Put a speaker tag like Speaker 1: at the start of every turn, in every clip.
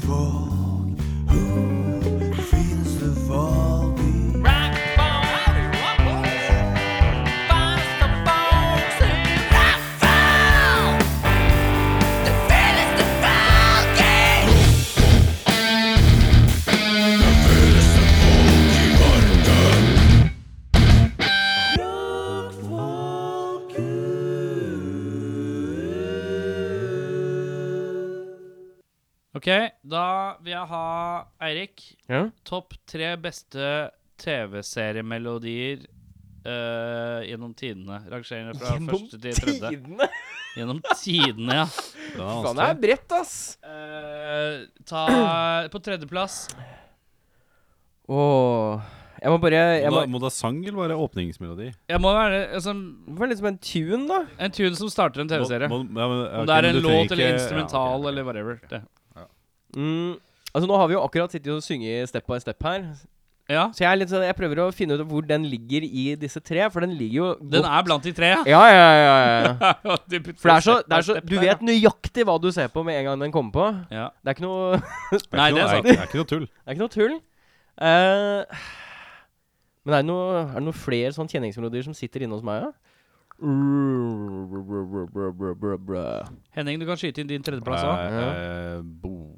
Speaker 1: folk? Who feels the fall beat?
Speaker 2: Ok, da vil jeg ha Eirik.
Speaker 3: Ja?
Speaker 2: Topp tre beste TV-seriemelodier eh, gjennom tidene. Rangerende fra første til tredje.
Speaker 3: tidene!
Speaker 2: Gjennom tidene, ja.
Speaker 3: Faen, det er bredt, ass.
Speaker 2: Eh, ta på tredjeplass
Speaker 3: Åh. Jeg må bare jeg
Speaker 4: Må
Speaker 3: må,
Speaker 4: da- Må da sang eller bare åpningsmelodi?
Speaker 2: Jeg må være altså,
Speaker 3: Hvorfor er det litt som en tune, da?
Speaker 2: en tune som starter en TV-serie.
Speaker 4: Må- må- ja, men- ja,
Speaker 2: Om
Speaker 4: ok,
Speaker 2: det er en
Speaker 4: men du trenger
Speaker 2: låt
Speaker 4: ikke-
Speaker 2: eller
Speaker 4: ja,
Speaker 2: instrumental
Speaker 4: ok, ok.
Speaker 2: eller whatever. Det.
Speaker 3: Mm. Altså, nå har vi jo akkurat sittet og sunget step by step her.
Speaker 2: Ja,
Speaker 3: Så jeg, er litt sånn, jeg prøver å finne ut hvor den ligger i disse tre, for den ligger jo
Speaker 2: den er blant de tre, ja.
Speaker 3: Ja, ja, ja, ja,
Speaker 4: Eh,
Speaker 3: ja.
Speaker 2: De putter
Speaker 3: For det er så,
Speaker 2: step
Speaker 3: det er
Speaker 2: by
Speaker 3: så
Speaker 2: step
Speaker 3: Du
Speaker 2: der,
Speaker 3: vet nøyaktig hva du ser på med en gang den kommer på.
Speaker 2: ja.
Speaker 3: Det er ikke noe, det
Speaker 4: Det er
Speaker 2: Nei,
Speaker 4: ikke
Speaker 2: det
Speaker 4: noe-
Speaker 2: er sant.
Speaker 4: Det er ikke noe tull.
Speaker 3: er ikke noe tull. Eh, men er det noe, er det noe flere sånne kjenningsmelodier som sitter inne hos meg, ja?
Speaker 2: Henning, du kan skyte inn din tredjeplass òg.
Speaker 4: Eh, eh, bo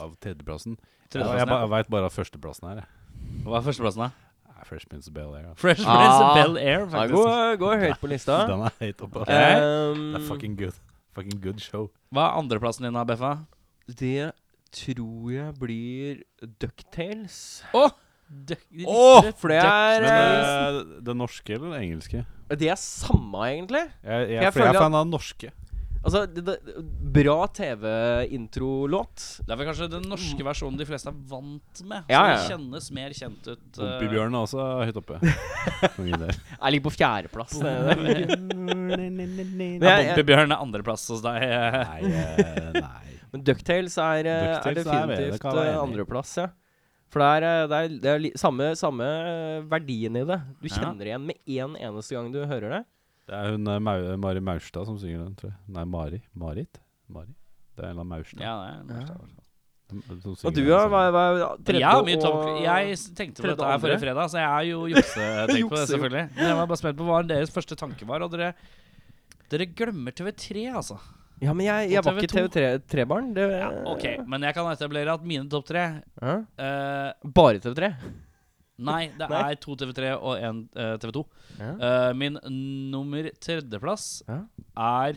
Speaker 4: av tredjeplassen.
Speaker 2: Tredjeplassen,
Speaker 4: Ja, jeg
Speaker 2: ja.
Speaker 4: ba- jeg veit bare at førsteplassen her. eh, jeg.
Speaker 2: Hva er førsteplassen, da?
Speaker 4: Nei, Freshman Bell Air.
Speaker 2: Fresh Prince
Speaker 3: Ah.
Speaker 2: of Bel Air,
Speaker 3: Ja,
Speaker 2: faktisk.
Speaker 3: går, går høyt på lista.
Speaker 4: Den er høyt oppe. altså.
Speaker 2: Eh,
Speaker 4: Det er
Speaker 3: Ehm,
Speaker 4: fucking good. Fucking good show.
Speaker 2: Hva er andreplassen din, da, Beffa?
Speaker 3: Det tror jeg blir Ducktales.
Speaker 2: Å!
Speaker 3: Åh, for det
Speaker 4: Men
Speaker 3: er eh,
Speaker 4: eh, det norske eller det engelske?
Speaker 3: Det er samme, egentlig.
Speaker 4: Jeg, jeg,
Speaker 3: Jeg
Speaker 4: for
Speaker 3: føler
Speaker 4: jeg er
Speaker 3: at-
Speaker 4: fan av den norske.
Speaker 3: Altså, det, det, bra TV-introlåt.
Speaker 2: Det er vel kanskje den norske versjonen de fleste er vant med.
Speaker 3: Ja,
Speaker 2: Som
Speaker 3: ja.
Speaker 2: kjennes mer kjent ut. eh,
Speaker 4: Bompibjørnen er også høyt oppe. Mange der.
Speaker 3: Jeg ligger på fjerdeplass. det- det- Men
Speaker 2: Ja,
Speaker 3: jeg- jeg-
Speaker 2: Bompibjørn er andreplass hos deg. eh.
Speaker 4: Nei, eh, nei.
Speaker 3: Men Ducktales er, eh, er
Speaker 4: DuckTales er med, det
Speaker 3: definitivt
Speaker 4: kan jeg være
Speaker 3: eh,
Speaker 4: enig i.
Speaker 3: andreplass, ja. For det er, eh, det er, det er li samme, samme eh, verdien i det. Du
Speaker 2: Ja.
Speaker 3: kjenner det igjen med én eneste gang du hører det.
Speaker 4: Det er hun eh, Mau- Mari Maurstad som synger den, tror jeg. Nei, Mari. Marit? Mari? Det er en eller annen Maurstad.
Speaker 2: Ja, det er
Speaker 4: som- som synger
Speaker 3: Og du,
Speaker 4: den altså.
Speaker 3: ja?
Speaker 4: sangen.
Speaker 3: Hva, hva,
Speaker 2: Men
Speaker 3: tredje
Speaker 2: jeg, har mye
Speaker 3: og-
Speaker 2: topp- jeg s- tenkte på
Speaker 3: tredje
Speaker 2: dette her forrige
Speaker 3: andre.
Speaker 2: fredag, så jeg er jo juksetenkt på det,
Speaker 3: Jukser jo.
Speaker 2: selvfølgelig. Men jeg var bare spent på hva deres første tanke var, og dere dere glemmer TV3, altså.
Speaker 3: Ja, men jeg, jeg
Speaker 2: Og
Speaker 3: var ikke
Speaker 2: TV2.
Speaker 3: TV3-barn.
Speaker 2: Ja, ok, Men jeg kan etablere at mine topp tre eh,
Speaker 3: Bare TV3.
Speaker 2: Nei, det
Speaker 3: Nei.
Speaker 2: er to TV3 og én TV2.
Speaker 3: Ja.
Speaker 2: Eh, min nummer tredjeplass
Speaker 3: Ja.
Speaker 2: er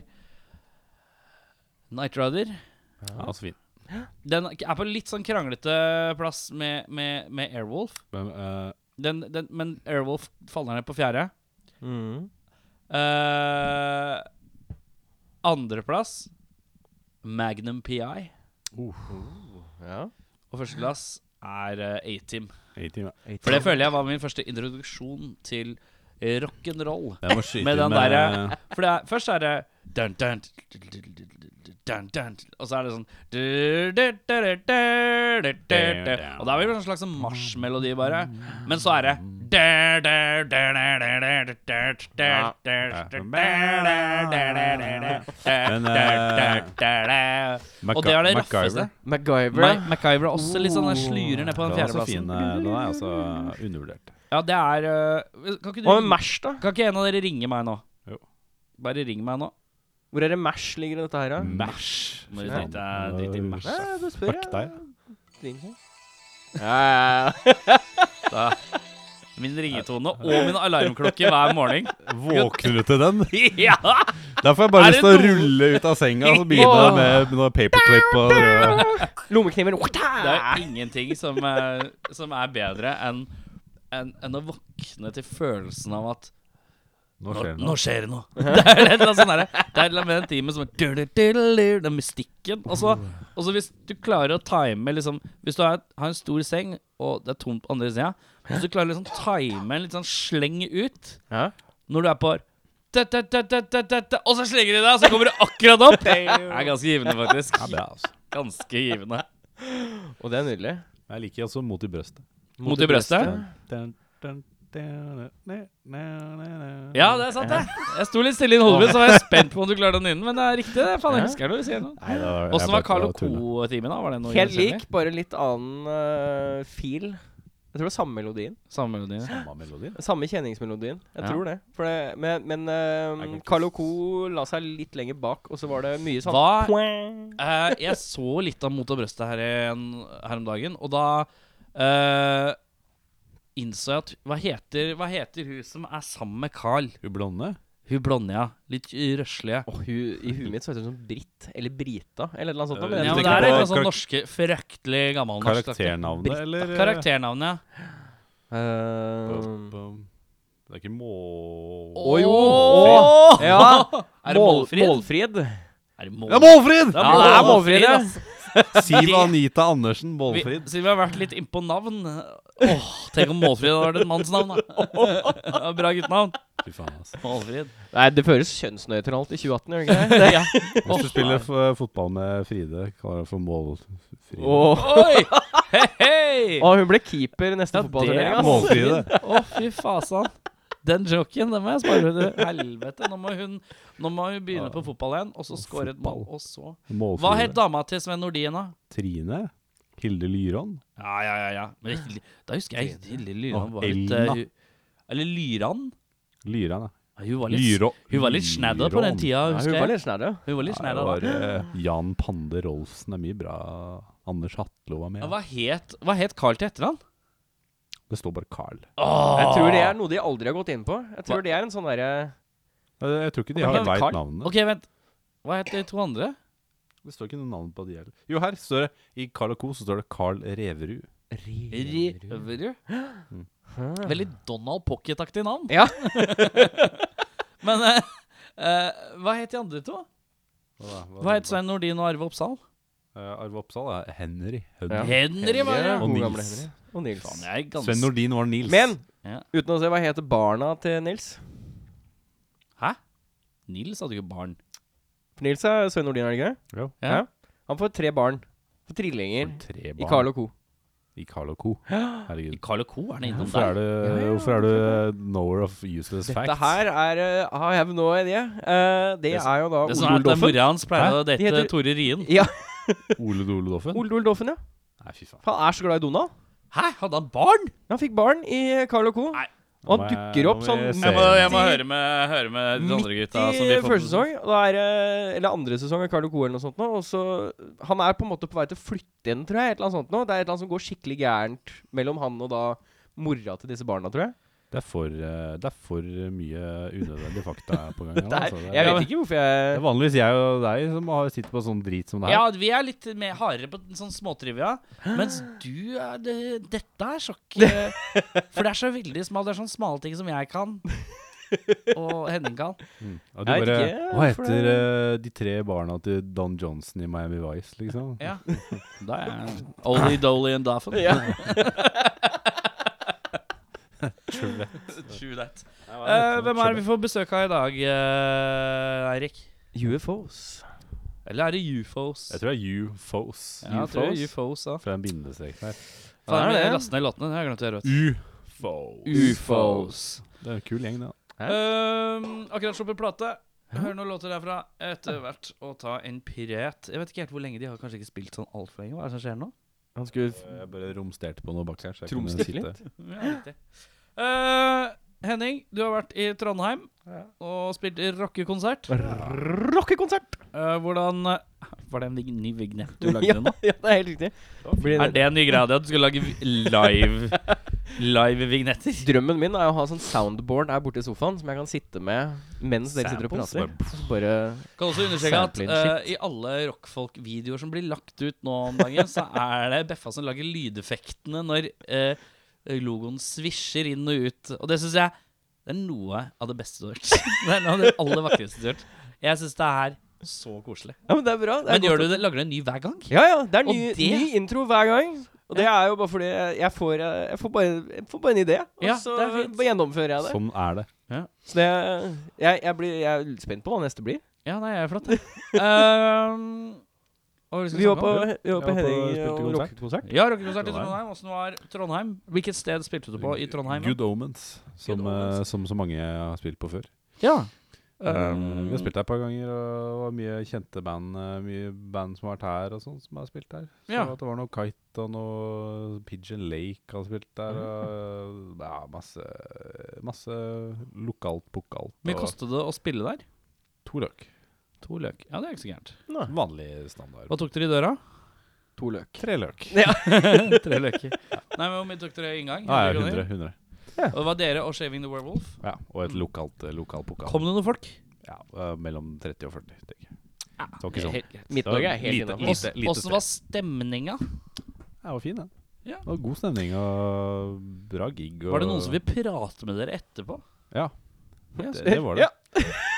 Speaker 2: Night Rider.
Speaker 4: Ja, så fint.
Speaker 2: Den er på litt sånn kranglete plass med, med, med Airwolf.
Speaker 4: Men, eh,
Speaker 2: Den, den, men Airwolf faller ned på fjerde.
Speaker 3: Mm.
Speaker 2: Eh, Andreplass Magnum PI.
Speaker 4: Oh,
Speaker 3: Ja.
Speaker 2: Og førsteplass er eh, A-Team.
Speaker 4: A-team, ja.
Speaker 2: For det føler jeg var min første introduksjon til eh, rock'n'roll.
Speaker 4: Jeg må skyte
Speaker 2: Med
Speaker 4: inn
Speaker 2: den derre For det er, først er det dun, dun, dun, dun, Og så er det sånn du, du, du, du, du, du, du. Og da blir det en slags sånn marsjmelodi, bare. Men så er det du, du, du, du, du, du, du, du, du, du, du, du, du,
Speaker 4: eh,
Speaker 2: du, du, du, du, du, du, du, du, du.
Speaker 4: Maca-
Speaker 2: Og det er det
Speaker 4: MacGyver.
Speaker 2: røffeste.
Speaker 3: MacGyver.
Speaker 2: Ma- MacGyver er også litt sånn der slurer ned på
Speaker 4: Den
Speaker 2: den
Speaker 4: er så fin.
Speaker 2: fjerdeplassen.
Speaker 4: eh, Den er altså undervurdert.
Speaker 2: Ja, det er øh, Kan ikke du
Speaker 3: Hva med Mash, da?
Speaker 2: Kan ikke en av dere ringe meg nå?
Speaker 4: Jo.
Speaker 2: Bare ring meg nå.
Speaker 3: Hvor er det Mash ligger i dette her, da?
Speaker 4: Mash.
Speaker 2: Må du drite- drite i mash,
Speaker 3: Nei, du spør,
Speaker 4: Mm. Fuck
Speaker 3: jeg.
Speaker 4: deg.
Speaker 3: Ja, ja,
Speaker 2: Da. Min ringetone og min alarmklokke hver morgen.
Speaker 4: Våkner du til den?
Speaker 2: Ja!
Speaker 4: Der får jeg bare
Speaker 2: Er
Speaker 4: lyst
Speaker 2: det
Speaker 4: til å
Speaker 2: noe-
Speaker 4: rulle ut av senga og så begynne
Speaker 3: Åh.
Speaker 4: med noe paperclip og rød.
Speaker 3: ja. Lommekniven
Speaker 2: Det er ingenting som, eh, som er bedre enn enn- enn å våkne til følelsen av at
Speaker 4: Nå
Speaker 2: nå,
Speaker 4: skjer det
Speaker 2: nå
Speaker 4: noe.
Speaker 2: skjer det noe. Det er et eller annet sånn derre- Det er et eller annet med den timen som er du-du-du-du-du, Den mystikken. Og så, og så hvis du klarer å time liksom Hvis du har, har en stor seng, og det er tomt på andre sida, hvis du klarer å liksom time en litt sånn sleng ut
Speaker 3: Ja.
Speaker 2: når du er på da, da, da, da, da, da, da, Og så slenger de deg, og så kommer du akkurat opp! Det er ganske givende, faktisk.
Speaker 4: Ja, bra, altså.
Speaker 2: Ganske givende.
Speaker 3: Og det er nydelig.
Speaker 4: Jeg liker også mot altså i brøstet.
Speaker 2: Mot i brøstet?
Speaker 4: Dun, dun,
Speaker 2: Ja, det er sant, det. Jeg sto litt stille i hodet mitt, så var jeg spent på om du klarte å nynne. Men det er riktig, det. Faen, jeg
Speaker 3: Ja.
Speaker 2: husker det. du sier nå.
Speaker 4: Nei, det var- jeg
Speaker 2: Åssen var
Speaker 4: bare
Speaker 2: Carlo
Speaker 4: tulla.
Speaker 2: Co-timen, da? Var det noe
Speaker 3: Helt
Speaker 2: gjensidig?
Speaker 3: lik, bare litt annen eh, fil. Jeg tror det er samme melodien.
Speaker 2: Samme melodi.
Speaker 4: Samme melodien.
Speaker 3: Samme kjenningsmelodien. Jeg
Speaker 2: Ja.
Speaker 3: tror det. For det men men
Speaker 4: Jeg kan
Speaker 3: eh,
Speaker 4: ikke
Speaker 3: Carlo Co la seg litt lenger bak, og så var det mye sånn
Speaker 2: Hva
Speaker 3: Poeng.
Speaker 2: Eh, jeg så litt av Mot og brøstet her, en, her om dagen, og da eh, innså jeg at hva heter, hva heter hun som er sammen med Carl?
Speaker 4: Hun blonde?
Speaker 2: Hun blonde, ja. Litt røslige.
Speaker 3: Åh, hu- I huet mitt så høres det ut som Britt eller Brita eller et eller annet sånt.
Speaker 4: Øh,
Speaker 3: da, men
Speaker 2: Ja,
Speaker 3: jeg
Speaker 2: men
Speaker 4: tenker
Speaker 2: det er ikke
Speaker 4: på
Speaker 2: noe
Speaker 4: karak-
Speaker 2: sånn norske, fryktelig gammelnorsk.
Speaker 4: Karakternavnet,
Speaker 3: Britta.
Speaker 4: eller? eh,
Speaker 2: Karakternavnet, ja.
Speaker 3: Eh,
Speaker 4: Bum,
Speaker 3: Ehm,
Speaker 4: bum. Det er ikke Må...
Speaker 3: Å, jo.
Speaker 2: Åh!
Speaker 3: Ja.
Speaker 2: Er det
Speaker 3: Mål-
Speaker 2: Målfrid?
Speaker 3: Målfrid.
Speaker 2: Er det mål?
Speaker 4: Ja, Målfrid!
Speaker 2: Ja,
Speaker 3: Ja, det er
Speaker 2: Målfrid,
Speaker 3: Målfrid, ja.
Speaker 4: Siv Anita Andersen Målfrid.
Speaker 2: Vi, siden vi har vært litt innpå navn Åh, Tenk om Målfrid hadde vært et mannsnavn, da. Det var Bra guttenavn.
Speaker 4: Fy faen, altså.
Speaker 2: Målfrid.
Speaker 3: Nei, det føles kjønnsnøytralt i 2018, gjør det ikke det?
Speaker 2: Ja.
Speaker 4: Hvis du spiller f- eh, fotball med Fride, kaller du for Målfrid.
Speaker 3: Åh,
Speaker 2: Oi! Hei, hei!
Speaker 3: Åh, hun ble keeper neste
Speaker 2: Ja,
Speaker 3: ja,
Speaker 2: det er
Speaker 3: fotballturnering. ass.
Speaker 4: Målfride.
Speaker 2: Å, fy fasan. Den joken den må jeg spare til helvete. Nå må hun, nå må hun begynne på fotball igjen, og så score et mål, og så
Speaker 4: Målfride.
Speaker 2: Hva het dama til Sven Nordin, da?
Speaker 4: Trine? Hilde Lyron?
Speaker 2: Ja, ja, ja. ja. Men Hilde- da husker jeg Hilde Lyran
Speaker 4: Å,
Speaker 2: var litt
Speaker 4: Elna.
Speaker 2: eh, hun- Eller Lyran?
Speaker 4: Lyran, ja.
Speaker 2: Ja, Hun var litt,
Speaker 4: Lyro-
Speaker 2: hun var litt snadda på den
Speaker 4: Lyron.
Speaker 2: tida,
Speaker 3: Ja,
Speaker 2: husker
Speaker 3: hun var
Speaker 2: jeg.
Speaker 3: litt snær, ja.
Speaker 2: Hun var litt
Speaker 4: Nei, det
Speaker 2: snadda
Speaker 4: var,
Speaker 2: da.
Speaker 4: eh, Jan Pande Rolfsen er mye bra. Anders Hatlo var med.
Speaker 2: Ja, Hva het, hva het Carl til etternavn?
Speaker 4: Det står bare Carl.
Speaker 2: Ah.
Speaker 3: Jeg tror det er noe de aldri har gått inn på. Jeg tror det er en sånn derre
Speaker 4: Eh, Jeg tror ikke de
Speaker 3: Men
Speaker 4: har
Speaker 3: hvem er
Speaker 4: veit
Speaker 3: Carl?
Speaker 4: navnet.
Speaker 2: OK, vent. Hva het de to andre?
Speaker 4: Det står ikke noe navn på de heller. Jo, her står det I Carl Co. så står det Carl Reverud.
Speaker 2: Riverud?
Speaker 3: Hæ?
Speaker 2: Veldig Donald Pocket-aktig navn.
Speaker 3: Ja.
Speaker 2: Men eh, eh, hva het de andre to? Hva het Svein Nordin og Arve Oppsal?
Speaker 4: Eh, Arve Oppsal er Henry.
Speaker 3: Ja.
Speaker 2: Henry, var det.
Speaker 3: Henry,
Speaker 4: Og
Speaker 3: god
Speaker 4: Nils.
Speaker 3: gamle Henry. Og Nils.
Speaker 2: Faen, jeg er
Speaker 4: Sven
Speaker 2: ganske
Speaker 4: Nordin var Nils.
Speaker 3: Men
Speaker 2: Ja.
Speaker 3: uten å se hva heter barna til Nils
Speaker 2: Hæ? Nils hadde jo ikke barn.
Speaker 3: For Nils er Svein Nordin, er det ikke? det?
Speaker 4: Jo,
Speaker 2: Ja.
Speaker 3: Han får tre barn. Får trillinger
Speaker 4: tre barn.
Speaker 3: i Carl Co.
Speaker 4: I Carl Co. Herregud.
Speaker 2: Carl og Co. er det innom
Speaker 4: Hvorfor er
Speaker 2: der.
Speaker 4: du,
Speaker 3: ja,
Speaker 4: hvorfor er du knower of useless facts?
Speaker 3: Dette her er uh, I have no idea. Eh, det,
Speaker 4: Det-
Speaker 3: er jo da
Speaker 2: Det er
Speaker 3: Ole
Speaker 2: sånn at det er
Speaker 3: Doldoffen.
Speaker 2: mora hans pleide
Speaker 4: Hæ?
Speaker 2: å date
Speaker 3: De heter-
Speaker 2: Tore Rien.
Speaker 3: Ja,
Speaker 4: Ole Dole Doffen?
Speaker 3: Ole Doldoffen, ja.
Speaker 4: Nei, fy faen.
Speaker 3: For Han er så glad i Donald.
Speaker 2: Hæ? Hadde han barn?
Speaker 3: Han fikk barn i Carl Co.
Speaker 2: Nei.
Speaker 3: Og
Speaker 4: Nå må
Speaker 3: han
Speaker 4: jeg-
Speaker 3: dukker opp
Speaker 4: nå må
Speaker 3: sånn
Speaker 4: jeg se.
Speaker 2: Jeg må, jeg må
Speaker 3: midt i-
Speaker 2: høre med, høre med de andre gutta.
Speaker 3: Midt
Speaker 2: som vi
Speaker 3: i
Speaker 2: får-
Speaker 3: første sesong, og da er, det- eller andre sesong av Carlo Co. eller noe sånt nå. Og så, han er på en måte på vei til å flytte igjen, tror jeg. Et eller annet sånt nå. Det er et eller annet som går skikkelig gærent mellom han og da mora til disse barna, tror jeg.
Speaker 4: Det er for, eh, det er for mye unødvendige fakta på gang. her,
Speaker 3: Det er,
Speaker 4: altså. Det er-
Speaker 3: jeg vet ikke hvorfor jeg
Speaker 4: Det er vanligvis jeg og deg som har sitter på sånn drit som det her.
Speaker 2: Ja, vi er litt mer hardere på den sånn småtrivia. Mens du er det, Dette er sjokk. eh, For det er så veldig smalt. Det er sånne smale ting som jeg kan. Og Henning kan.
Speaker 4: Og Mm. du
Speaker 3: Jeg vet
Speaker 4: bare
Speaker 3: ikke,
Speaker 4: Hva
Speaker 3: for
Speaker 4: heter
Speaker 3: det-
Speaker 4: eh, de tre barna til Don Johnson i Miami Vice, liksom?
Speaker 2: Ja. Da er jeg Oldie Dolly and Daffin.
Speaker 3: Ja.
Speaker 2: True that. Eh, hvem er det vi får besøk av i dag, eh, Eirik?
Speaker 3: UFOs.
Speaker 2: Eller er det UFOs?
Speaker 4: Jeg tror det er UFOs.
Speaker 2: ja, jeg tror det er UFOs da.
Speaker 4: For det er en bindestrek der.
Speaker 2: Faen,
Speaker 3: det er
Speaker 2: jeg
Speaker 3: det.
Speaker 2: lastet ned låtene. Det har jeg glemt å gjøre. vet du.
Speaker 4: UFO.
Speaker 3: UFOs.
Speaker 4: Det er en kul gjeng, det. altså.
Speaker 2: Ehm, akkurat sluppet plate. Hør noen låter derfra etter hvert, og ta en piret. Jeg vet ikke helt hvor lenge de har kanskje ikke spilt sånn altfor lenge. Hva er det som skjer nå?
Speaker 3: Han skulle
Speaker 4: da. Jeg bare romsterte på noe bak her. så jeg
Speaker 3: Tromstikk
Speaker 4: kunne
Speaker 3: litt?
Speaker 4: sitte.
Speaker 2: Ja, riktig. Eh, Henning, du har vært i Trondheim og spilt i rockekonsert.
Speaker 3: Rockekonsert!
Speaker 2: Eh, hvordan eh, Var det en vig- ny vignett du lagde nå?
Speaker 3: ja, det er helt riktig. Blir
Speaker 2: Er
Speaker 3: det,
Speaker 2: det en ny greie di at du skal lage vi- live Live vignetter?
Speaker 3: drømmen min er å ha sånn soundboard her borte i sofaen som jeg kan sitte med mens dere sitter og
Speaker 4: Samples,
Speaker 3: prater. Så Bare
Speaker 2: Kan også understreke at
Speaker 3: Sample in
Speaker 2: eh, i alle rockfolk-videoer som blir lagt ut nå om dagen, så er det Beffa som lager lydeffektene når eh, logoen svisjer inn og ut. Og det syns jeg det er noe av det beste du har hørt. Det er noe av det aller vakreste du har hørt. Jeg syns det er så koselig.
Speaker 3: Ja, men det er bra. Det er
Speaker 2: Men
Speaker 3: godt
Speaker 2: gjør du det, lager du en ny hver gang?
Speaker 3: Ja, ja. Det er
Speaker 2: Og
Speaker 3: ny,
Speaker 2: det-
Speaker 3: ny intro hver gang. Og det er jo bare fordi jeg jeg får, eh, jeg får, bare, jeg får bare en idé, og
Speaker 2: Ja,
Speaker 3: så
Speaker 2: det er fint.
Speaker 3: bare gjennomfører jeg det.
Speaker 4: Sånn er det.
Speaker 3: Så det jeg, jeg, blir, jeg er litt spent på hva neste blir.
Speaker 2: Ja, nei, jeg er flott. jeg. Ehm, Hva var det vi
Speaker 3: Vi
Speaker 2: skulle snakke om?
Speaker 3: var på, vi var på
Speaker 4: Jeg var på-
Speaker 3: Henning eh,
Speaker 2: eh,
Speaker 4: spilte
Speaker 3: og
Speaker 4: konsert.
Speaker 3: rockekonsert.
Speaker 2: Ja, rockekonsert i
Speaker 4: Trondheim.
Speaker 2: Trondheim. Åssen var Trondheim? Hvilket sted spilte du på i Trondheim? da?
Speaker 4: Good Omens, som,
Speaker 2: Good
Speaker 4: eh,
Speaker 2: Omens.
Speaker 4: som så mange har spilt på før.
Speaker 2: Ja.
Speaker 4: Eh, vi har
Speaker 2: Um,
Speaker 4: spilt her et par ganger, og det var mye kjente band eh, Mye band som har vært her og sånn, som har spilt her. Så
Speaker 2: Ja.
Speaker 4: at det var noe Kite og noe Pigeon Lake har spilt
Speaker 2: Mm.
Speaker 4: der. Og, ja, masse, masse lokalt pokalt.
Speaker 2: Hvor mye
Speaker 4: og
Speaker 2: kostet det å spille der?
Speaker 4: to løk.
Speaker 2: To løk. Ja, det er ikke så gærent.
Speaker 4: Vanlig standard.
Speaker 2: Hva tok dere i døra?
Speaker 3: To løk.
Speaker 4: Tre løk.
Speaker 2: Tre løker. Nei, men Hvor mye tok dere i inngang?
Speaker 4: Ja,
Speaker 2: 100
Speaker 4: ja,
Speaker 2: kroner?
Speaker 4: 100, 100.
Speaker 2: Og det var dere og Shaving the Werewolf?
Speaker 4: Ja, og et lokalt eh, lokal pokal.
Speaker 2: Mm. Kom det noen folk?
Speaker 4: Ja, eh, mellom 30 og 40, tenker jeg. Det var ikke sånn.
Speaker 2: Ah, Helt greit.
Speaker 3: Midt-Norge er helt
Speaker 4: Lite-
Speaker 3: innafor.
Speaker 4: lite- lite
Speaker 2: Åssen var stemninga?
Speaker 4: Det var fin, den.
Speaker 2: Ja.
Speaker 4: Det var god stemning og bra gig. Og
Speaker 2: Var det noen som vil prate med dere etterpå?
Speaker 4: Ja.
Speaker 2: Ja,
Speaker 4: Det, det var det.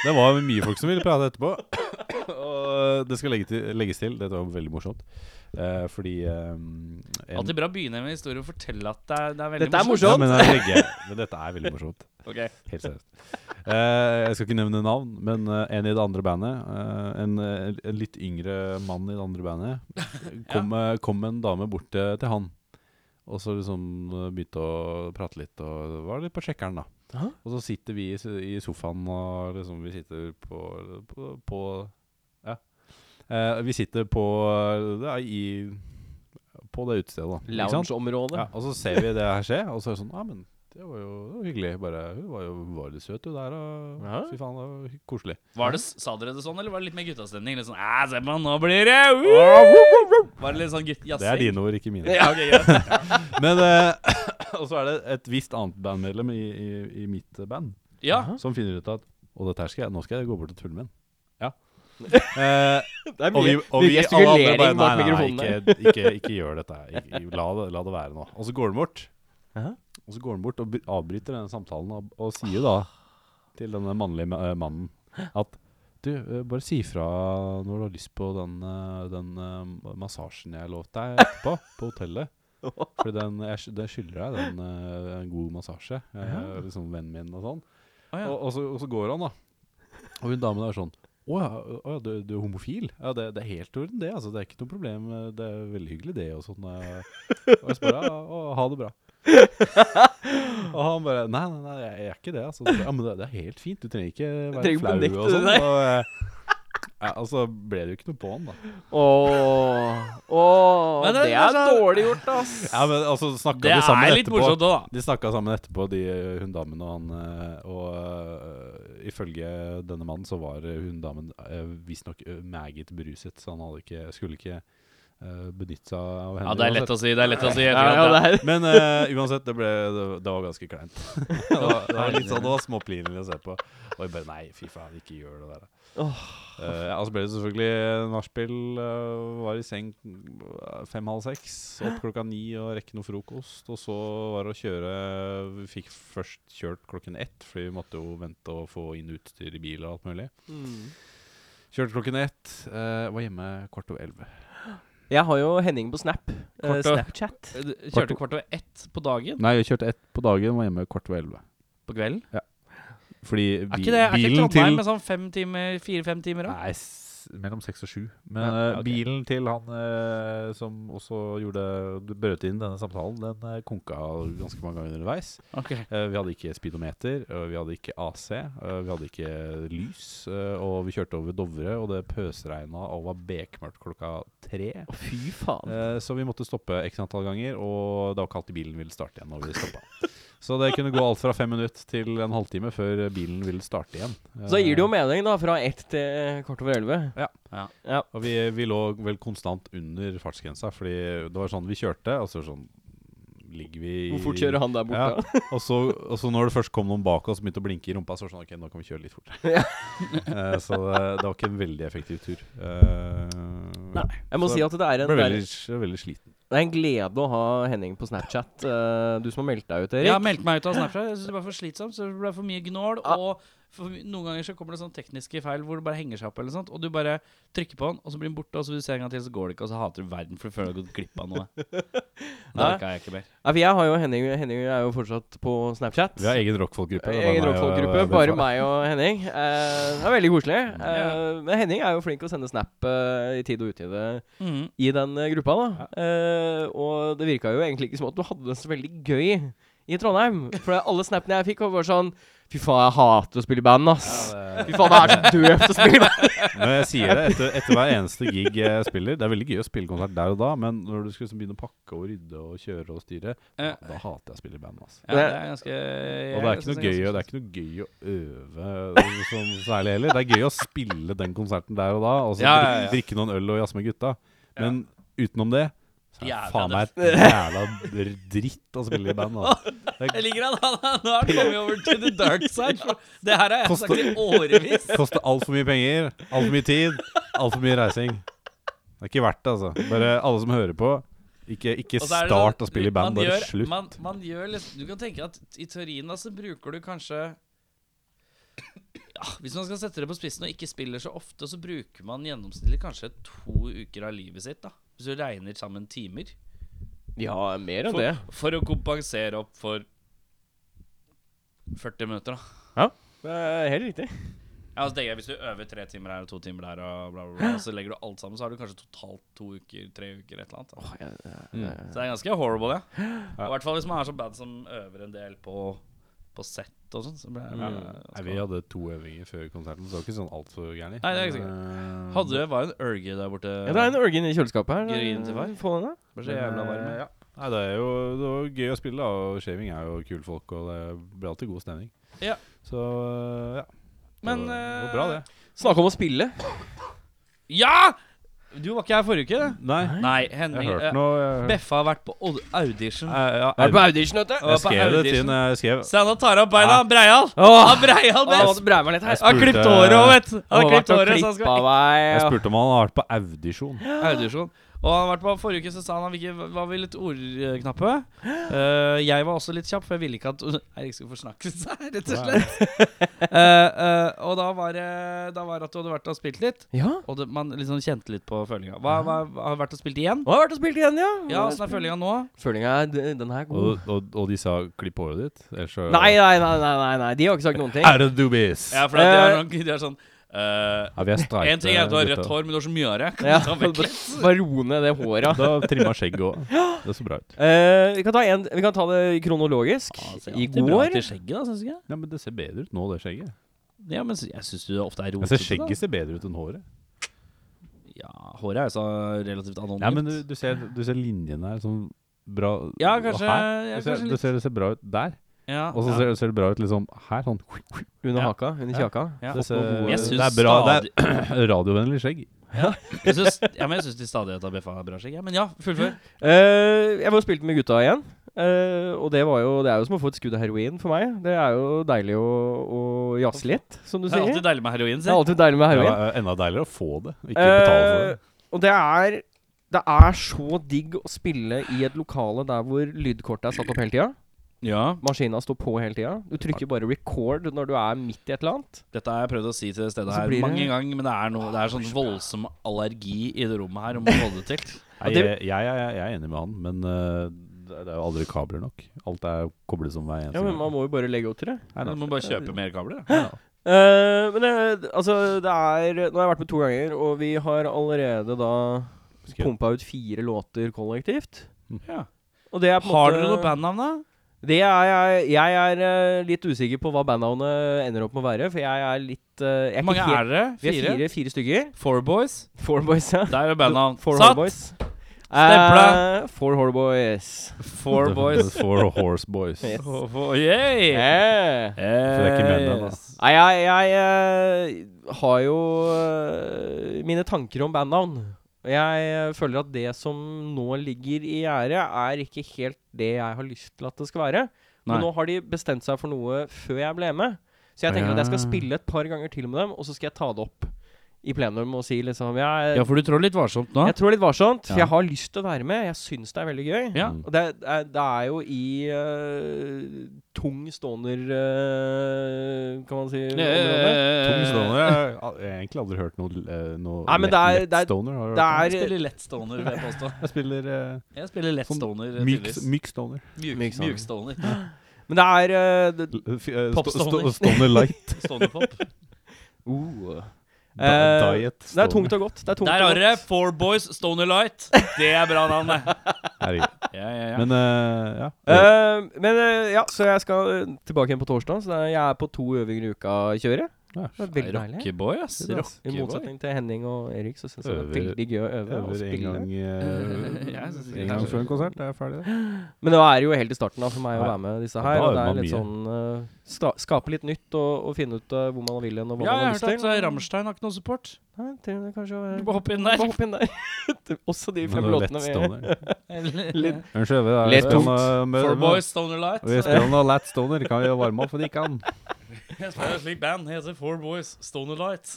Speaker 4: det var mye folk som ville prate etterpå. Og det skal legge til, legges til, dette var veldig morsomt, Eh, fordi eh, en-
Speaker 2: Alltid bra å begynne med en historie og fortelle at det er, det er veldig
Speaker 3: Dette er
Speaker 4: Ja,
Speaker 3: morsomt.
Speaker 4: men, jeg legger, men dette er veldig morsomt.
Speaker 2: Ok.
Speaker 4: Helt seriøst. Eh, jeg skal ikke nevne navn, men eh, en i det andre bandet, eh, en, eh, en litt yngre mann i det andre bandet, kom, eh, kom en dame bort til, til han. Og så liksom eh, begynte å prate litt, og var litt på sjekkeren, da.
Speaker 3: Aha.
Speaker 4: Og så sitter vi i, s- i sofaen, og liksom vi sitter på, på, på Ja. Eh, vi sitter på eh, ja, i På det utestedet, da. Ikke sant?
Speaker 3: Loungeområdet.
Speaker 4: Ja, og så ser vi det her skje, og så er det sånn Ja, men det var jo det var hyggelig. Bare, hun var jo var litt søt, hun der. Og,
Speaker 3: Ja.
Speaker 4: Fy faen, det var hy- koselig.
Speaker 2: Var det, sa dere det sånn, eller var det litt mer guttastemning? Litt sånn, «Æ, se på han, nå blir det Ah, woo!» Var det litt sånn gutt
Speaker 4: Det er
Speaker 2: jazzing?
Speaker 4: dine ord, ikke mine.
Speaker 2: Ja, ok, greit.
Speaker 4: Men eh, Og så er det et visst annet bandmedlem i, i, i mitt band
Speaker 2: Ja,
Speaker 4: som finner ut at Og dette her skal jeg, nå skal jeg gå bort og tulle med den. Ja. Eh,
Speaker 3: Det er
Speaker 4: og vi,
Speaker 3: mye,
Speaker 4: og
Speaker 3: mye
Speaker 4: vi alle andre
Speaker 3: gestikulering
Speaker 4: bare,
Speaker 3: bak
Speaker 4: nei, nei,
Speaker 3: mikrofonen
Speaker 4: nei,
Speaker 3: der.
Speaker 4: ikke, ikke, ikke gjør dette. her. Ikke, la, det, la det være nå. Og så går han bort.
Speaker 3: Hæ?
Speaker 4: Og så går han bort og bry- avbryter denne samtalen og, og sier da til denne mannlige ma- eh, mannen at du, eh, bare si fra når du har lyst på den, eh, den eh, massasjen jeg lovte deg etterpå, på hotellet. For den, jeg, sky- det skylder deg den, eh, en god massasje. eh, Liksom vennen min og sånn.
Speaker 2: Å, ja.
Speaker 4: og, og, så, og så går han, da. Og hun damen er sånn Å ja, å ja, du, du er homofil? Ja, det, det er helt i orden, det. Altså, det er ikke noe problem. eh, Det er veldig hyggelig, det, og sånn. eh. Og jeg spør ja, å, ha det bra. og han bare Nei, nei, nei, jeg jeg er ikke det. Altså. Så bare, Ja, men det, det er helt fint. Du trenger ikke være
Speaker 3: trenger ikke
Speaker 4: flau
Speaker 3: benekte
Speaker 4: og sånn.
Speaker 3: det, nei.
Speaker 4: Og, eh, ja, og så ble det jo ikke noe på han, da.
Speaker 3: Åh, åh,
Speaker 2: Men det-
Speaker 3: det er
Speaker 2: men så-
Speaker 3: dårlig gjort, ass.
Speaker 4: Ja, men altså, snakka
Speaker 2: det
Speaker 4: de sammen
Speaker 2: er
Speaker 4: etterpå.
Speaker 2: litt morsomt da, da.
Speaker 4: De snakka sammen etterpå, de, hun damen og han. eh, Og eh, ifølge denne mannen så var eh, hun damen eh, visstnok eh, meget beruset, så han hadde ikke, skulle ikke eh, benytte seg av henne.
Speaker 2: Ja, det er lett å si, det er lett å si.
Speaker 3: Ja, ja, det er,
Speaker 4: Men eh, uansett, det, ble, det, det var ganske kleint. det, var, det var litt sånn, det var småpinlig å se på. Og jeg bare Nei, fy faen, ikke gjør det der. Eh, ja, så ble det selvfølgelig nachspiel. eh, var i seng eh, fem-halv seks. Opp klokka ni og rekke noe frokost. Og så var det å kjøre Vi fikk først kjørt klokken ett, fordi vi måtte jo vente og få inn utstyr i bil og alt mulig.
Speaker 3: Hmm.
Speaker 4: Kjørte klokken ett. eh, var hjemme kvart over elleve.
Speaker 3: Jeg har jo Henning på Snap. eh,
Speaker 2: Kort og-
Speaker 3: Snapchat.
Speaker 2: Kjørte kvart over ett på dagen,
Speaker 4: Nei, vi kjørte ett på dagen, var hjemme kvart over elleve.
Speaker 2: på kvelden.
Speaker 4: Fordi
Speaker 2: Er
Speaker 4: bi-
Speaker 2: ikke det er ikke
Speaker 4: bilen
Speaker 2: Trondheim
Speaker 4: til
Speaker 2: med sånn fem timer, fire-fem timer da?
Speaker 4: Nei, s mellom seks og sju. Men
Speaker 2: Ja,
Speaker 4: eh,
Speaker 2: ok.
Speaker 4: bilen til han eh, som også gjorde brøt inn denne samtalen, den eh, konka ganske mange ganger underveis.
Speaker 2: Ok.
Speaker 4: Eh, vi hadde ikke speedometer, og vi hadde ikke AC, eh, vi hadde ikke lys. eh, og vi kjørte over Dovre, og det pøsregna og var bekmørkt klokka tre.
Speaker 3: Å, fy faen.
Speaker 4: Eh, så vi måtte stoppe x antall ganger, og det var ikke alltid bilen ville starte igjen. når vi stoppet. Så det kunne gå alt fra fem minutter til en halvtime før bilen ville starte igjen.
Speaker 3: Så da gir det jo mening, da. Fra ett til eh, kvart over elleve.
Speaker 4: Og vi, vi lå vel konstant under fartsgrensa, fordi det var sånn vi kjørte, og så sånn ligger vi i-
Speaker 3: Hvor fort kjører han der borte?
Speaker 4: og, så, og så når det først kom noen bak oss som begynte å blinke i rumpa, så var det sånn OK, nå kan vi kjøre litt fortere. Eh, så det, det var ikke en veldig effektiv tur. Eh,
Speaker 3: Nei. Jeg må
Speaker 4: Så
Speaker 3: si at det er, en,
Speaker 4: Ble
Speaker 3: det,
Speaker 4: veldig,
Speaker 3: er,
Speaker 4: veldig sliten.
Speaker 3: det er en glede å ha Henning på Snapchat. eh, du som har meldt deg ut, Erik.
Speaker 2: Jeg har meldt meg ut av Snapchat. Jeg synes det var for slitsomt. Så det ble for mye gnål. Og For noen ganger så kommer det sånne tekniske feil hvor det bare henger seg opp, eller sånt, og du bare trykker på den, og så blir den borte, og så vil du se en gang til, så går det ikke, og så hater du verden, for du føler du har gått glipp av noe. Det
Speaker 3: Nei.
Speaker 2: orka jeg ikke mer.
Speaker 3: Nei, for jeg har jo Henning Henning er jo fortsatt på Snapchat.
Speaker 4: Vi har egen rockfolkgruppe. det
Speaker 3: Egen
Speaker 4: er bare meg og-
Speaker 3: rockfolkgruppe.
Speaker 4: og-
Speaker 3: Bare meg og Henning. Eh, det er veldig koselig. Eh, men Henning er jo flink til å sende snap eh, i tide og utide
Speaker 2: Mhm.
Speaker 3: i den eh, gruppa, da. Eh, og det virka jo egentlig ikke som at du hadde det så veldig gøy i Trondheim. For alle snapene jeg fikk, var bare sånn Fy faen, jeg hater å spille i band, ass. Fy faen, det er så døvt å spille i band.
Speaker 4: Men jeg sier det etter, etter hver eneste gig jeg spiller. Det er veldig gøy å spille konsert der og da, men når du skal liksom begynne å pakke og rydde og kjøre og styre,
Speaker 2: Ja.
Speaker 3: Eh.
Speaker 4: da, da hater jeg å spille i band. Altså.
Speaker 2: Ja, det sånn er ganske
Speaker 4: Og det er ikke noe gøy, og det er ikke noe gøy å øve sånn særlig heller. Det er gøy å spille den konserten der og da, og så
Speaker 2: Ja, ja, ja.
Speaker 4: dri- drikke noen øl og jazze med gutta. Men utenom det så er
Speaker 2: Jævla
Speaker 4: det faen meg et jævla dritt å spille i band. Altså.
Speaker 2: Jeg
Speaker 4: Det
Speaker 2: liker at han han har kommet over to the dark side. For det her har jeg sagt i årevis.
Speaker 4: koster altfor mye penger, altfor mye tid, altfor mye reising. Det er ikke verdt det, altså. Bare alle som hører på, ikke, ikke
Speaker 2: Og så er det
Speaker 4: start
Speaker 2: sånn,
Speaker 4: å spille i
Speaker 2: man
Speaker 4: band. Bare
Speaker 2: gjør-
Speaker 4: slutt.
Speaker 2: Man, man gjør liksom, du kan tenke at i teorien da så bruker du kanskje ja, Hvis man skal sette det på spissen og ikke spiller så ofte, så bruker man gjennomsnittlig kanskje to uker av livet sitt, da. Hvis du regner sammen timer.
Speaker 3: Ja, mer enn det.
Speaker 2: For, for å kompensere opp for 40 minutter, da.
Speaker 3: Det er helt riktig.
Speaker 2: Ja, altså tenker jeg, Hvis du øver tre timer her og to timer der, og bla, bla, bla, og så legger du alt sammen, så har du kanskje totalt to uker, tre uker, et eller annet. da.
Speaker 3: Mm.
Speaker 2: Så Ah, det er ganske horrible, det. Og I hvert fall hvis man er så bad som øver en del på, på sett og sånn. Så blir det
Speaker 4: Nei, vi hadde to øvinger før konserten, så det var ikke sånn altfor gærent.
Speaker 2: Nei, det er ikke
Speaker 4: eh,
Speaker 2: Hadde det var en Urge der borte
Speaker 3: Ja, det er en Ørgen i kjøleskapet her.
Speaker 2: Gryn til far.
Speaker 3: Få den, da.
Speaker 2: Bare så jævla varm.
Speaker 4: Ja. Nei, det er jo det var gøy å spille, da. Og shaving er jo kule folk, og det blir alltid god stemning.
Speaker 2: Ja.
Speaker 4: Så eh, ja.
Speaker 2: Men
Speaker 4: det var, det
Speaker 2: eh,
Speaker 4: var bra, det.
Speaker 3: Snakke om å spille.
Speaker 2: Ja! Du var ikke her forrige uke?
Speaker 4: Nei,
Speaker 2: Nei,
Speaker 4: jeg
Speaker 2: Henning.
Speaker 4: har hørt
Speaker 2: eh,
Speaker 4: noe. Jeg, hørte-
Speaker 2: Beffa har vært på aud- audition.
Speaker 4: Nei, ja,
Speaker 3: Er du på audition, vet du?
Speaker 4: jeg skrev det til når jeg skrev
Speaker 2: Se, han tar opp beina.
Speaker 4: Ja.
Speaker 2: Breial!
Speaker 3: Åh,
Speaker 2: Han Breial
Speaker 3: Åh,
Speaker 2: best!
Speaker 3: så breier meg litt her.
Speaker 2: Han har klippet håret òg, vet du. Han har
Speaker 3: Åh, vært
Speaker 2: klippet
Speaker 3: og
Speaker 2: håret, så han skal
Speaker 3: klippet
Speaker 4: Jeg
Speaker 3: meg, og-
Speaker 4: spurte om han hadde vært på audisjon.
Speaker 2: Audisjon. Og han har vært på forrige uke, så sa han han ville ikke- var vi litt ordknappe. Eh, jeg var også litt kjapp, for jeg ville ikke at Eirik skulle forsnakke seg, rett og slett. Eh, eh, og da var det da var det at du hadde vært og spilt litt,
Speaker 3: Ja.
Speaker 2: og det, man liksom kjente litt på følinga. Hva, hva, har du vært og spilt igjen?
Speaker 3: Nå har jeg vært og spilt igjen, ja.
Speaker 2: Ja, åssen er følinga nå?
Speaker 3: Følinga er d- Den her er god.
Speaker 4: Og, og, og de sa 'klipp håret ditt'? Ellers så
Speaker 3: Nei, nei, nei, nei, nei, nei. de har ikke sagt noen ting.
Speaker 4: Er det dubis?
Speaker 2: Ja, for
Speaker 3: det er
Speaker 2: sånn, de er sånn
Speaker 4: Ja, vi er streite.
Speaker 2: En ting er at du har rødt
Speaker 4: gutter.
Speaker 2: hår, men du har så mye hår. Kan
Speaker 3: Ja,
Speaker 2: du ta vekk litt?
Speaker 3: Bare ro ned det håret.
Speaker 4: Da trimma skjegget òg. Det så bra ut.
Speaker 3: Eh, vi, kan ta en, vi kan ta det kronologisk. I går
Speaker 2: skjegget, da, syns du ikke?
Speaker 4: Ja, Men det ser bedre ut nå, det skjegget.
Speaker 2: Ja, men jeg syns du ofte er
Speaker 4: Jeg
Speaker 2: rotete.
Speaker 4: ser skjegget ser bedre ut enn håret.
Speaker 2: Ja, håret er jo så relativt
Speaker 3: sånn
Speaker 2: anonymt.
Speaker 4: Nei, men du, du, ser, du ser linjene her sånn bra
Speaker 2: Ja, kanskje,
Speaker 4: Her.
Speaker 2: ja,
Speaker 4: Du ser,
Speaker 2: kanskje
Speaker 4: du
Speaker 2: litt
Speaker 4: ser det ser bra ut der,
Speaker 2: ja,
Speaker 4: og så
Speaker 2: ja.
Speaker 4: ser, ser det bra ut liksom her. Sånn.
Speaker 3: under
Speaker 2: Ja.
Speaker 3: haka, under
Speaker 4: Ja.
Speaker 3: kjaka.
Speaker 2: Ja.
Speaker 4: Det,
Speaker 3: Fått
Speaker 4: ser,
Speaker 3: noen gode-
Speaker 2: Jeg
Speaker 4: det
Speaker 2: syns
Speaker 4: er bra.
Speaker 2: stadig-
Speaker 4: Det er radiovennlig skjegg.
Speaker 2: Jeg syns, ja, men jeg syns de stadig tar Beffa bra skjegg. Ja. Men ja, fullfør.
Speaker 3: Eh, jeg var og spilte med gutta igjen. eh, og det, var jo, det er jo som å få et skudd av heroin for meg. Det er jo deilig å, å jazze litt, som du
Speaker 2: Det er
Speaker 3: sier.
Speaker 2: alltid deilig med heroin.
Speaker 3: Det
Speaker 2: Si.
Speaker 3: er alltid deilig med
Speaker 4: Det
Speaker 3: heroin.
Speaker 4: er enda deiligere å få det, ikke betale for det.
Speaker 3: Eh, Og det er Det er så digg å spille i et lokale der hvor lydkortet er satt opp hele tida.
Speaker 2: Ja.
Speaker 3: Maskina står på hele tida. Du trykker bare record når du er midt i et eller annet.
Speaker 2: Dette har jeg prøvd å si til det stedet
Speaker 3: Så
Speaker 2: her
Speaker 3: blir det-
Speaker 2: mange ganger, men det er, noe, det er sånn voldsom allergi i det rommet her om å holde det til.
Speaker 4: Nei,
Speaker 3: det-
Speaker 4: jeg, jeg, jeg, jeg er enig med han, men eh, det det er jo aldri kabler nok. Alt er koblet som hver eneste
Speaker 3: Ja, men man må jo bare legge opp til det.
Speaker 4: Nei,
Speaker 2: Du
Speaker 4: da.
Speaker 2: må bare kjøpe mer kabler. da.
Speaker 3: Eh, men det, altså, det er Nå har jeg vært med to ganger, og vi har allerede da
Speaker 4: Skal-
Speaker 3: pumpa ut fire låter kollektivt.
Speaker 4: Hm.
Speaker 2: Ja.
Speaker 3: Og det er på en
Speaker 2: Har
Speaker 3: måte-
Speaker 2: dere noe bandnavn, da?
Speaker 3: Det er jeg Jeg er eh, litt usikker på hva bandnavnet ender opp med å være, for jeg er litt eh, jeg
Speaker 2: Hvor mange er dere?
Speaker 3: Vi er
Speaker 2: Fire?
Speaker 3: fire, fire stykker.
Speaker 2: Four Boys?
Speaker 3: Four Boys, ja.
Speaker 2: Der er bandnavn.
Speaker 3: Four
Speaker 2: Satt!
Speaker 3: Horeboys.
Speaker 2: Stempla.
Speaker 3: Eh, Four Horeboys.
Speaker 2: Four
Speaker 4: The-
Speaker 2: Boys.
Speaker 4: the Four horse boys.
Speaker 3: Yes.
Speaker 2: Oh, oh, yeah.
Speaker 3: Eh.
Speaker 4: det er ikke menn ennå.
Speaker 2: Yes.
Speaker 3: Nei, jeg, jeg eh, har jo eh, mine tanker om bandnavn. Og Jeg eh, føler at det som nå ligger i gjerdet, er ikke helt det jeg har lyst til at det skal være.
Speaker 2: Nei.
Speaker 3: Men nå har de bestemt seg for noe før jeg ble med. Så jeg tenker at jeg skal spille et par ganger til med dem, og så skal jeg ta det opp i plenum og si liksom jeg,
Speaker 2: Ja, for du trår litt varsomt nå?
Speaker 3: jeg tror litt varsomt, for
Speaker 2: Ja.
Speaker 3: jeg har lyst til å være med. Jeg syns det er veldig gøy.
Speaker 2: Ja.
Speaker 3: Og det, er, det er jo i eh, tung ståner eh, Kan man si området.
Speaker 4: Tom Stoner Jeg har egentlig aldri hørt noe, eh, noe
Speaker 3: Eh. Nei, men det er- det er-
Speaker 4: Stoner. Har du
Speaker 3: Det
Speaker 4: hørt om?
Speaker 2: Jeg
Speaker 3: er
Speaker 2: spiller lett stoner, vil jeg påstå.
Speaker 4: Jeg spiller eh,
Speaker 2: Jeg spiller lett
Speaker 4: Sånn
Speaker 2: stoner.
Speaker 4: myk,
Speaker 2: tydeligvis.
Speaker 4: myk Stoner.
Speaker 2: Mjuk,
Speaker 3: myk stoner.
Speaker 2: mjuk stoner.
Speaker 3: Men det er eh, det,
Speaker 4: L- f- eh,
Speaker 2: Pop
Speaker 4: sto-
Speaker 2: Stoner.
Speaker 4: sto- Stoner light.
Speaker 2: Stonerpop.
Speaker 3: uh,
Speaker 4: Di-
Speaker 3: Eh,
Speaker 4: Diet
Speaker 3: det
Speaker 4: Stoner.
Speaker 3: er tungt og godt. Det er tungt
Speaker 2: Der har
Speaker 3: og
Speaker 2: dere
Speaker 3: godt.
Speaker 2: Four Boys Stoner Light. Det er bra navn, det.
Speaker 4: Herregud.
Speaker 2: Ja, ja, ja.
Speaker 4: Men eh, ja.
Speaker 3: Eh, men eh, ja, så jeg skal eh, tilbake igjen på torsdag. Så det er, jeg er på to øvinger i uka i kjøret.
Speaker 4: Ja,
Speaker 3: Det er veldig deilig.
Speaker 2: Rockeboy, ass.
Speaker 4: Det er bra.
Speaker 3: I
Speaker 2: Rockeboy.
Speaker 3: motsetning til Henning og Erik, så syns jeg det er
Speaker 4: Øver-
Speaker 3: veldig gøy å øve. og
Speaker 4: Øver en
Speaker 3: spille.
Speaker 4: gang, eh,
Speaker 2: Ja, jeg synes det er
Speaker 4: en gang
Speaker 2: kanskje-
Speaker 4: før en konsert. Det er ferdig, det.
Speaker 3: Men nå er det jo helt i starten da, for meg å
Speaker 4: Ja.
Speaker 3: være med disse
Speaker 4: Og
Speaker 3: her.
Speaker 4: da
Speaker 3: Og det
Speaker 4: øver
Speaker 3: er
Speaker 4: man
Speaker 3: litt
Speaker 4: mye.
Speaker 3: sånn eh, sta Skape litt nytt og, og finne ut eh, hvor man vil hen, og
Speaker 2: Ja,
Speaker 3: hva man
Speaker 2: jeg
Speaker 3: har
Speaker 2: har
Speaker 3: lyst
Speaker 2: hørt at
Speaker 3: til.
Speaker 2: eh, Rammstein har ikke noe support.
Speaker 3: Nei, trenger det kanskje å
Speaker 2: Du
Speaker 3: være
Speaker 2: bare hopp inn
Speaker 3: Bare
Speaker 2: der.
Speaker 3: hopp inn der. Også de fem
Speaker 4: Men det er
Speaker 3: låtene
Speaker 4: lett
Speaker 3: vi
Speaker 4: Stoner.
Speaker 2: Eller-
Speaker 4: Unnskyld. vi er-
Speaker 3: Lett
Speaker 4: vi er-
Speaker 3: tungt.
Speaker 4: vi er-
Speaker 2: Four Boys Stoner Light.
Speaker 4: Vi spiller noe Lat Stoner. Kan vi varme opp for de kan?
Speaker 2: Jeg spiller i et slikt band. Heter Four Boys Stoner Light.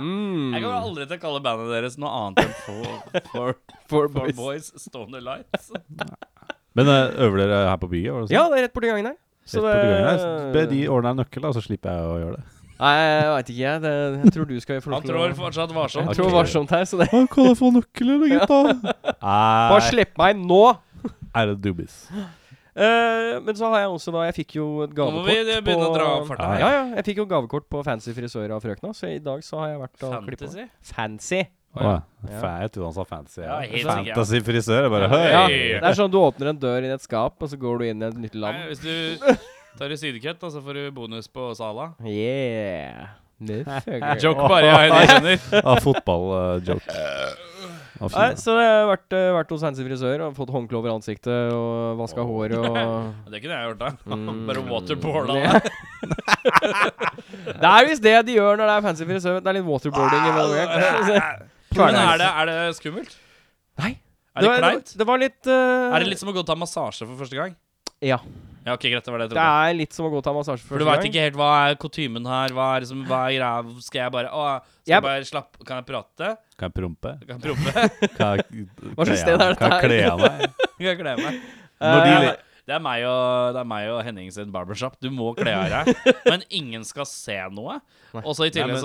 Speaker 3: Mm.
Speaker 2: Jeg kommer aldri til å kalle bandet deres noe annet enn Four, four,
Speaker 3: Four
Speaker 2: four
Speaker 3: Boys.
Speaker 2: Boys Stoner Light.
Speaker 4: Men eh, øver dere her på byen? Var det sånn?
Speaker 3: Ja, det er rett borti gangen her.
Speaker 4: Rett borti gangen her. Be de ordne en nøkkel, da, så slipper jeg å gjøre det.
Speaker 3: Nei, jeg veit ikke, jeg. Det, jeg tror du skal få
Speaker 2: Han
Speaker 3: lov til
Speaker 2: trår
Speaker 3: å
Speaker 2: fortsatt
Speaker 3: Jeg
Speaker 2: varsomt.
Speaker 3: tror
Speaker 4: Ok.
Speaker 3: varsomt her, så det
Speaker 4: Kan jeg få nøkkelen, gutta?
Speaker 3: Bare
Speaker 4: Nei,
Speaker 3: slipp meg nå!
Speaker 4: er det dubis?
Speaker 3: Eh, men så har jeg også da Jeg fikk jo et
Speaker 2: Nå må vi
Speaker 3: gavekort
Speaker 2: eh, begynne å dra opp
Speaker 4: Ja,
Speaker 2: farta
Speaker 3: Ja,
Speaker 2: her.
Speaker 3: ja. Jeg fikk jo gavekort på Fancy frisør av frøkna, så i dag så har jeg vært og klippa.
Speaker 2: Fantasy?
Speaker 3: Fancy.
Speaker 4: Å ja. Fa- Jeg trodde han sa fancy.
Speaker 2: Ja, helt sikkert, ja.
Speaker 4: Fantasy frisør. Jeg bare
Speaker 3: Ja,
Speaker 4: høy!
Speaker 2: Hey.
Speaker 3: det er sånn du åpner en dør inn i et skap, og så går du inn i et nytt
Speaker 2: Nei,
Speaker 3: land.
Speaker 2: hvis du tar i sidekutt, da, så får du bonus på Sala.
Speaker 3: Yeah. Motherfucker.
Speaker 2: Joke bare, jeg jeg skjønner.
Speaker 4: Av eh, fotballjoke.
Speaker 3: Nei, så jeg har vært, eh, vært hos Fancy frisør og fått håndkle over ansiktet og vaska hår og
Speaker 2: Det kunne jeg gjort, da.
Speaker 3: mm.
Speaker 2: Bare waterboarda
Speaker 3: Ja.
Speaker 2: deg.
Speaker 3: Det er visst det de gjør når det er fancy frisør. Det er litt waterboarding
Speaker 2: Ah,
Speaker 3: involvert.
Speaker 2: Men er det, er det skummelt?
Speaker 3: Nei.
Speaker 2: Er det,
Speaker 3: var-
Speaker 2: kleint?
Speaker 3: Det var litt eh,
Speaker 2: Er det litt som å gå og ta massasje for første gang?
Speaker 3: Ja.
Speaker 2: Ja, ok, greit, det var det jeg
Speaker 3: Det
Speaker 2: trodde.
Speaker 3: er litt som å gå og ta massasje
Speaker 2: For du
Speaker 3: første
Speaker 2: veit ikke helt hva er kutymen her, hva er, liksom, hva er greia Skal jeg bare å, Skal
Speaker 3: Jeg-
Speaker 2: jeg bare slappe Kan jeg prate?
Speaker 4: Kan jeg prompe?
Speaker 2: Kan jeg prompe?
Speaker 4: Kan jeg
Speaker 3: Hva slags sted er dette
Speaker 4: Kan jeg kle
Speaker 3: her?
Speaker 4: av meg?
Speaker 2: Kan jeg kle meg?
Speaker 4: Når de
Speaker 3: Eh,
Speaker 4: le-
Speaker 2: Det er meg og, det er meg og Henning sin barbershop. Du må kle av deg. Men ingen skal se noe.
Speaker 3: Nei.
Speaker 2: Og så i
Speaker 4: Nei,
Speaker 2: tillegg
Speaker 4: men-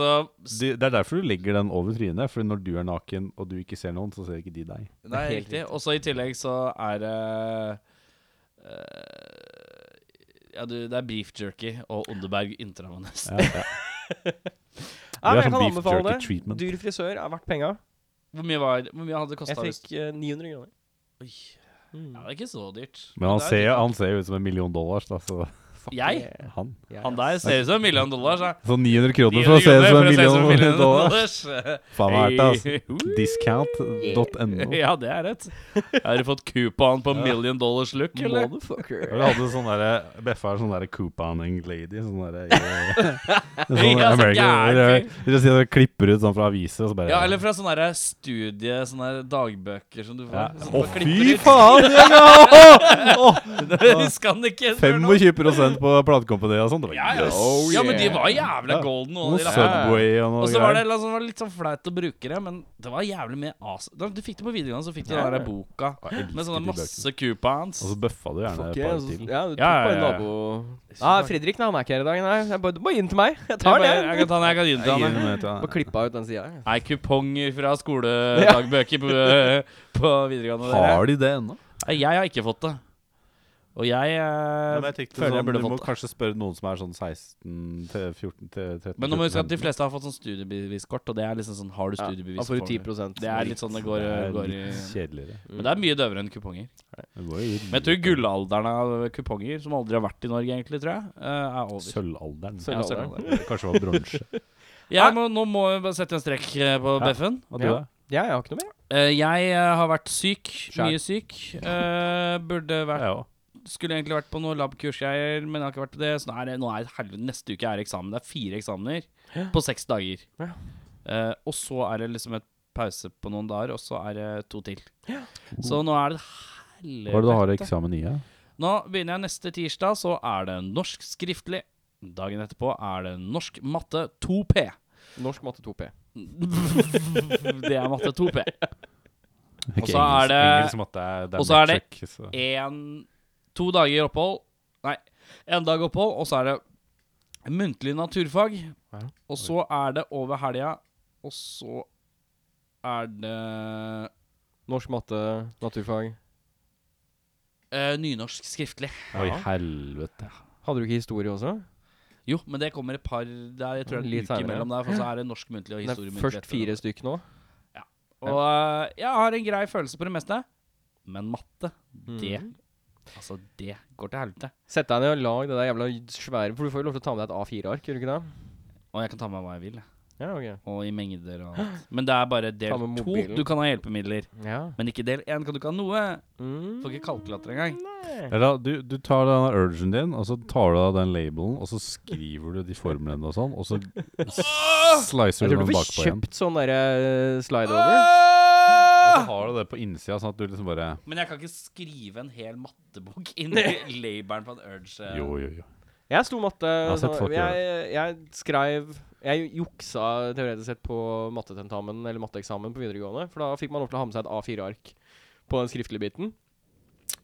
Speaker 2: så
Speaker 4: de, det er derfor du legger den over trynet. For når du er naken og du ikke ser noen, så ser ikke de deg.
Speaker 2: Det er
Speaker 3: helt
Speaker 2: riktig. Og så i tillegg så er det eh, Ja, du, det er beef jerky og Ondeberg intravenøst.
Speaker 4: Ja, ja.
Speaker 3: Ja,
Speaker 4: Det
Speaker 3: men
Speaker 4: er
Speaker 3: jeg
Speaker 4: sånn
Speaker 3: kan
Speaker 4: beef
Speaker 3: anbefale
Speaker 4: jerky
Speaker 3: det.
Speaker 4: treatment.
Speaker 3: Dyr frisør er verdt penga.
Speaker 2: Hvor mye, var, hvor mye hadde det
Speaker 3: Jeg
Speaker 2: kosta?
Speaker 3: fikk eh, 900 kroner.
Speaker 2: Oi. Ja,
Speaker 3: Mm.
Speaker 2: det er ikke så dyrt.
Speaker 4: Men han
Speaker 2: Det er
Speaker 4: ser,
Speaker 2: dyrt.
Speaker 4: han ser jo ut som en million dollars, da, så
Speaker 2: Jeg?
Speaker 4: han
Speaker 2: Han der ser ut som en million dollar. Så.
Speaker 4: Så 900 kroner for å se ut som en million dollar. Faen meg verdt det, altså. Discount.no.
Speaker 2: Ja, det er rett. Har du fått coupon på million dollars look, eller?
Speaker 4: Jeg
Speaker 3: Motherfucker.
Speaker 4: hadde sånn derre Beffa er sånn derre couponing lady. Sånn derre Sånn
Speaker 2: Ja, så
Speaker 4: American-
Speaker 2: gæren
Speaker 4: Dere sier dere klipper ut sånn fra aviser, og så bare
Speaker 2: Ja, eller fra sånne der studie, sånne der dagbøker som du
Speaker 4: Ja.
Speaker 2: får.
Speaker 4: Å, fy faen! det er- Åh, åh,
Speaker 2: Husker han ikke?
Speaker 4: 25 på platekompaniet og sånn. Det var
Speaker 2: Ja, ja,
Speaker 4: gøy.
Speaker 3: Oh,
Speaker 2: ja, men de
Speaker 3: yeah.
Speaker 2: var jævla
Speaker 4: Ja.
Speaker 2: golden. Og,
Speaker 4: Noe
Speaker 2: de der.
Speaker 4: Subway og noe
Speaker 2: og så var det,
Speaker 4: greier.
Speaker 2: liksom, det var litt sånn flaut å bruke det, men det var jævlig mye as... Da- Du fikk det på videregående, så fikk du
Speaker 3: Ja,
Speaker 2: den der
Speaker 3: ja.
Speaker 2: boka
Speaker 4: Jeg elsker
Speaker 2: med
Speaker 4: de
Speaker 2: sånne
Speaker 4: bøkene.
Speaker 2: masse coupons.
Speaker 4: Og så bøffa du gjerne
Speaker 3: Fuck
Speaker 4: et
Speaker 3: yeah,
Speaker 4: par
Speaker 3: så-
Speaker 4: til.
Speaker 3: altså, ja, du tok
Speaker 2: Ja, ja, ja,
Speaker 3: bare
Speaker 2: ja.
Speaker 3: nabo... Ja, Fredrik nei, han er ikke her i dag. Nei, jeg bare, du må gi den til meg. Jeg
Speaker 2: Jeg
Speaker 3: tar
Speaker 2: bare-
Speaker 3: den.
Speaker 2: Jeg kan ta den, jeg kan gi den
Speaker 4: Jeg
Speaker 2: til
Speaker 4: gir
Speaker 2: han. jeg.
Speaker 4: den med til
Speaker 3: Bare
Speaker 4: han.
Speaker 3: klippa ut den sida.
Speaker 2: Nei, kuponger fra skoledagbøker på, på videregående. Dere.
Speaker 4: Har de det ennå?
Speaker 2: Nei, jeg har ikke fått det. Og jeg, eh, føler jeg burde
Speaker 4: sånn, Du må
Speaker 2: fått det.
Speaker 4: kanskje spørre noen som er sånn 16 til 14 til 13
Speaker 2: Men nå må vi huske at de fleste har fått sånn studiebeviskort, og det er liksom sånn Har du studiebevis,
Speaker 3: Da får
Speaker 2: så
Speaker 3: du
Speaker 2: får du.
Speaker 3: 10
Speaker 2: Det er litt sånn det går, går i
Speaker 4: Kjedeligere.
Speaker 2: Men det er mye døvere enn kuponger.
Speaker 4: Det går jo i-
Speaker 2: Men jeg tror gullalderen av kuponger, som aldri har vært i Norge, egentlig, tror jeg, eh, er over.
Speaker 4: Sølvalderen.
Speaker 3: Sølvalderen.
Speaker 4: Ja, sølvalderen. Kanskje det var bronse.
Speaker 2: Jeg må, nå må jeg bare sette en strek eh, på
Speaker 4: Ah! Ja.
Speaker 2: Beffen.
Speaker 4: Hva tror du?
Speaker 3: Ja.
Speaker 4: da?
Speaker 3: Ja, jeg har ikke noe mer.
Speaker 2: Eh, jeg eh, har vært syk.
Speaker 3: Skjær.
Speaker 2: Mye syk. Eh, burde vært
Speaker 4: Jeg òg.
Speaker 2: Skulle egentlig vært på noe labkurs, jeg, men jeg har ikke vært på det. Så nå er det nå er det helvete neste uke er eksamen. Det er fire eksamener på seks dager.
Speaker 3: Ja.
Speaker 2: Eh, og så er det liksom et pause på noen dager, og så er det to til. Så nå er det helvete.
Speaker 4: Hva er det du har eksamen i? Ja?
Speaker 2: Nå begynner jeg neste tirsdag, så er det norsk skriftlig. Dagen etterpå er det norsk matte 2P.
Speaker 3: Norsk matte 2P.
Speaker 2: Det er matte 2P.
Speaker 4: Og
Speaker 2: så er det-
Speaker 4: engelsk matte er
Speaker 2: og så er det-
Speaker 4: check, så.
Speaker 2: En, to dager opphold Nei, en dag opphold, og så er det muntlig naturfag.
Speaker 3: Ja.
Speaker 2: Og så er det over helga, og så er det
Speaker 3: Norsk matte, naturfag.
Speaker 2: eh, nynorsk skriftlig.
Speaker 4: Oi, helvete.
Speaker 3: Hadde du ikke historie også?
Speaker 2: Jo, men det kommer et par der. Jeg tror det er en
Speaker 3: Litt
Speaker 2: uke
Speaker 3: senere.
Speaker 2: imellom der. For så er det norsk muntlig og
Speaker 3: Det
Speaker 2: historie
Speaker 3: er
Speaker 2: muntlig.
Speaker 3: først
Speaker 2: etter
Speaker 3: fire
Speaker 2: det.
Speaker 3: stykk nå.
Speaker 2: Og eh, jeg har en grei følelse på det meste, men matte, det
Speaker 3: Mhm.
Speaker 2: Altså, det går til helvete.
Speaker 3: Sett deg ned og lag det der jævla svære For du får jo lov til å ta med deg et A4-ark, gjør du ikke det?
Speaker 2: Og jeg kan ta med hva jeg vil, jeg.
Speaker 3: Ja, ok.
Speaker 2: og i mengder og alt. Men det er bare
Speaker 3: Ta
Speaker 2: del
Speaker 3: med
Speaker 2: to.
Speaker 3: mobilen.
Speaker 2: Du kan ha hjelpemidler,
Speaker 3: Ja.
Speaker 2: men ikke del én kan du ikke ha noe.
Speaker 3: Mm.
Speaker 2: Får ikke kalkulator engang.
Speaker 3: Nei.
Speaker 4: Eller du, du tar den urgen din, og så tar du av den labelen, og så skriver du de formlene og sånn, og så s-
Speaker 3: Jeg
Speaker 4: slicer du
Speaker 3: tror
Speaker 4: den
Speaker 3: du får
Speaker 4: bakpå igjen.
Speaker 3: kjøpt sånn derre eh, slide-over.
Speaker 4: Og så har du det på innsida, sånn at du liksom bare
Speaker 2: Men jeg kan ikke skrive en hel mattebok inn i labelen på en urge. eh.
Speaker 4: Jo, jo, jo.
Speaker 3: Jeg sto matte
Speaker 4: har sett
Speaker 3: sånn-
Speaker 4: folk gjøre
Speaker 3: jeg, jeg skrev Jeg juksa teoretisk sett på mattetentamen eller matteeksamen på videregående. For da fikk man lov til å ha med seg et A4-ark på den skriftlige biten.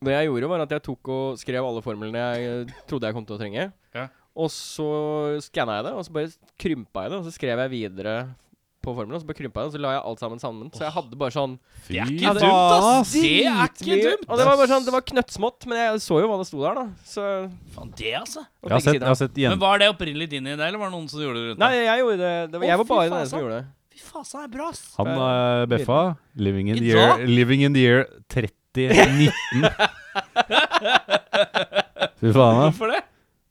Speaker 3: Det jeg gjorde, var at jeg tok og skrev alle formlene jeg eh, trodde jeg kom til å trenge.
Speaker 2: Ja.
Speaker 3: Og så skanna jeg det, og så bare krympa jeg det, og så skrev jeg videre på formelen, og så bare krympa jeg det, og så la jeg alt sammen sammen. Så jeg hadde bare sånn
Speaker 4: Fy
Speaker 2: Det er
Speaker 3: Ja,
Speaker 2: ikke
Speaker 3: det-
Speaker 2: dumt, ass! Ah, Det er ikke
Speaker 3: dritmye.
Speaker 2: dumt!
Speaker 3: Og det var bare sånn, det var knøttsmått, men jeg så jo hva det sto der, da. Så
Speaker 2: Faen, det, altså.
Speaker 4: Jeg har sett, jeg har sett jen-
Speaker 2: Men var det opprinnelig din idé, eller var det noen som gjorde det rundt
Speaker 3: Nei,
Speaker 2: deg?
Speaker 3: jeg gjorde det. det var,
Speaker 2: Å,
Speaker 3: jeg var
Speaker 2: fy
Speaker 3: bare den
Speaker 2: faen,
Speaker 3: eneste som
Speaker 2: sant?
Speaker 3: gjorde det.
Speaker 2: Fy faen, så er det bra, ass!
Speaker 4: Han eh, Beffa, living in,
Speaker 2: I
Speaker 4: the year,
Speaker 2: dag?
Speaker 4: living in the year 3019. Fy faen, da.
Speaker 2: Hvorfor det?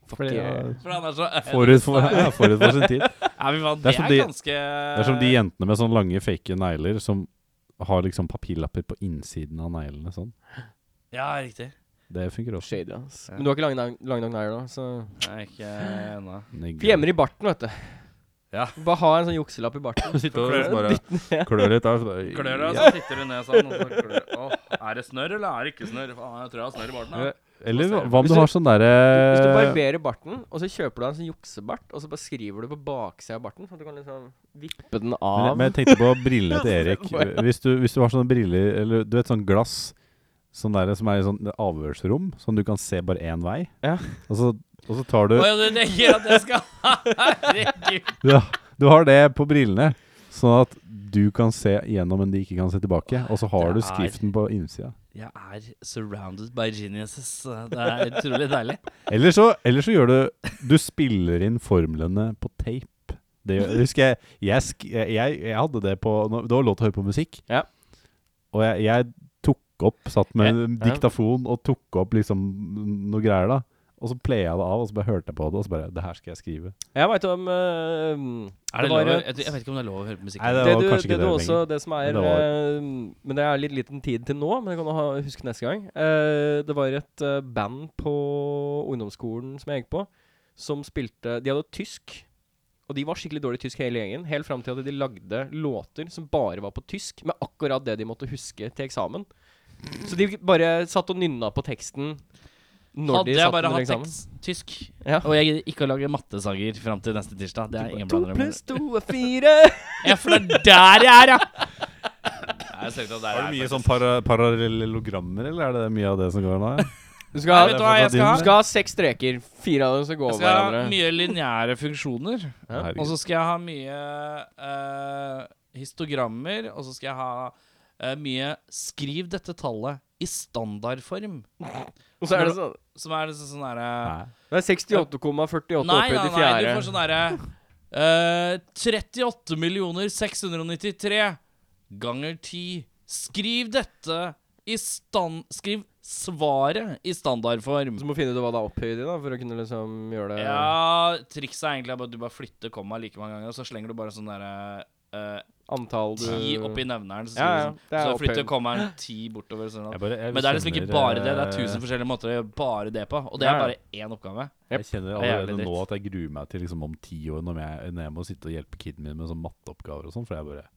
Speaker 4: Fordi, ja,
Speaker 2: For han er så
Speaker 4: Forut for, ja, forut for sin tid.
Speaker 2: Ja, men faen,
Speaker 4: Det er
Speaker 2: det
Speaker 4: som
Speaker 2: er
Speaker 4: de-
Speaker 2: ganske
Speaker 4: Det er som de jentene med sånne lange, fake negler som har liksom papirlapper på innsiden av neglene. Sånn.
Speaker 2: Ja, riktig.
Speaker 4: Det funker også.
Speaker 3: Shady, ass. Men du har ikke lange, nag- lange nok negler, da. Så
Speaker 2: Jeg er ikke eh, ennå.
Speaker 4: Negler.
Speaker 3: Vi gjemmer i barten, vet du.
Speaker 2: Ja.
Speaker 3: Bare ha en sånn jukselapp i barten.
Speaker 4: Sitte og liksom bare klør litt av. så bare-
Speaker 2: Klør deg,
Speaker 3: altså.
Speaker 2: så sitter du ned sånn. Og så klør. Åh, er det snørr, eller er det ikke snørr? Faen, jeg tror jeg har snørr i barten.
Speaker 4: Ja.
Speaker 2: da.
Speaker 4: Eller
Speaker 2: Hva ser
Speaker 4: hva om
Speaker 3: du?
Speaker 4: du har sånn
Speaker 3: Hvis du
Speaker 4: derre
Speaker 3: barberer barten, og så kjøper du deg en sånn juksebart, og så bare skriver du på baksida av barten, sånn at du kan liksom vippe den av.
Speaker 4: Men jeg tenkte på brillene til Erik. Hvis du, hvis du har sånne briller, eller du vet sånn glass Sånn der, som er i sånn avhørsrom, sånn du kan se bare én vei.
Speaker 3: Ja.
Speaker 4: Og, så, og så tar du
Speaker 2: Åh, ja, du tenker at jeg skal Herregud.
Speaker 4: Ja, du har det på brillene, sånn at du kan se gjennom, men de ikke kan se tilbake. Og så har
Speaker 2: Det
Speaker 4: du
Speaker 2: er-
Speaker 4: skriften på innsida.
Speaker 2: Jeg er surrounded by geniuses. Det er utrolig deilig.
Speaker 4: Eller så, eller så gjør du Du spiller inn formlene på tape. Det gjør, husker jeg jeg, sk, jeg jeg hadde det på nå- Det var lov til å høre på musikk.
Speaker 3: Ja.
Speaker 4: Og jeg, jeg tok opp Satt med en
Speaker 3: Ja.
Speaker 4: diktafon og tok opp liksom noe greier, da. Og så playa det av, og så bare hørte jeg på det, og så bare Det her skal jeg skrive.
Speaker 3: Jeg veit om eh,
Speaker 2: Er det
Speaker 3: var
Speaker 2: lov?
Speaker 3: et-
Speaker 2: Jeg, jeg vet ikke om det er lov å høre på musikk.
Speaker 4: Nei, det
Speaker 3: det
Speaker 4: var
Speaker 3: du,
Speaker 4: kanskje ikke
Speaker 3: det,
Speaker 4: det,
Speaker 3: du
Speaker 4: lenger.
Speaker 3: også, det som er
Speaker 4: Men det var-
Speaker 3: eh, Men det er litt liten tid til nå, men det kan du ha, huske neste gang. Eh, det var et eh, band på ungdomsskolen som jeg gikk på, som spilte De hadde tysk. Og de var skikkelig dårlig i tysk hele gjengen, helt fram til at de lagde låter som bare var på tysk, med akkurat det de måtte huske til eksamen. Så de bare satt og nynna på teksten når
Speaker 2: Hadde
Speaker 3: de
Speaker 2: jeg
Speaker 3: satt
Speaker 2: bare
Speaker 3: under
Speaker 2: hatt
Speaker 3: eksamen.
Speaker 2: tekst, tysk,
Speaker 3: Ja.
Speaker 2: og jeg gidder ikke å lage mattesanger fram til neste tirsdag Det er ingen
Speaker 3: To
Speaker 2: blander om
Speaker 3: pluss to er fire.
Speaker 2: Ja, for det er der jeg er, ja! Har
Speaker 4: Har du mye sånn para parallellogrammer, eller er det mye av det som går nå? ja?
Speaker 3: Du skal,
Speaker 2: Vet du
Speaker 3: ha,
Speaker 2: hva jeg skal ha?
Speaker 3: du skal ha seks streker. Fire av dem skal gå
Speaker 2: Jeg
Speaker 3: over
Speaker 2: skal ha
Speaker 3: hverandre.
Speaker 2: mye lineære funksjoner.
Speaker 3: Ja.
Speaker 4: Herregud.
Speaker 2: Og så skal jeg ha mye eh, histogrammer. Og så skal jeg ha eh, mye 'skriv dette tallet i standardform'.
Speaker 3: Og så er det sånn
Speaker 2: Som er liksom sånn derre
Speaker 4: Nei.
Speaker 3: Det er 68,48
Speaker 2: Nei, nei,
Speaker 3: oppi de
Speaker 2: nei, du
Speaker 3: fjerde.
Speaker 2: får sånn derre eh, 38 millioner 693 ganger 10. Skriv dette i stand... Skriv svaret i standardform.
Speaker 3: Så må du finne ut hva det er opphøyd i, da, for å kunne liksom gjøre
Speaker 4: Eh.
Speaker 3: det
Speaker 2: Ja, trikset er egentlig bare at du bare flytter komma like mange ganger, og så slenger du bare sånn derre eh,
Speaker 3: antall du
Speaker 2: ti oppi nevneren, så,
Speaker 3: Ja, ja,
Speaker 2: skriver du sånn,
Speaker 3: det er
Speaker 2: så flytter
Speaker 3: opphøyd.
Speaker 2: kommaen ti bortover. Sånn.
Speaker 4: Jeg
Speaker 2: at-
Speaker 4: bare- jeg
Speaker 2: Men det er liksom ikke
Speaker 4: skjønner,
Speaker 2: bare det. Det er
Speaker 4: eh,
Speaker 2: tusen forskjellige måter å gjøre bare det på, og det er
Speaker 3: Ja, ja.
Speaker 2: bare én oppgave.
Speaker 4: Jeg kjenner
Speaker 2: Det er jævlig
Speaker 4: allerede nå
Speaker 2: dritt.
Speaker 4: at jeg gruer meg til liksom om ti år, når jeg, når jeg må sitte og hjelpe kiden min med sånn matteoppgaver og sånn. For jeg bare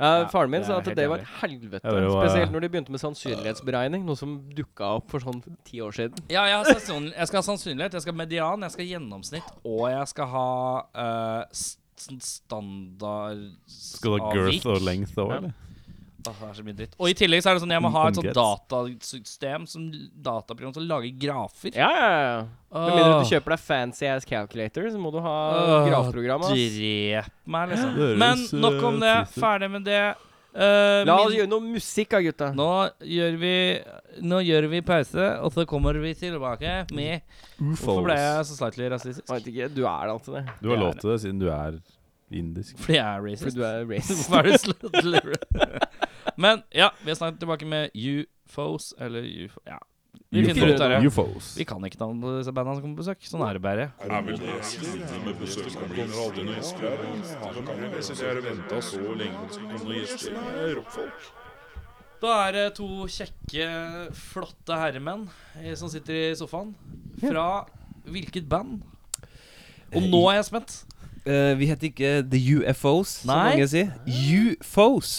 Speaker 3: Ja, Faren min
Speaker 2: det
Speaker 3: sa
Speaker 2: er
Speaker 3: at
Speaker 2: helt
Speaker 3: det var
Speaker 2: jævlig.
Speaker 3: helvete.
Speaker 4: Ja, det var-
Speaker 3: Spesielt når de begynte med sannsynlighetsberegning, noe som dukka opp for sånn ti år siden.
Speaker 2: Ja, jeg, har sannsynlig- jeg skal ha sannsynlighet, jeg skal ha median, jeg skal ha gjennomsnitt, og jeg skal ha eh, s- sånn standard
Speaker 4: Skal du ha girth og length òg, eller?
Speaker 2: Åh, det er så mye dritt. Og i tillegg så er det sånn jeg må ha et sånt
Speaker 4: Omkrets.
Speaker 2: datasystem som dataprogram som lager grafer.
Speaker 3: Ja, ja, ja. Med mindre du kjøper deg fancy ass calculator, så må du ha
Speaker 2: Åh,
Speaker 3: gravprogram. ass.
Speaker 2: Drep meg, liksom.
Speaker 4: Det høres,
Speaker 2: Men nok om det.
Speaker 4: eh, trist ut.
Speaker 2: Ferdig med det. Eh,
Speaker 3: La
Speaker 2: min-
Speaker 3: oss gjøre noe musikk, da, gutta.
Speaker 2: nå gjør vi Nå gjør vi pause, og så kommer vi tilbake med Hvorfor ble jeg så slightly rasistisk?
Speaker 3: Jeg vet ikke, du er alltid det.
Speaker 4: Du har lov til det siden du er indisk.
Speaker 2: Fordi jeg er racist.
Speaker 3: Fordi du er racist.
Speaker 2: Hvorfor er du slightly ra- Men ja, vi er snart tilbake med UFOs, eller UFO Ja. Vi
Speaker 4: Ufo-
Speaker 2: finner ut av det.
Speaker 4: Ufos.
Speaker 2: Vi kan ikke navnet på disse bandene som kommer på besøk. Sånn er det bare. Da er det to kjekke, flotte herremenn eh, som sitter i sofaen. Fra hvilket band? Og nå er jeg spent.
Speaker 5: Eh, vi heter ikke The UFOs, som
Speaker 2: Nei.
Speaker 5: mange sier. UFOs.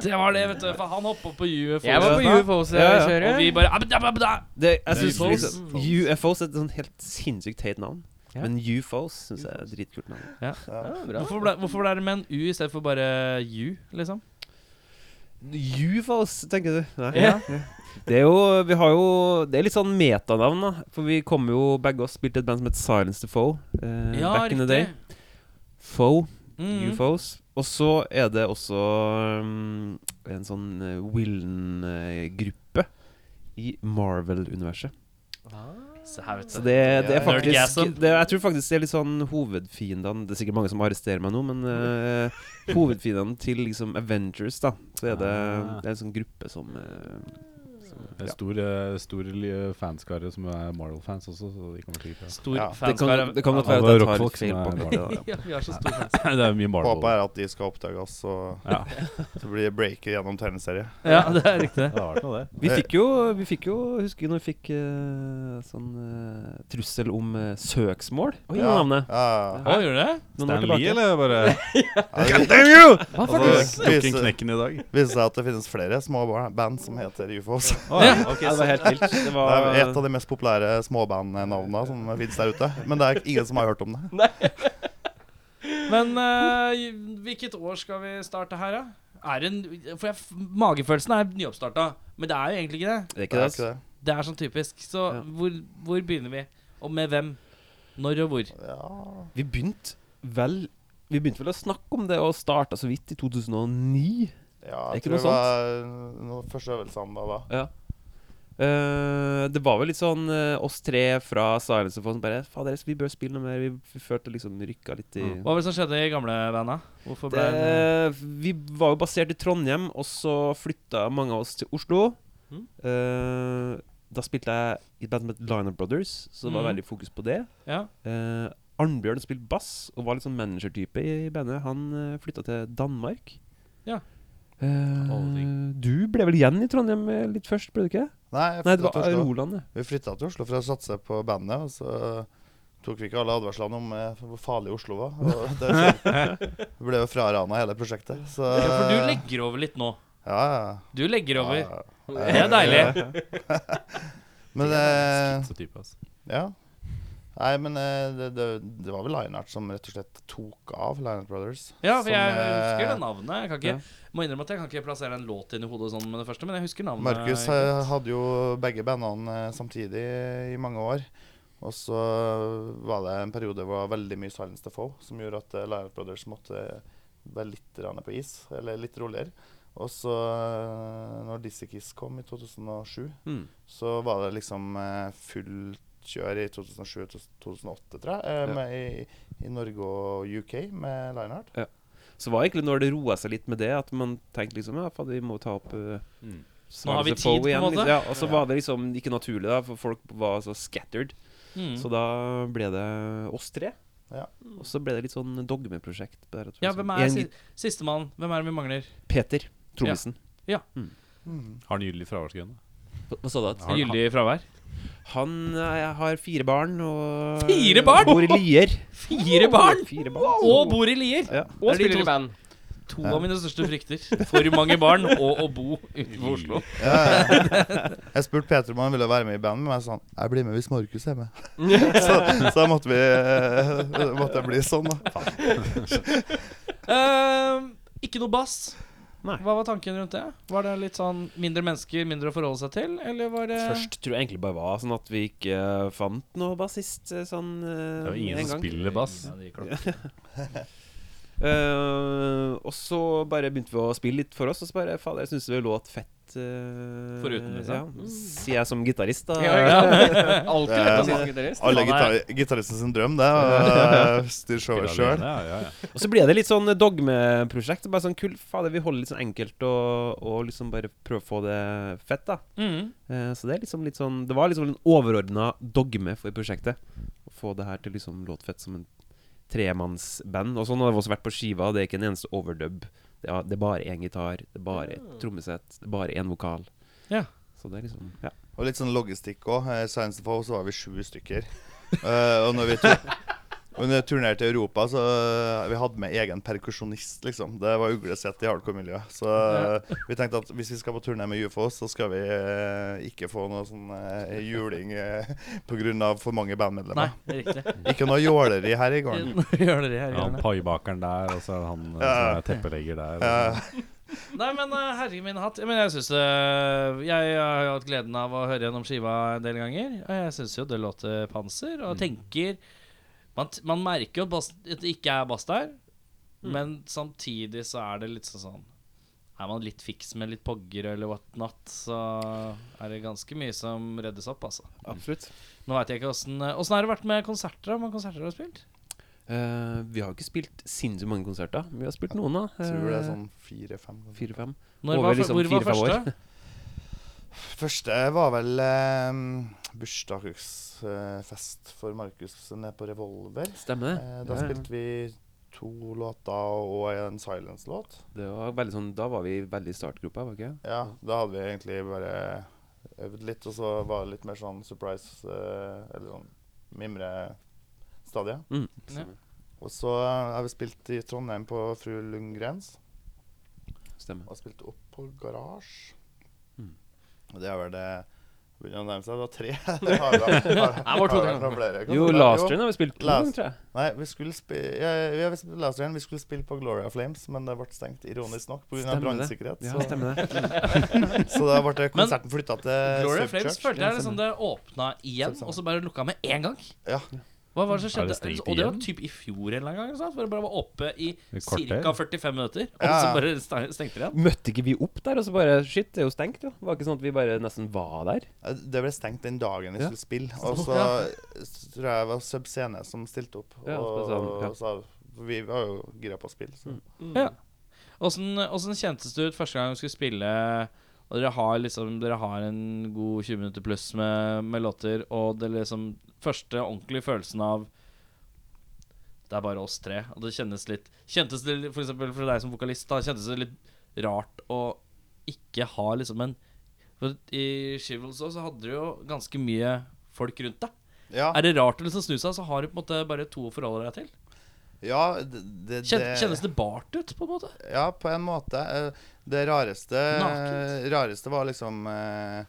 Speaker 2: Det var det, vet du. For han hoppa på UFO.
Speaker 3: Jeg var på
Speaker 5: Ja, ja.
Speaker 2: Og vi
Speaker 3: UFO-kjøret.
Speaker 2: bare abda, abda.
Speaker 5: Det, jeg synes
Speaker 4: UFOs.
Speaker 5: liksom, UFOs er et sånn helt sinnssykt teit navn.
Speaker 3: Ja.
Speaker 5: Men UFOs syns jeg er et dritkult navn.
Speaker 2: Hvorfor ble, hvorfor ble det med en U i stedet for bare U, liksom?
Speaker 5: UFOs, tenker du? Nei.
Speaker 3: Ja.
Speaker 5: Det er jo Vi har jo Det er litt sånn metanavn, da. For vi kom jo begge oss spilte et band som het Silence the Foe. eh, back in the day. Foe.
Speaker 2: Mm.
Speaker 5: UFOs. Og så er det også um, en sånn uh, Willen-gruppe i Marvel-universet.
Speaker 2: Se her, vet
Speaker 5: Så
Speaker 2: du.
Speaker 5: det, det er
Speaker 2: ja.
Speaker 5: faktisk
Speaker 2: Nerdgasm.
Speaker 5: det, Jeg tror faktisk det er litt sånn hovedfiendene Det er sikkert mange som arresterer meg nå, men uh, hovedfiendene til liksom Avengers, da, så er det,
Speaker 4: Ah.
Speaker 5: det er en sånn gruppe som, uh, som
Speaker 4: Det er
Speaker 5: ja.
Speaker 4: stor, eh, stor li- fanskare som er Marvel-fans også, så de kommer sikkert til
Speaker 2: Stor
Speaker 6: Ja, det
Speaker 5: Det
Speaker 2: fanskare.
Speaker 5: kan, det kan godt
Speaker 4: Ja,
Speaker 5: være
Speaker 4: det
Speaker 5: at
Speaker 4: er
Speaker 5: jeg tar
Speaker 4: rockfolk som
Speaker 5: feil på
Speaker 4: er
Speaker 5: akkurat det. da.
Speaker 2: Ja, vi er så stor fans.
Speaker 4: å Det er mye Marvel.
Speaker 6: Håpet er at de skal oppdages, og
Speaker 4: Ja.
Speaker 6: så blir det breaker gjennom tegneserie.
Speaker 2: Ja, det er riktig.
Speaker 4: Det har vært noe, det.
Speaker 5: Vi fikk jo, vi fikk jo husker jeg når vi fikk eh, sånn eh, trussel om eh, søksmål på
Speaker 6: Ja.
Speaker 5: navnet.
Speaker 6: Ja, ja,
Speaker 2: Å, gjorde du det?
Speaker 5: Noen år
Speaker 4: Stan Lee,
Speaker 5: tilbake.
Speaker 4: eller bare
Speaker 6: ja. Ja, det
Speaker 3: Hva for
Speaker 6: Altså,
Speaker 3: noe?
Speaker 6: det
Speaker 4: tok en
Speaker 6: viser-
Speaker 4: knekken i dag?
Speaker 6: viser seg at det finnes flere små bar- band som heter UFOs.
Speaker 5: Ok, det var helt vilt. Det
Speaker 6: Det
Speaker 5: var
Speaker 6: er et av de mest populære småbandnavnene som finnes der ute. Men det er ingen som har hørt om det.
Speaker 2: Men eh, hvilket år skal vi starte her, da? Er en, for jeg, magefølelsen er nyoppstarta, men det er jo egentlig ikke det.
Speaker 5: Det altså. er
Speaker 6: Det
Speaker 5: ikke
Speaker 6: er
Speaker 5: det.
Speaker 6: ikke det.
Speaker 2: Det er sånn typisk. Så
Speaker 5: Ja.
Speaker 2: hvor, hvor begynner vi? Og med hvem? Når og hvor?
Speaker 6: Ja.
Speaker 5: Vi begynte vel Vi begynte vel å snakke om det og starta så vidt i 2009.
Speaker 6: Ja,
Speaker 5: Er
Speaker 6: jeg
Speaker 5: ikke
Speaker 6: tror
Speaker 5: noe
Speaker 6: det var noen første øvelsene da. da.
Speaker 5: Eh, det var vel litt sånn eh, oss tre fra Silence of Us som bare Fader, vi bør spille noe mer. Vi f- følte liksom rykka litt i
Speaker 2: Hva var det som skjedde i gamle banda? Hvorfor ble
Speaker 6: Eh,
Speaker 2: det...
Speaker 5: det, Vi var jo basert i Trondheim, og så flytta mange av oss til Oslo.
Speaker 6: Mm.
Speaker 3: Mhm.
Speaker 5: Eh, da spilte jeg i et band som het Liner Brothers, så det var
Speaker 6: Mm.
Speaker 2: Mhm.
Speaker 5: veldig fokus på det.
Speaker 2: Ja.
Speaker 5: Eh, Arnbjørn spilte bass og var litt sånn managertype i bandet. Han uh, flytta til Danmark.
Speaker 2: Ja.
Speaker 5: Eh,
Speaker 4: Alle ting.
Speaker 5: du ble vel igjen i Trondheim eh, litt først, ble du ikke?
Speaker 6: Nei, jeg
Speaker 5: Nei, det
Speaker 6: flyttet
Speaker 5: var
Speaker 6: til Oslo.
Speaker 5: Roland, det.
Speaker 6: Vi flytta til Oslo for å satse på bandet, og så tok vi ikke alle advarslene om eh, hvor farlig Oslo var. Og det vi ble jo frarana hele prosjektet. Så
Speaker 2: ja, for du legger over litt nå.
Speaker 6: ja, ja.
Speaker 2: Du legger over.
Speaker 6: Ja,
Speaker 2: Det er deilig.
Speaker 6: Men eh,
Speaker 4: Så type, altså.
Speaker 6: ja. Nei, men eh, det, det, det var vel Lineart som rett og slett tok av. Lineart Brothers.
Speaker 2: Ja, for
Speaker 6: som,
Speaker 2: jeg
Speaker 6: eh,
Speaker 2: husker det navnet. Jeg kan ikke, må innrømme at jeg kan ikke plassere en låt inn i hodet sånn med det første, men jeg husker navnet.
Speaker 6: Markus eh, hadde jo begge bandene eh, samtidig i mange år. Og så var det en periode hvor det var veldig mye Silence to Foe, som gjorde at eh, Lion Brothers måtte eh, være litt grann på is, eller litt roligere. Og så, eh, når Dizzie Kiss kom i 2007,
Speaker 5: Mm.
Speaker 6: så var det liksom eh, fullt kjør i 2007-2008, tror jeg, eh,
Speaker 5: Ja.
Speaker 6: med, i, i Norge og UK med Lionheart.
Speaker 5: Så var egentlig når det roa seg litt med det, at man tenkte liksom ja, fader, vi må ta opp uh,
Speaker 4: Mm.
Speaker 2: Nå har vi tid, på en måte.
Speaker 5: Liksom. Ja, og så var det liksom ikke naturlig, da, for folk var så scattered.
Speaker 2: Mm.
Speaker 5: Så da ble det oss tre.
Speaker 6: Ja.
Speaker 5: Og så ble det litt sånn dogmeprosjekt. der, at vi
Speaker 2: Ja,
Speaker 5: liksom-
Speaker 2: hvem er
Speaker 5: en
Speaker 2: si
Speaker 5: git-
Speaker 2: sistemann? Hvem er det vi mangler?
Speaker 5: Peter, trommisen.
Speaker 4: Har den gyldig fraværsgrunn? da?
Speaker 5: Hva sa du? at-
Speaker 4: Har-
Speaker 2: Gyldig fravær?
Speaker 5: Han eh, har fire barn og
Speaker 2: Fire barn?
Speaker 5: Bor i Lier.
Speaker 2: Fire barn!
Speaker 5: Fire barn.
Speaker 2: Og bor i Lier!
Speaker 5: Ja.
Speaker 3: Og
Speaker 2: Er de
Speaker 3: spiller
Speaker 2: to-
Speaker 3: i band.
Speaker 2: To av mine største frykter. For mange barn og å bo utenfor Oslo.
Speaker 6: Ja, ja. Jeg spurte Peter om han ville være med i bandet, men jeg sa han, jeg blir med hvis Markus er med. så, så da måtte vi eh, Måtte jeg bli sånn, da.
Speaker 2: Ehm, ikke noe bass.
Speaker 5: Nei.
Speaker 2: Hva var tanken rundt det? Var det litt sånn mindre mennesker, mindre å forholde seg til? Eller var det
Speaker 5: Først tror jeg egentlig bare var sånn at vi ikke eh, fant noe bassist eh, sånn
Speaker 4: Det er
Speaker 5: uh,
Speaker 4: jo ingen som spiller bass.
Speaker 5: Eh, og så bare begynte vi å spille litt for oss, og så bare fader, jeg syns det låt fett. eh,
Speaker 2: Foruten, liksom.
Speaker 5: Ja, sier jeg som gitarist, da.
Speaker 3: Ja, ja. Alltid lett å si som gitarist.
Speaker 6: Alle
Speaker 2: Ja,
Speaker 6: gitar gitaristens drøm, det. å, eh, Styre showet sjøl.
Speaker 4: Ja, ja, ja.
Speaker 5: Og så ble det litt sånn dogmeprosjekt. Bare sånn kult, fader, vi holder litt sånn enkelt og, og liksom bare prøve å få det fett, da.
Speaker 2: Mm.
Speaker 5: Eh, så det er liksom litt sånn Det var liksom en overordna dogme for prosjektet. Å få det her til liksom låtfett som en tremannsband. Og sånn har det også vært på skiva. Det er ikke en eneste overdub. Det er, det er bare én gitar, det er bare
Speaker 3: Ah.
Speaker 5: et trommesett, det er bare én vokal.
Speaker 2: Ja.
Speaker 5: Så det er liksom Ja.
Speaker 6: Og litt sånn logistikk òg. Science of Foe, så var vi sju stykker. Eh, og når vi tur og når vi turnerte i Europa, så eh, vi hadde med egen perkusjonist, liksom. Det var uglesett i hardcore-miljøet. Så eh, vi tenkte at hvis vi skal på turné med UFO, så skal vi eh, ikke få noe sånn eh, juling eh, på grunn av for mange
Speaker 2: Nei,
Speaker 6: bandmedlemmer.
Speaker 2: det er riktig.
Speaker 6: Ikke noe jåleri her i gården.
Speaker 2: Gjør dere det her?
Speaker 4: Ja,
Speaker 2: gjør
Speaker 4: han
Speaker 2: dere.
Speaker 4: paibakeren der, og så er det han eh,
Speaker 6: Ja.
Speaker 4: som er teppelegger der.
Speaker 6: Eh,
Speaker 2: Nei, men eh, herre min hatt. Men jeg syns det Jeg har jo hatt gleden av å høre gjennom skiva en del ganger. Og jeg syns jo det låter panser. Og
Speaker 5: Mm.
Speaker 2: tenker Man, t- man merker jo at, bass, at det ikke er bass der,
Speaker 5: Mm.
Speaker 2: men samtidig så er det litt sånn sånn Er man litt fiks med litt pogger eller whatnot, så er det ganske mye som reddes opp, altså.
Speaker 5: Absolutt.
Speaker 2: Nå veit jeg ikke åssen Åssen har det vært med konserter? da? Hvor mange konserter har du spilt?
Speaker 5: Eh, vi har jo ikke spilt sinnssykt mange konserter. Vi har spilt noen, da.
Speaker 6: Jeg tror det er
Speaker 5: Eh,
Speaker 6: sånn fire-fem.
Speaker 5: Fire-fem.
Speaker 2: Når
Speaker 5: Over
Speaker 2: var,
Speaker 5: liksom
Speaker 2: hvor var
Speaker 5: fire-fem år.
Speaker 2: første?
Speaker 6: Første var vel eh, bursdagsfest for Markus nede på Revolver.
Speaker 5: Stemmer det?
Speaker 6: Eh,
Speaker 5: Ja,
Speaker 6: da
Speaker 5: ja.
Speaker 6: spilte vi to låter og en silence-låt.
Speaker 5: Det var veldig sånn Da var vi veldig i startgropa, var ikke det?
Speaker 6: Ja, da hadde vi egentlig bare øvd litt, og så var det litt mer sånn surprise eh, Eller sånn mimrestadie.
Speaker 5: Mm.
Speaker 2: Ja.
Speaker 6: Og så har vi spilt i Trondheim på Fru Lundgrens,
Speaker 5: Stemmer.
Speaker 6: og spilt opp på Garasje.
Speaker 5: Mm.
Speaker 6: Og det er vel det Begynner å nærme seg. Det var tre. det har, har, har,
Speaker 3: var to,
Speaker 6: har
Speaker 3: tre.
Speaker 6: vært noen flere.
Speaker 5: Jo,
Speaker 6: kanskje.
Speaker 5: Last Train har vi spilt to
Speaker 6: Last-
Speaker 5: ganger, tror jeg.
Speaker 6: Nei, vi skulle spille ja, ja, vi spilte Last Train. Vi skulle spille på Gloria Flames, men det ble stengt, ironisk nok, pga.
Speaker 5: Stemmer det.
Speaker 6: brannsikkerhet.
Speaker 5: Ja,
Speaker 6: så-
Speaker 5: stemmer det.
Speaker 6: Så da ble
Speaker 2: Men-
Speaker 6: konserten flytta til Eh,
Speaker 2: Gloria
Speaker 6: Surf
Speaker 2: Flames
Speaker 6: Church.
Speaker 2: følte jeg liksom det åpna igjen,
Speaker 6: Surf Sound.
Speaker 2: og så bare lukka med en gang.
Speaker 6: Ja.
Speaker 2: Hva var det som
Speaker 4: Er
Speaker 2: skjedde?
Speaker 4: det stengt
Speaker 2: og det var
Speaker 4: igjen?
Speaker 2: typ i fjor en eller annen gang. Sant? Hvor det bare var oppe i
Speaker 4: I kvarter.
Speaker 2: ca. 45 minutter, og
Speaker 6: Ja,
Speaker 2: så
Speaker 6: ja.
Speaker 2: bare sta- stengte det igjen.
Speaker 5: Møtte ikke vi opp der, og så bare Shit, det er jo stengt, jo. Det var ikke sånn at vi bare nesten var der.
Speaker 6: Det ble stengt den dagen vi
Speaker 5: Ja.
Speaker 6: skulle spille. Og så s- tror jeg det var Subscene som stilte opp.
Speaker 5: Ja,
Speaker 6: og,
Speaker 5: så sa han, ja. Mm.
Speaker 6: og sa for Vi var jo gira på å spille. Så.
Speaker 2: Åssen åssen kjentes det ut første gang du skulle spille, og dere har liksom Dere har en god 20 minutter pluss med, med låter, og det liksom Første ordentlige følelsen av det er bare oss tre. Og det kjennes litt Kjentes det litt- for eksempel for deg som vokalist, da kjentes det litt rart å ikke ha liksom en For i Shivels også, så hadde du jo ganske mye folk rundt deg.
Speaker 6: Ja,
Speaker 2: Er det rart å liksom snu seg, så har du på en måte bare to å forholde deg til?
Speaker 6: ja det, det,
Speaker 2: Kjen, kjennes det bart ut, på en måte?
Speaker 6: Ja, på en måte. Eh, Det rareste
Speaker 2: Nakent.
Speaker 6: rareste var liksom eh,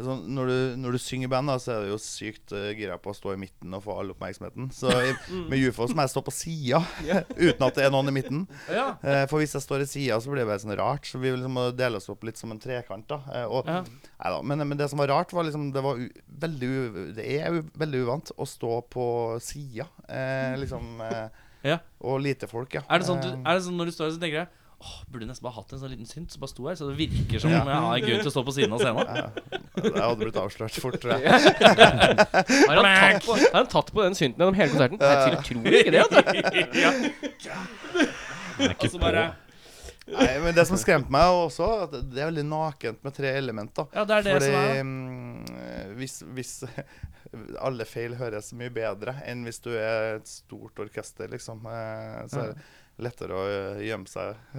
Speaker 6: sånn, når, du, når du synger i band, da, så er du jo sykt eh, gira på å stå i midten og få all oppmerksomheten. Så i,
Speaker 2: Mm.
Speaker 6: med UFO så må jeg stå på sida uten at det er noen i midten.
Speaker 2: Ja.
Speaker 6: Eh, for hvis jeg står i sida, så blir det bare sånn rart. Så vi liksom må dele oss opp litt som en trekant. da eh, og,
Speaker 2: Ja.
Speaker 6: Neida, men, men det som var rart, var liksom Det, var u veldig u det er u veldig uvant å stå på sida. Eh, liksom eh,
Speaker 2: Mm. Ja.
Speaker 6: Og lite folk, ja.
Speaker 2: Er det sånn, at
Speaker 6: Eh,
Speaker 2: du, er det sånn når du står her, så tenker jeg Åh, burde nesten bare hatt en sånn liten synt som bare sto her, så det virker som
Speaker 6: Ja.
Speaker 2: om jeg har en grunn til å stå på siden av scenen.
Speaker 6: Ja, Jeg hadde blitt avslørt fort, tror jeg.
Speaker 3: Har han tatt på, har han tatt på den synten gjennom hele konserten? Jeg tror ikke det. Altså.
Speaker 2: ja. Og så bare
Speaker 6: Nei, men Det som skremte meg også, at det er veldig nakent med tre elementer.
Speaker 2: Ja, det er det
Speaker 6: Fordi
Speaker 2: som er
Speaker 6: mm, hvis, hvis alle feil høres mye bedre enn hvis du er et stort orkester, liksom. eh, Så er det lettere å eh, gjemme seg.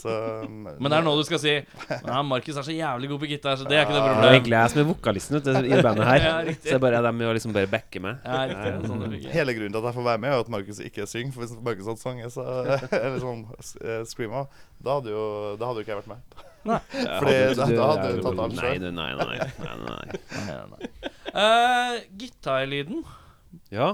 Speaker 6: så mm,
Speaker 2: Men det er nå du skal si Ja, Markus er så jævlig god på gitar, så det er ikke noe
Speaker 5: Det er
Speaker 2: problem.
Speaker 5: egentlig jeg som er vokalisten vet du, i bandet her.
Speaker 2: Ja, riktig.
Speaker 5: så det er bare dem med å liksom bare backe meg.
Speaker 2: Ja, riktig. det er Sånn det fungerer.
Speaker 6: Hele grunnen til at jeg får være med, er jo at Markus ikke synger. For hvis Markus hadde sunget, så Eller sånn eh, screama, da hadde jo Da hadde jo ikke jeg vært med. Fordi da, da hadde du tatt alt
Speaker 5: Nei,
Speaker 6: sjøl.
Speaker 5: du, nei, nei, nei, nei.
Speaker 2: Eh, Gitarlyden.
Speaker 5: Ja.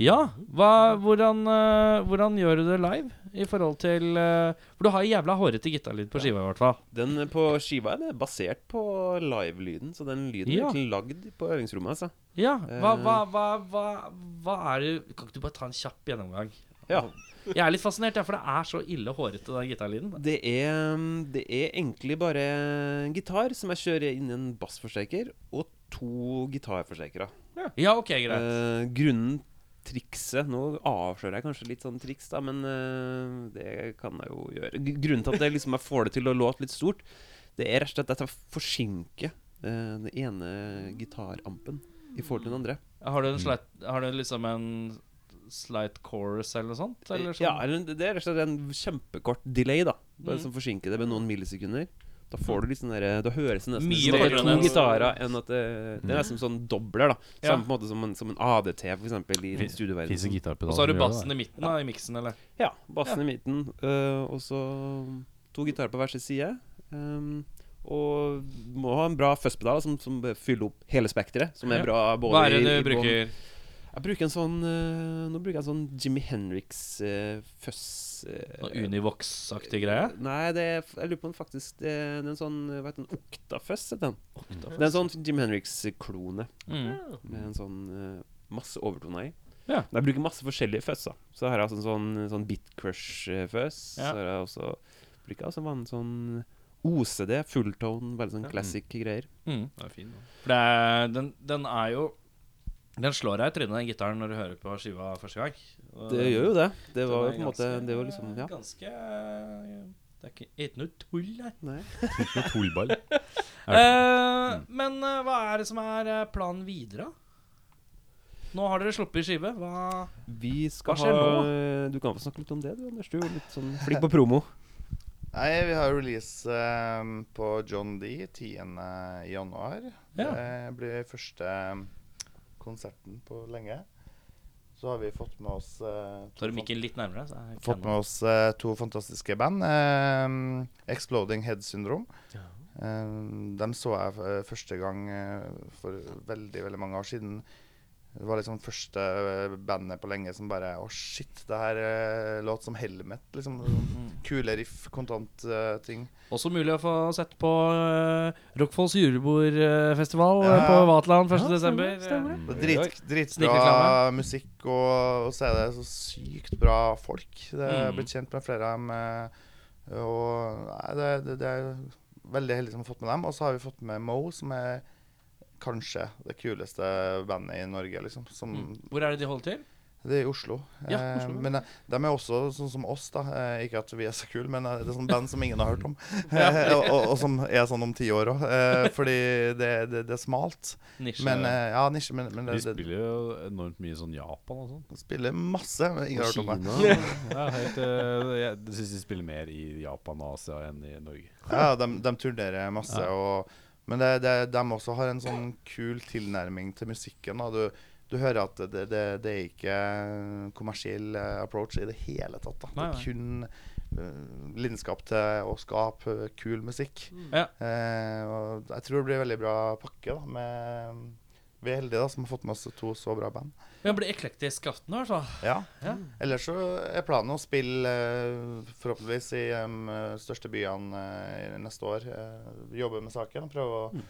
Speaker 2: Ja. Hva, hvordan, eh, hvordan gjør du det live i forhold til eh, For du har jævla hårete gitarlyd på skiva, i hvert fall.
Speaker 5: Den på skiva er det basert på livelyden, så den lyden
Speaker 2: Ja.
Speaker 5: er egentlig lagd på øvingsrommet. Altså.
Speaker 2: Ja, hva, hva, hva, hva, hva er det Kan ikke du bare ta en kjapp gjennomgang?
Speaker 5: Ja.
Speaker 2: Jeg er litt fascinert, ja, for det er så ille hårete, den gitarlyden.
Speaker 5: Det er, det er egentlig bare en gitar som jeg kjører inn i en bassforsterker, og to gitarforsterkere.
Speaker 2: Ja, ok, greit.
Speaker 5: Eh, grunnen trikset Nå avslører jeg kanskje litt sånn triks, da, men eh, det kan jeg jo gjøre. Gr- Grunnen til at jeg, liksom, jeg får det til å låte litt stort, det er rett og slett at jeg forsinker eh, den ene gitarampen i forhold til den andre.
Speaker 2: Har du, en slight, har du liksom en slight chorus eller noe sånt? Eller sånn?
Speaker 5: Eh, Ja, eller det er rett og slett en kjempekort delay, da. Bare
Speaker 2: Mm.
Speaker 5: som forsinker det med noen millisekunder. Da får du liksom der, da høres det nesten
Speaker 2: Mye
Speaker 5: ut som at det
Speaker 2: kortere
Speaker 5: er
Speaker 2: enn
Speaker 5: to
Speaker 2: en- Mm.
Speaker 5: gitarer enn at det, det er nesten sånn dobler, da.
Speaker 2: Ja.
Speaker 5: Samme på en måte som en, som en ADT, for eksempel, i
Speaker 4: Fins
Speaker 5: studioverdenen.
Speaker 4: en gitarpedal.
Speaker 2: Og så har du
Speaker 4: som gjør det,
Speaker 2: bassen i midten da, i miksen, eller?
Speaker 5: Ja. Bassen i midten, øh, og så to gitarer på hver sin side. ehm, og må ha en bra fuzzpedal som, som fyller opp hele spekteret. Som er
Speaker 2: Ja.
Speaker 5: bra både
Speaker 2: Hva er det
Speaker 5: i-
Speaker 2: du
Speaker 5: i Eh, bånd-
Speaker 2: bruker?
Speaker 5: Jeg bruker en sånn øh, Nå bruker jeg en sånn eh, Jimmy Henriks-fuzz.
Speaker 2: Noe Sånn Univox-aktig greie?
Speaker 5: Nei, det er, jeg lurer på om faktisk det er det er en sånn Hva heter den? Oktaføss heter den. Det er en sånn Jim Henriks-klone
Speaker 2: Mm.
Speaker 5: med en sånn eh, masse overtoner i.
Speaker 2: Ja.
Speaker 5: Men Jeg bruker masse forskjellige føss. da. Så her har jeg altså en sånn, sånn Bitcrush-føss.
Speaker 2: Ja.
Speaker 5: Så har jeg også bruker jeg også en sånn OCD, fulltone, veldig sånn classic greier.
Speaker 2: Mm. Det er fin, For det er, den, den er jo Den slår deg i trynet, den gitaren, når du hører på skiva første gang. Og
Speaker 5: Det gjør jo det. Det
Speaker 2: den er
Speaker 5: var jo på en måte
Speaker 2: ganske-
Speaker 5: Det var liksom Ja.
Speaker 2: Ganske eh, Det er ikke, ikke noe tull her.
Speaker 5: Nei.
Speaker 4: Med tullball.
Speaker 2: Eh, Men eh, hva er det som er eh, planen videre? Nå har dere sluppet skive. Hva
Speaker 5: Vi skal
Speaker 2: Hva skjer
Speaker 5: ha Du kan få snakke litt om det, du, Anders. Du er jo litt sånn flink på promo.
Speaker 6: Nei, vi har release eh, på John D 10. januar. Det blir første ehm, konserten på lenge. Så har vi fått med oss eh,
Speaker 2: Tar du mikken litt nærmere? Så jeg
Speaker 6: fått
Speaker 2: kan-
Speaker 6: med oss eh, to fantastiske band. eh, Exploding Head Syndrome. Eh, dem så jeg eh, første gang eh, for veldig veldig mange år siden. Det var liksom første eh, bandet på lenge som bare Å, shit, det her eh, låt som Helmet. Liksom kule riff, kontant eh, ting.
Speaker 2: Også mulig å få sett på uh, Rockfolds julebordfestival eh,
Speaker 6: Ja.
Speaker 2: på Vaterland 1. desember.
Speaker 6: Det er
Speaker 5: Oi.
Speaker 6: Drit, dritbra
Speaker 2: Snikreklame.
Speaker 6: musikk, og, og så er det så sykt bra folk. Det er
Speaker 2: Mm.
Speaker 6: blitt kjent med flere av dem. eh, Og nei, det, det, det er veldig heldig som har fått med dem. Og så har vi fått med Mo, som er kanskje det kuleste bandet i Norge, liksom. Som,
Speaker 2: Mm. Hvor er det de holder til?
Speaker 6: Det er i Oslo.
Speaker 2: Ja,
Speaker 6: Eh,
Speaker 2: Oslo, ja.
Speaker 6: Men eh, de er også sånn som oss, da. Eh, Ikke at vi er så kule, men eh, det er sånn band som ingen har hørt om. Eh, og, og, og som er sånn om ti år òg. Fordi det, det, det er smalt.
Speaker 2: Nisje.
Speaker 6: Men eh, ja, nisje, men, men
Speaker 4: De
Speaker 6: det, det,
Speaker 4: spiller jo enormt mye sånn Japan og sånn.
Speaker 6: Spiller masse. men Ingen har hørt om det.
Speaker 4: Ja, helt, eh, jeg syns de spiller mer i Japan og Asia enn i Norge.
Speaker 6: Ja, de, de turnerer masse. Og, men det, det, de også har en sånn kul tilnærming til musikken. da. Du, du hører at det, det, det er ikke kommersiell eh, approach i det hele tatt. Da. Det
Speaker 2: Nei,
Speaker 6: er kun eh, lidenskap til å skape eh, kul musikk.
Speaker 2: Ja.
Speaker 6: Eh, og jeg tror det blir en veldig bra pakke. da, med... Vi er heldige da, som har fått med oss to så bra band.
Speaker 2: Ja, det blir eklektisk aften i hvert fall.
Speaker 6: Ja.
Speaker 2: Ja.
Speaker 6: Ellers så er planen å spille eh, forhåpentligvis i de største byene eh, neste år. Eh, Jobbe med saken og prøve å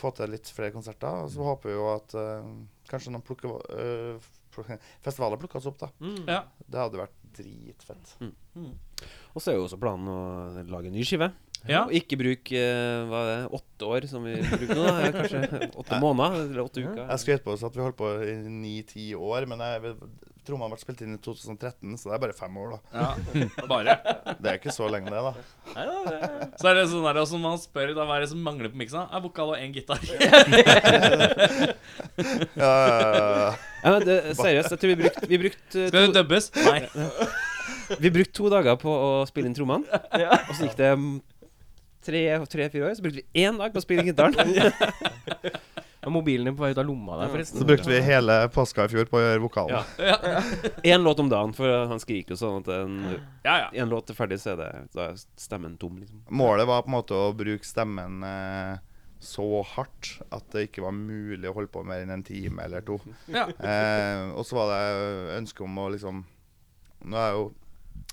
Speaker 6: få til litt flere konserter. Og så håper vi jo at eh, kanskje noen plukker, eh, pluk- festivaler plukkes opp, da.
Speaker 2: Ja.
Speaker 6: Det hadde vært dritfett.
Speaker 5: Og så er jo også planen å lage en ny skive.
Speaker 2: Ja.
Speaker 5: Og ikke bruk eh, hva er det, åtte år, som vi bruker nå. Da. Kanskje åtte måneder eller åtte uker.
Speaker 6: Jeg skrev på oss at vi holdt på i ni-ti år, men jeg trommene ble spilt inn i 2013, så det er bare fem år, da.
Speaker 2: ja. Bare.
Speaker 6: Det er ikke så lenge, det, da.
Speaker 2: Så er det sånn der, og som man spør da, hva er det som mangler på miksen? Er vokal og én gitar.
Speaker 6: Ja, ja, ja, ja.
Speaker 5: Ja, men det, seriøst, jeg tror vi brukte vi brukt, eh,
Speaker 2: Skal det
Speaker 5: to,
Speaker 2: dubbes? Nei.
Speaker 5: Vi brukte to dager på å spille inn trommene,
Speaker 3: Ja.
Speaker 5: og så gikk det mm, tre- tre-fire år. Så brukte vi én dag på å spille inn gitaren.
Speaker 3: Ja, Mobilen din på vei ut av lomma der, forresten.
Speaker 6: Så brukte vi hele påska i fjor på å gjøre vokalen.
Speaker 5: Én låt om dagen, for han skriker jo sånn at en-
Speaker 2: Ja, ja.
Speaker 5: en låt er ferdig, så er det da er stemmen tom, liksom.
Speaker 6: Målet var på en måte å bruke stemmen eh, så hardt at det ikke var mulig å holde på mer enn en time eller to.
Speaker 2: Ja.
Speaker 6: Eh, og så var det ønske om å liksom Nå er jeg jo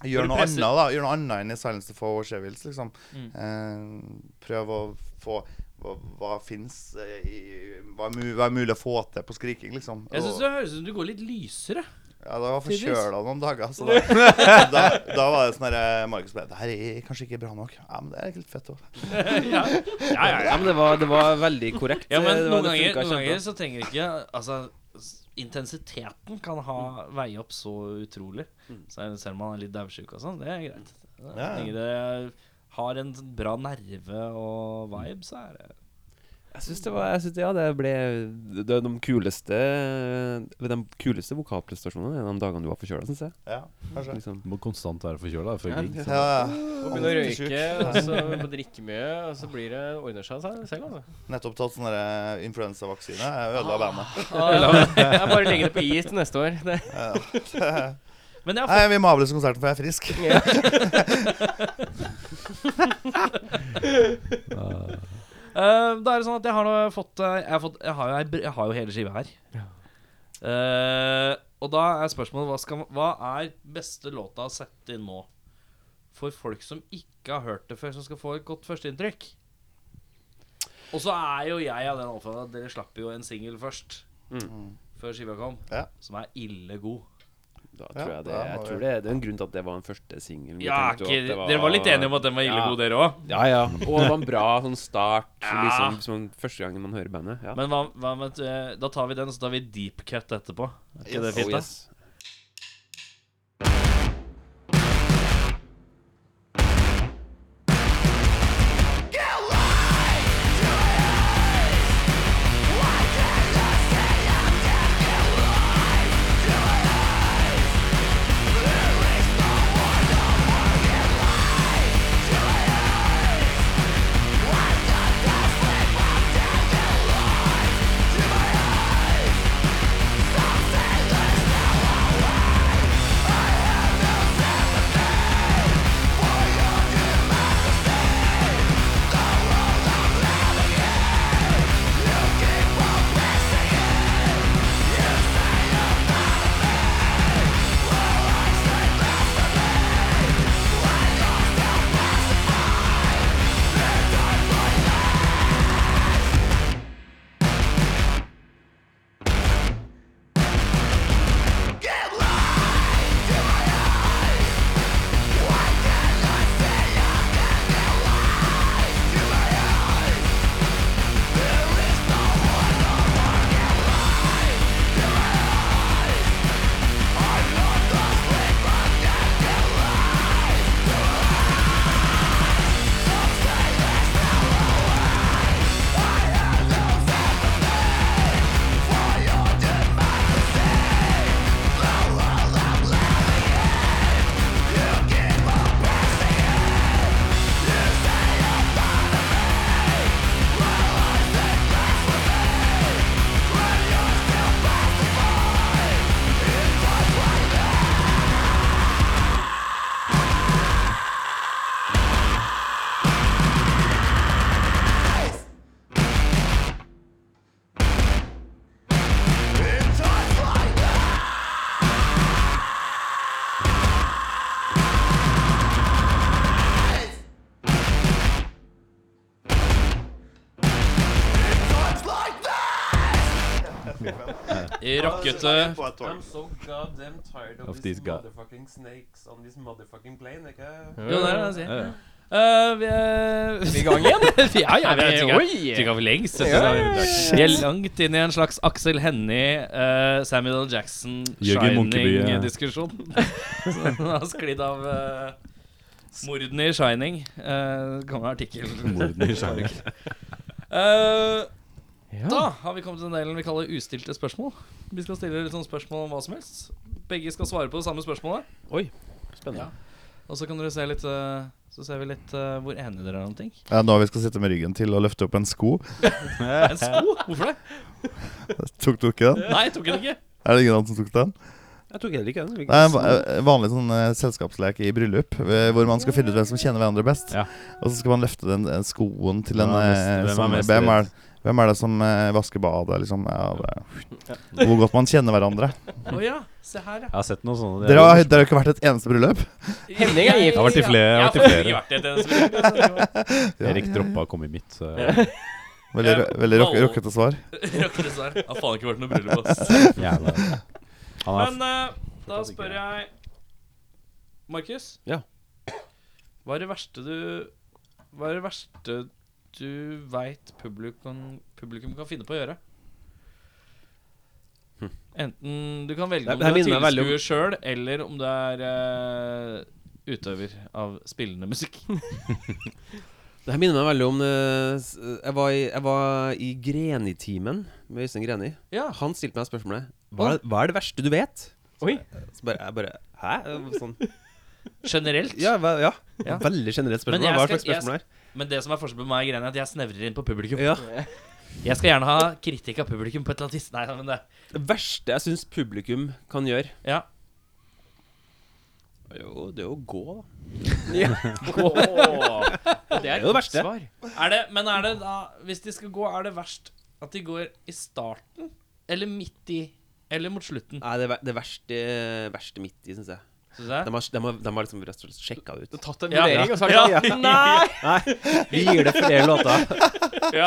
Speaker 6: Gjøre
Speaker 2: du
Speaker 6: noe
Speaker 2: presser-
Speaker 6: annet da Gjøre noe annet enn i 'Silence to Four Shevils'. Liksom.
Speaker 2: Mm.
Speaker 6: Eh, prøve å få hva, hva fins eh, i hva er, mu, hva er mulig å få til på skriking, liksom.
Speaker 2: Jeg syns
Speaker 6: Og-
Speaker 2: det høres ut som du går litt lysere.
Speaker 6: ja, da var jeg
Speaker 2: Tidvis.
Speaker 6: forkjøla noen dager. Så da, da, da var det sånn herre Markus ble Det her er kanskje ikke bra nok. Ja, men det er litt fett òg.
Speaker 2: ja. Ja, ja, ja.
Speaker 5: Ja, men det var, det var veldig korrekt. eh,
Speaker 2: ja, men
Speaker 5: Det var-
Speaker 2: noen
Speaker 5: det
Speaker 2: ganger, noen
Speaker 5: funket
Speaker 2: ganger
Speaker 5: kjempebra.
Speaker 2: så trenger ikke Altså, s- intensiteten kan ha,
Speaker 5: Mm.
Speaker 2: veie opp så utrolig. Så er- selv om man er litt daudsjuk og sånn, det er greit. Så
Speaker 6: Ja.
Speaker 2: lenge det har en sånn bra nerve og vibe, så er det
Speaker 5: Jeg syns det var jeg synes, Ja, det ble det er de kuleste De kuleste vokalprestasjonene er de dagene du var forkjøla, syns jeg.
Speaker 6: Ja, kanskje.
Speaker 5: Liksom.
Speaker 4: Må konstant være forkjøla før
Speaker 3: Ja.
Speaker 4: gig.
Speaker 6: Ja, ja.
Speaker 3: Og begynne å
Speaker 6: Alltid
Speaker 3: røyke,
Speaker 6: sjuk.
Speaker 3: og så begynne å drikke mye, og så blir det ordner seg seg selv, altså.
Speaker 6: Nettopp tatt sånn derre influensavaksine. Jeg
Speaker 4: Ah.
Speaker 6: ødela bandet.
Speaker 3: Jeg bare legger det på is til neste år. Det.
Speaker 2: Men jeg har
Speaker 6: Nei, vi må avlyse konserten, for jeg er frisk.
Speaker 2: Eh, da er det sånn at jeg har nå fått, eh, jeg har fått jeg, har jo, ei br- jeg har jo hele skiva her. Eh, og da er spørsmålet hva, skal, hva er beste låta å sette inn nå? For folk som ikke har hørt det før, som skal få et godt førsteinntrykk. Og så er jo jeg av den oppfatning at dere slapp jo en singel først.
Speaker 5: Mm.
Speaker 2: Før skiva kom.
Speaker 6: Ja.
Speaker 2: Som er ille god.
Speaker 5: Da
Speaker 6: Ja,
Speaker 5: tror jeg det
Speaker 6: da
Speaker 5: Jeg
Speaker 6: må
Speaker 5: tror
Speaker 6: vi-
Speaker 5: det, det er en grunn til at det var den første singelen. Vi
Speaker 2: Ja,
Speaker 5: tenkte jo
Speaker 2: ikke,
Speaker 5: at det
Speaker 2: Dere var litt enige om at den var ille
Speaker 5: Ja.
Speaker 2: god, dere òg.
Speaker 5: Ja, ja. Og det var en bra sånn start,
Speaker 2: Ja.
Speaker 5: liksom, som første gangen man hører bandet. Ja.
Speaker 2: Men hva, hva med et, eh, da tar vi den, så tar vi deep cut etterpå. Er ikke det
Speaker 5: Oh,
Speaker 2: fint, da?
Speaker 5: yes.
Speaker 2: Rockete
Speaker 6: På et tog.
Speaker 5: so goddamn tired
Speaker 4: Of these these guy-
Speaker 5: motherfucking snakes on this motherfucking plane.
Speaker 2: Jo, det er det jeg sier.
Speaker 4: Ja, ja.
Speaker 2: Eh, vi er
Speaker 3: I gang igjen?
Speaker 2: ja, ja, vi
Speaker 3: Er
Speaker 2: er
Speaker 3: vi-
Speaker 2: tygga,
Speaker 3: oi!
Speaker 2: tygga for lengst. dette
Speaker 3: Ja,
Speaker 2: er-
Speaker 3: ja,
Speaker 2: Vi er langt inn i en slags Axel Hennie, eh, Samuel L. Jackson,
Speaker 4: Jørgen Munkeby, ja.
Speaker 2: Shining-diskusjon. Så Den har sklidd av eh, mordene i Shining. Uh, gammel artikkel.
Speaker 4: Morden i Skjærvik.
Speaker 2: Eh,
Speaker 3: Ja.
Speaker 2: da har vi kommet til den delen vi kaller ustilte spørsmål. Vi skal stille litt sånn spørsmål om hva som helst. Begge skal svare på det samme spørsmålet.
Speaker 5: Oi. Spennende.
Speaker 2: Og så kan dere se litt eh, Så ser vi litt eh, hvor enige dere er om ting.
Speaker 6: Ja, nå vi skal sitte med ryggen til og løfte opp en sko.
Speaker 2: En sko? Hvorfor det?
Speaker 6: Tok du ikke den?
Speaker 2: Nei, jeg tok den ikke.
Speaker 6: Er det ingen annen som tok den?
Speaker 5: Jeg tok heller ikke den.
Speaker 6: Det er en va- eh, vanlig sånn eh, selskapslek i bryllup, eh, hvor man skal finne ut hvem som kjenner hverandre best.
Speaker 4: Ja.
Speaker 6: Og så skal man løfte den eh, skoen til en
Speaker 4: Hvem er mest-
Speaker 6: eh,
Speaker 4: hvem er
Speaker 6: som
Speaker 4: mest
Speaker 6: hvem er,
Speaker 4: redd?
Speaker 6: hvem er det som eh, vasker badet, liksom? Ja, det, hvor godt man kjenner hverandre.
Speaker 2: Å ja, se her, ja.
Speaker 4: Jeg har sett noen sånne.
Speaker 6: Dere har, dere har ikke vært i et eneste bryllup?
Speaker 3: Henning er gift.
Speaker 4: Jeg har vært i flere. Jeg
Speaker 2: Jeg
Speaker 4: har
Speaker 2: har
Speaker 4: vært
Speaker 2: faktisk
Speaker 4: i flere.
Speaker 2: vært i et eneste
Speaker 6: Ja,
Speaker 4: Erik
Speaker 6: ja, ja.
Speaker 4: droppa å komme i mitt. Så jeg,
Speaker 6: Veldig,
Speaker 2: Jeg-
Speaker 6: ro- veldig rock,
Speaker 2: Valhall.
Speaker 6: rockete svar.
Speaker 2: bryllup. Jeg har faen ikke vært noe bryllup, ass.
Speaker 4: jævla. Han er
Speaker 2: Men eh, da spør jeg Markus.
Speaker 5: Ja.
Speaker 2: Hva er det verste du Hva er det verste du veit publikum, publikum kan finne på å gjøre? Enten du kan velge
Speaker 5: Det-
Speaker 2: om du
Speaker 5: det
Speaker 2: er
Speaker 5: minner meg veldig om-
Speaker 2: tilskuer sjøl, eller om du er eh, utøver av spillende musikk.
Speaker 5: Det her minner meg veldig om eh, s- jeg, var i, jeg var i Greni-timen med Øystein Greni.
Speaker 2: Ja.
Speaker 5: Han stilte meg spørsmålet hva, er- hva er det verste du vet?
Speaker 3: Oi.
Speaker 5: Så bare, jeg bare Hæ? Sånn.
Speaker 2: Generelt.
Speaker 5: Ja, hva, ja.
Speaker 2: Ja.
Speaker 5: Veldig generelt
Speaker 2: Men
Speaker 5: spørsmål.
Speaker 2: jeg
Speaker 5: Hva
Speaker 2: skal-
Speaker 5: slags spørsmål er det?
Speaker 2: Men det som er forskjellen på meg og Greni, er at jeg snevrer inn på publikum.
Speaker 5: Ja.
Speaker 2: Jeg skal gjerne ha kritikk av publikum på et eller annet vis. Nei, men det
Speaker 5: Det verste jeg syns publikum kan gjøre,
Speaker 2: Ja.
Speaker 5: er jo det å gå, da.
Speaker 2: Det er
Speaker 5: jo det verste.
Speaker 2: svar. Er det, men er det da, hvis de skal gå, er det verst at de går i starten? Eller midt i? Eller mot slutten?
Speaker 5: Nei, det, ver- det verste, verste midt i, syns jeg.
Speaker 2: Synes
Speaker 5: De
Speaker 2: jeg?
Speaker 5: har, de har, de har liksom rett og slett sjekka det
Speaker 3: Du
Speaker 5: ut.
Speaker 3: har tatt en
Speaker 2: Ja.
Speaker 3: vurdering, og så har du
Speaker 2: Ja.
Speaker 3: sagt ja. Nei!
Speaker 5: Vi gir det flere låter.
Speaker 2: Ja,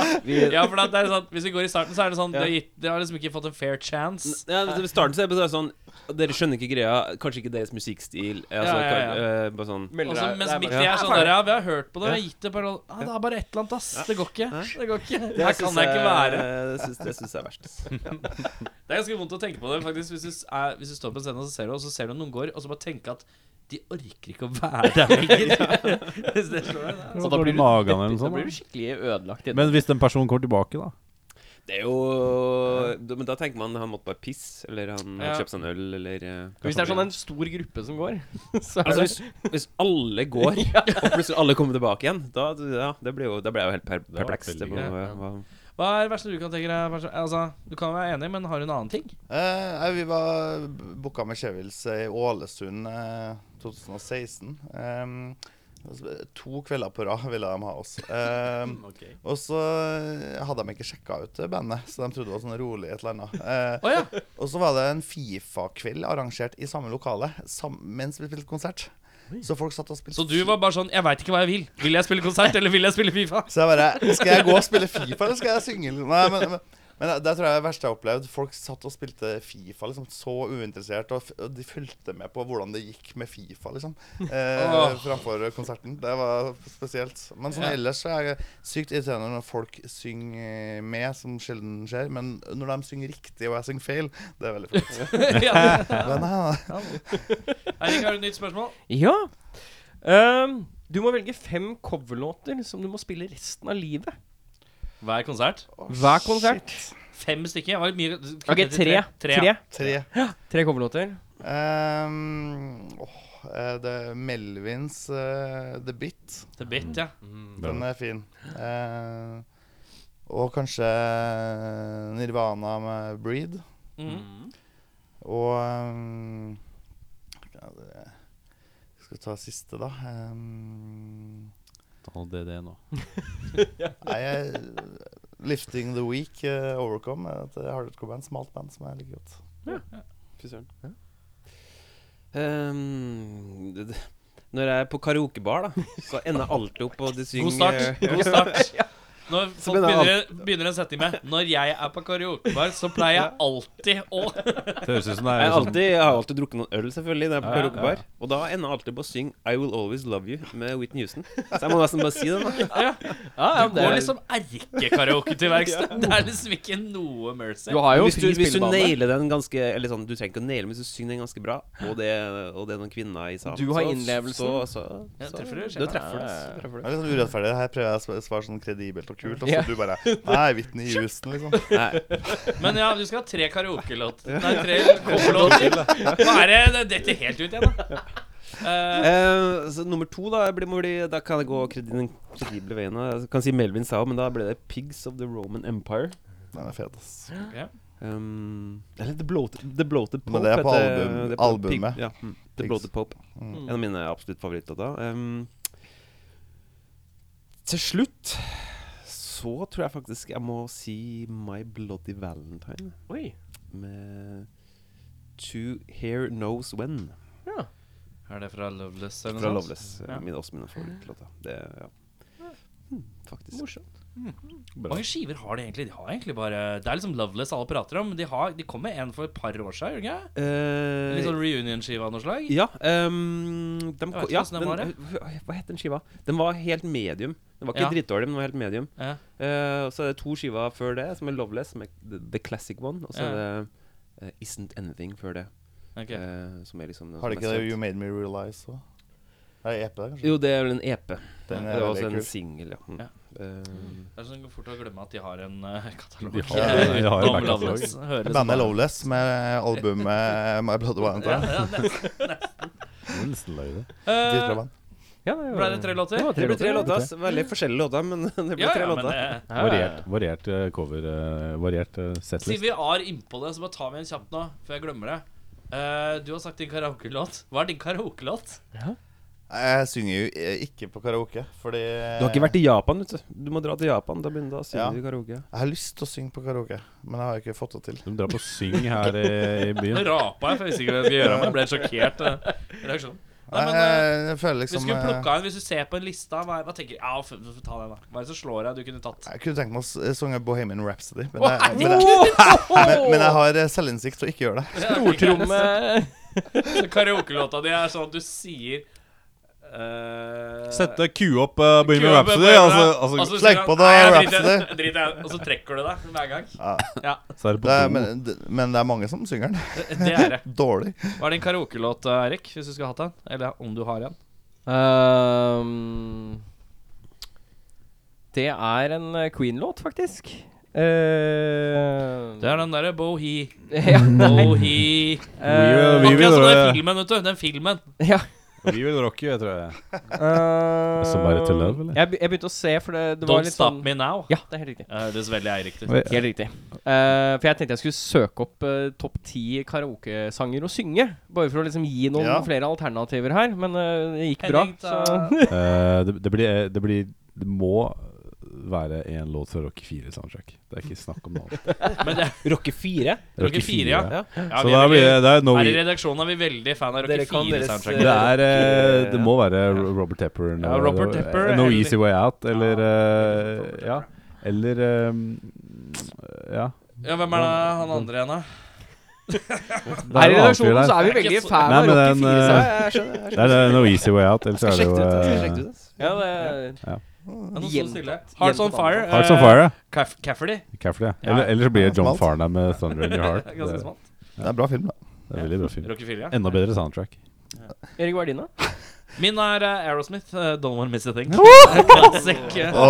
Speaker 2: ja for det er sånn, hvis de går i starten, så er det sånn De har, gitt, de har liksom ikke fått en fair chance.
Speaker 5: Ja, I starten så er det bare sånn Dere skjønner ikke greia. Kanskje ikke deres musikkstil. Altså,
Speaker 2: ja, ja.
Speaker 5: kan- eh, bare sånn
Speaker 2: Og så mens midt i
Speaker 3: bare-
Speaker 2: er sånn der, Ja, vi har hørt på det, vi
Speaker 5: Ja.
Speaker 2: har gitt det bare ah, Det er bare et eller annet, ass. Det går ikke. Det går ikke.
Speaker 5: Det sånn,
Speaker 2: Her
Speaker 5: syns
Speaker 2: kan jeg ikke være.
Speaker 5: Det syns- Det syns jeg er verst.
Speaker 2: Det er ganske vondt å tenke på det, faktisk. Hvis du, s- er, hvis du står på en scene og så ser du, og så ser du noen går, og så bare tenke at de orker ikke å være der lenger. Hvis det slår deg, da.
Speaker 4: så Sånn, da blir magen eller noe
Speaker 3: Da blir du
Speaker 4: sånt.
Speaker 3: skikkelig ødelagt.
Speaker 4: da. Men hvis den personen kommer tilbake, da?
Speaker 5: Det er jo da- Men da tenker man han måtte bare pisse, eller han
Speaker 2: Ja.
Speaker 5: ja. kjøpte seg en øl, eller eh,
Speaker 3: Hvis det er sånn en stor gruppe som går, så er
Speaker 5: Altså,
Speaker 3: det
Speaker 5: hvis, hvis alle går, og plutselig alle kommer tilbake igjen, da, ja, det blir jo, da blir jeg jo helt per
Speaker 4: var
Speaker 5: perpleks.
Speaker 4: veldig
Speaker 5: Det var,
Speaker 2: gøy.
Speaker 5: var-
Speaker 2: Hva er det verste du kan tenke deg? Bernt? Altså, du kan være enig, men har du en annen ting?
Speaker 6: Eh, nei, vi var b- booka med Chevils i Ålesund eh, 2016. Ehm, altså, to kvelder på rad ville de ha oss. Ehm, Og så eh, hadde de ikke sjekka ut eh, bandet, så de trodde det var sånn rolig et eller annet. Eh,
Speaker 2: Å ja.
Speaker 6: og så var det en Fifa-kveld arrangert i samme lokale sam mens vi spilte konsert. Så folk satt og spilte
Speaker 2: Så du var bare sånn Jeg veit ikke hva jeg vil. Vil jeg spille konsert, eller vil jeg spille Fifa?
Speaker 6: Så jeg bare Skal jeg gå og spille Fifa, eller skal jeg synge? liksom? Nei, men, men, men det, det tror jeg er det verste jeg har opplevd. Folk satt og spilte Fifa liksom så uinteressert, og, f- og de fulgte med på hvordan det gikk med Fifa, liksom. Eh,
Speaker 2: Åh.
Speaker 6: Framfor konserten. Det var spesielt. Men sånn
Speaker 2: Ja.
Speaker 6: ellers så er det sykt irriterende når folk synger med, som sjelden skjer. Men når de synger riktig, og jeg synger feil, det er veldig fint.
Speaker 2: ja.
Speaker 6: Men, nei, nei.
Speaker 2: Eirik, har du et nytt spørsmål?
Speaker 3: Ja. Ehm, du må velge fem coverlåter som du må spille resten av livet.
Speaker 2: Hver konsert?
Speaker 3: Hver konsert.
Speaker 2: Fem stykker? Var det mye
Speaker 3: Ok, tre.
Speaker 2: Tre,
Speaker 3: Tre,
Speaker 2: ja.
Speaker 6: Tre.
Speaker 3: tre coverlåter.
Speaker 6: Ehm, åh, eh, det er Melvins eh, The Bit.
Speaker 2: The Bit, ja.
Speaker 6: Den er fin. Eh, og kanskje eh, Nirvana med Breed.
Speaker 2: Mm.
Speaker 6: Og ehm, ja, det- Skal vi ta siste, da? Eh, Ehm,
Speaker 4: Ta det, det nå.
Speaker 6: nei, jeg, Lifting the Weak, eh, Overcome, er et hardcore-band. Smalt band som jeg liker godt.
Speaker 5: Fy søren. Ehm, det- det- når jeg er på karaokebar, da, så ender jeg alltid opp på de synger
Speaker 2: God start.
Speaker 5: eh, Ja.
Speaker 2: God start. Når
Speaker 5: Så
Speaker 2: folk
Speaker 5: begynner
Speaker 2: begynner, begynner en setning med 'Når jeg er på karaokebar, så pleier jeg alltid å'
Speaker 4: Det høres ut som det
Speaker 5: Jeg,
Speaker 4: er
Speaker 5: har
Speaker 4: sånn
Speaker 5: alltid, jeg har alltid drukket noen øl, selvfølgelig, når jeg er
Speaker 4: Ja,
Speaker 5: på
Speaker 4: ja,
Speaker 5: karaokebar. Og da ender jeg alltid på å synge I Will Always Love You med Whitney Houston. Så jeg må nesten bare si den, da.
Speaker 3: Ja, ja,
Speaker 2: Du går liksom erkekaraoke til verks. Det er liksom ikke noe mercy.
Speaker 3: Du har jo
Speaker 5: Hvis du,
Speaker 3: fri
Speaker 5: hvis du
Speaker 3: spillebane.
Speaker 5: nailer den ganske Eller sånn, du trenger ikke å naile, men hvis du synger den ganske bra, og det, og det er noen kvinner i salen
Speaker 3: Du har
Speaker 5: så-
Speaker 3: innlevelsen.
Speaker 5: Så, så,
Speaker 2: Ja,
Speaker 5: så,
Speaker 2: treffer du,
Speaker 5: du treffer
Speaker 3: Ja, ja, ja.
Speaker 5: det. så treffer du.
Speaker 6: Det er litt sånn urettferdig. Her prøver jeg å sv- svare sånn kredibelt og kult, og så
Speaker 3: Ja.
Speaker 6: du bare Nei, Whitney Houston, liksom.
Speaker 5: Nei.
Speaker 2: Men ja, du skal ha tre karaokelåter. Nei, tre coverlåter. Nå er det det detter helt ut igjen, da. Eh,
Speaker 5: Eh, så nummer to, da, blir, må bli, da kan jeg gå kredi- den kredible veien. og Jeg kan si Melvin sa men da ble det Pigs of the Roman Empire.
Speaker 6: Den er fet, ass.
Speaker 2: ok.
Speaker 5: Um, eller The Bloated, the Bloated Pope.
Speaker 6: Men det er på
Speaker 5: heter-
Speaker 6: album-
Speaker 5: det er på Pig-
Speaker 6: albumet.
Speaker 5: Ja, mm, The
Speaker 6: Pigs.
Speaker 5: Bloated Pope.
Speaker 6: Mm.
Speaker 5: En av mine absolutt favorittlåter. Um, til slutt så tror jeg faktisk jeg må si My Bloody Valentine
Speaker 3: Oi.
Speaker 5: med To Here Knows When.
Speaker 3: Ja.
Speaker 2: Er det fra Loveless? eller noe
Speaker 5: Fra
Speaker 2: sånt?
Speaker 5: Loveless. eh,
Speaker 2: Ja. Mm.
Speaker 5: Min, også mine favorittlåter. Det, ja. Hmm, faktisk.
Speaker 3: Morsomt.
Speaker 2: Hvor mange skiver har de egentlig? De har egentlig bare Det er liksom Loveless alle prater om. men De, har, de kom med en for et par år siden, gjorde de ikke?
Speaker 5: Eh,
Speaker 2: Litt sånn reunion-skive av noe slag?
Speaker 5: ja, ehm, dem
Speaker 2: Jeg vet
Speaker 5: ko-
Speaker 2: ikke
Speaker 5: ja
Speaker 2: hvordan den var,
Speaker 5: den- Hva het den skiva? Den var helt medium. Den var
Speaker 2: Ja.
Speaker 5: ikke drittdårlig, men den var helt medium.
Speaker 2: Ja.
Speaker 5: Eh, og så er det to skiver før det, som er Loveless, som er the, the classic one. Og så
Speaker 2: Ja.
Speaker 5: er det eh, Isn't Anything før det.
Speaker 2: ok.
Speaker 5: eh, som er liksom den
Speaker 6: Har det
Speaker 5: som
Speaker 6: ikke
Speaker 5: er
Speaker 6: det
Speaker 5: søt.
Speaker 6: You Made Me Realize òg? Er det EP E der, kanskje?
Speaker 5: Jo, det er vel en EP.
Speaker 6: Den
Speaker 5: det
Speaker 6: er
Speaker 5: var
Speaker 6: veldig
Speaker 5: også en
Speaker 6: kul.
Speaker 5: singel, ja. Mm.
Speaker 2: Ja.
Speaker 5: Eh,
Speaker 2: Det er sånn det går fort å glemme at de har en eh, katalog.
Speaker 4: De har-
Speaker 6: de
Speaker 4: har en
Speaker 2: Utenom
Speaker 4: backkatalog.
Speaker 2: Loveless, høres
Speaker 6: Bandet
Speaker 2: bare-
Speaker 6: Lowless med albumet My Blood
Speaker 2: Ja,
Speaker 6: Valentine.
Speaker 2: ja, nesten.
Speaker 4: Nesten løy det.
Speaker 6: Dritbra
Speaker 2: Eh,
Speaker 6: band.
Speaker 3: Ja, det
Speaker 2: Ble det tre låter?
Speaker 3: var
Speaker 5: det ble tre
Speaker 3: ja.
Speaker 5: låter. ass. Veldig forskjellige låter, men det ble
Speaker 2: Ja,
Speaker 5: tre
Speaker 2: ja, men
Speaker 5: låter.
Speaker 2: eh,
Speaker 3: Ja, ja, ja.
Speaker 4: Variert, variert eh, cover. eh, variert eh,
Speaker 2: Siden
Speaker 4: setlist.
Speaker 2: vi er innpå det, så bare tar vi en kjapt nå, før jeg glemmer det. Eh, du har sagt din karaokelåt. Hva er din karaokelåt?
Speaker 6: Jeg synger jo eh, ikke på karaoke, fordi
Speaker 5: Du har ikke vært i Japan, vet du. Du må dra til Japan. Da begynner du å
Speaker 6: Ja.
Speaker 5: synge i karaoke.
Speaker 6: Jeg har lyst til å synge på karaoke, men jeg har ikke fått det til.
Speaker 4: De drar på syng her i, i
Speaker 2: Nå
Speaker 4: byen.
Speaker 2: rapa jeg, for jeg visste ikke hva jeg skulle gjøre. Men jeg ble sjokkert. eh, reaksjon. Nei,
Speaker 6: Nei,
Speaker 2: men, eh,
Speaker 6: jeg, jeg føler
Speaker 2: hvis du
Speaker 6: liksom
Speaker 2: skulle
Speaker 6: eh,
Speaker 2: plukka en, hvis du ser på en liste hva, hva tenker du? Ja, f- f- ta den, da. Hva er det som slår deg du kunne tatt?
Speaker 6: Jeg kunne tenkt meg å s- eh, synge Bohemian Rhapsody, men jeg, men jeg, men, men jeg har eh, selvinnsikt til å ikke gjøre det.
Speaker 3: Stortromme
Speaker 2: Så Karaokelåta di er sånn at du sier eh,
Speaker 4: Sette ku opp uh, Bohemian
Speaker 2: Kue-
Speaker 4: Rhapsody.
Speaker 2: Bohemian-
Speaker 4: Altså, altså,
Speaker 2: sier
Speaker 6: Sleng
Speaker 2: han,
Speaker 6: på
Speaker 2: «Nei, jeg
Speaker 6: deg,
Speaker 2: driter-
Speaker 6: Rhapsody.
Speaker 2: driter jeg», Og så trekker du deg hver gang.
Speaker 6: Ja.
Speaker 2: Ja,
Speaker 4: så er det på
Speaker 6: det er,
Speaker 4: do.
Speaker 6: men, d- men det er mange som synger den.
Speaker 2: det er det.
Speaker 6: Dårlig.
Speaker 2: Hva er din karaokelåt, eh, Erik? Hvis du skulle hatt en? Eller om du har en?
Speaker 3: Ehm, Det er en eh, Queen-låt, faktisk. Eh,
Speaker 2: Det er den derre Bohi.
Speaker 3: ja, nei.
Speaker 2: Bohi.
Speaker 3: Eh,
Speaker 4: Vi vil
Speaker 2: Akkurat som
Speaker 4: høre-
Speaker 2: den filmen, vet du. Den filmen.
Speaker 3: ja.
Speaker 4: Vi vil rocke, jeg tror jeg.
Speaker 3: eh,
Speaker 4: Somebody to love, eller?
Speaker 3: Jeg, be- jeg begynte å se, for det, det var
Speaker 2: Don't
Speaker 3: litt
Speaker 2: Stop
Speaker 3: sånn
Speaker 2: Me Now.
Speaker 3: Ja, det er helt riktig.
Speaker 2: Det høres veldig eierriktig ut.
Speaker 4: Oi,
Speaker 3: Helt riktig. Eh, for jeg tenkte jeg skulle søke opp eh, topp ti karaokesanger å synge. Bare for å liksom gi noen
Speaker 6: Ja.
Speaker 3: flere alternativer her. Men eh, det gikk bra.
Speaker 2: Henning,
Speaker 3: Så.
Speaker 2: ta-
Speaker 4: eh, det, det, blir, det blir Det må være en låt fra Rocky 4 soundtrack. Det er ikke snakk om noe annet.
Speaker 2: Men det,
Speaker 5: Rocke fire?
Speaker 2: Rocky 4, ja.
Speaker 5: Ja.
Speaker 2: ja
Speaker 4: Så
Speaker 2: vi
Speaker 4: da
Speaker 2: er,
Speaker 4: blir det,
Speaker 2: veldig-
Speaker 4: det er no e-
Speaker 2: her i redaksjonen er vi veldig fan av Rocky
Speaker 5: Dere kan deres,
Speaker 2: 4-soundtrack.
Speaker 4: det er eh, Det må være
Speaker 5: Ja.
Speaker 4: Robert Tepper. Eh,
Speaker 2: Ja, Robert Tepper,
Speaker 4: No
Speaker 2: eller-
Speaker 4: Easy Way Out, eller
Speaker 2: Ja,
Speaker 4: eh, Ja. Eller eh, Ja.
Speaker 2: Ja, hvem er det han andre igjen, da?
Speaker 4: Det
Speaker 3: Her i
Speaker 4: en annen fyr
Speaker 3: redaksjonen
Speaker 4: der.
Speaker 3: så er
Speaker 2: Det
Speaker 3: vi
Speaker 2: er
Speaker 3: veldig
Speaker 2: ikke så-
Speaker 3: fan
Speaker 4: Nei,
Speaker 3: av
Speaker 4: men
Speaker 3: Rocky
Speaker 4: den,
Speaker 3: 4. så
Speaker 4: eh,
Speaker 5: Ja, jeg skjønner. Jeg skjønner.
Speaker 4: Det er, det er No Easy Way Out, eller så er det jo eh,
Speaker 3: Ja, det
Speaker 2: Ja, nå står det stille.
Speaker 3: Gjentatt-
Speaker 2: Hearts On
Speaker 3: gjentatt
Speaker 2: Fire. eh,
Speaker 4: Hearts On Fire, ja.
Speaker 2: Caff- Cafferty.
Speaker 4: Cafferty, ja.
Speaker 2: Ja.
Speaker 4: Eller, eller så blir det John
Speaker 6: Smalt.
Speaker 4: Farnham med 'Thunder In Your Heart'.
Speaker 2: Ganske
Speaker 4: Det,
Speaker 2: smalt.
Speaker 6: Det er en bra film, da.
Speaker 4: det er veldig bra film.
Speaker 2: Rocky 4, ja.
Speaker 4: Enda bedre soundtrack.
Speaker 3: Erik Vardina.
Speaker 2: Min er eh, Aerosmith. eh, Don't Wanna Miss A Thing. Classic. eh.
Speaker 6: Å,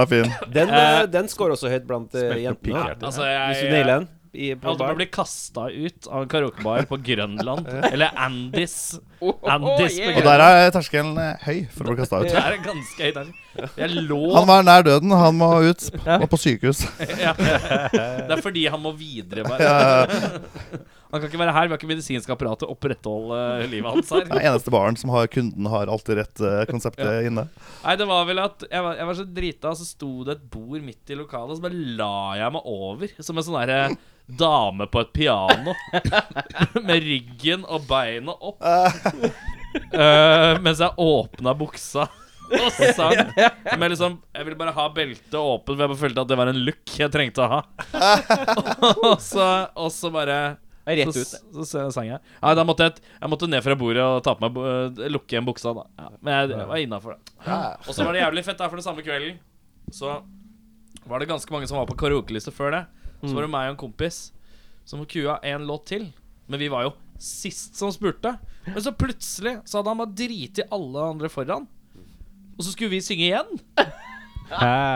Speaker 6: den er fin.
Speaker 5: Den, eh, den scorer også høyt blant eh,
Speaker 4: Spilte
Speaker 5: jentene.
Speaker 4: pikk,
Speaker 5: Ja.
Speaker 4: ja.
Speaker 2: Altså, jeg,
Speaker 5: Hvis du
Speaker 2: jeg,
Speaker 5: nailer den i- på
Speaker 2: holdt på å
Speaker 5: bar.
Speaker 2: bli kasta ut av en karaokebar på Grønland. Eller Andis. Andis på
Speaker 3: yeah.
Speaker 6: Og
Speaker 2: Grønland.
Speaker 6: der er terskelen eh, høy for å bli kasta
Speaker 2: Det
Speaker 6: ut.
Speaker 2: er ganske høy terning. Jeg lå
Speaker 6: Han var nær døden, han må ut og på sykehus.
Speaker 2: ja. Det er fordi han må videre. Bare. Han kan ikke være her. Vi har ikke medisinsk apparat til å opprettholde eh, livet hans her.
Speaker 6: Det er eneste baren som har kunden har alltid rett eh, konseptet inne.
Speaker 2: Nei, det var vel at jeg var, jeg var så drita, og så sto det et bord midt i lokalet, og så bare la jeg meg over som en sånn derre dame på et piano. Med ryggen og beina opp. Eh, mens jeg åpna buksa og sang. Men liksom, jeg ville bare ha beltet åpent, for jeg bare følte at det var en look jeg trengte å ha. og, så, og så bare
Speaker 3: Rett ut.
Speaker 2: så, så, så sang jeg. Nei, da måtte jeg, jeg måtte ned fra bordet og ta på meg, bu- eh, lukke igjen buksa. da ja, Men jeg, jeg var innafor, da. Og så var det jævlig fett, da, for den samme kvelden så var det ganske mange som var på karaokeliste før det. Så var det meg og en kompis som kua en låt til. Men vi var jo sist som spurte. Men så plutselig så hadde han bare driti alle andre foran. Og så skulle vi synge igjen.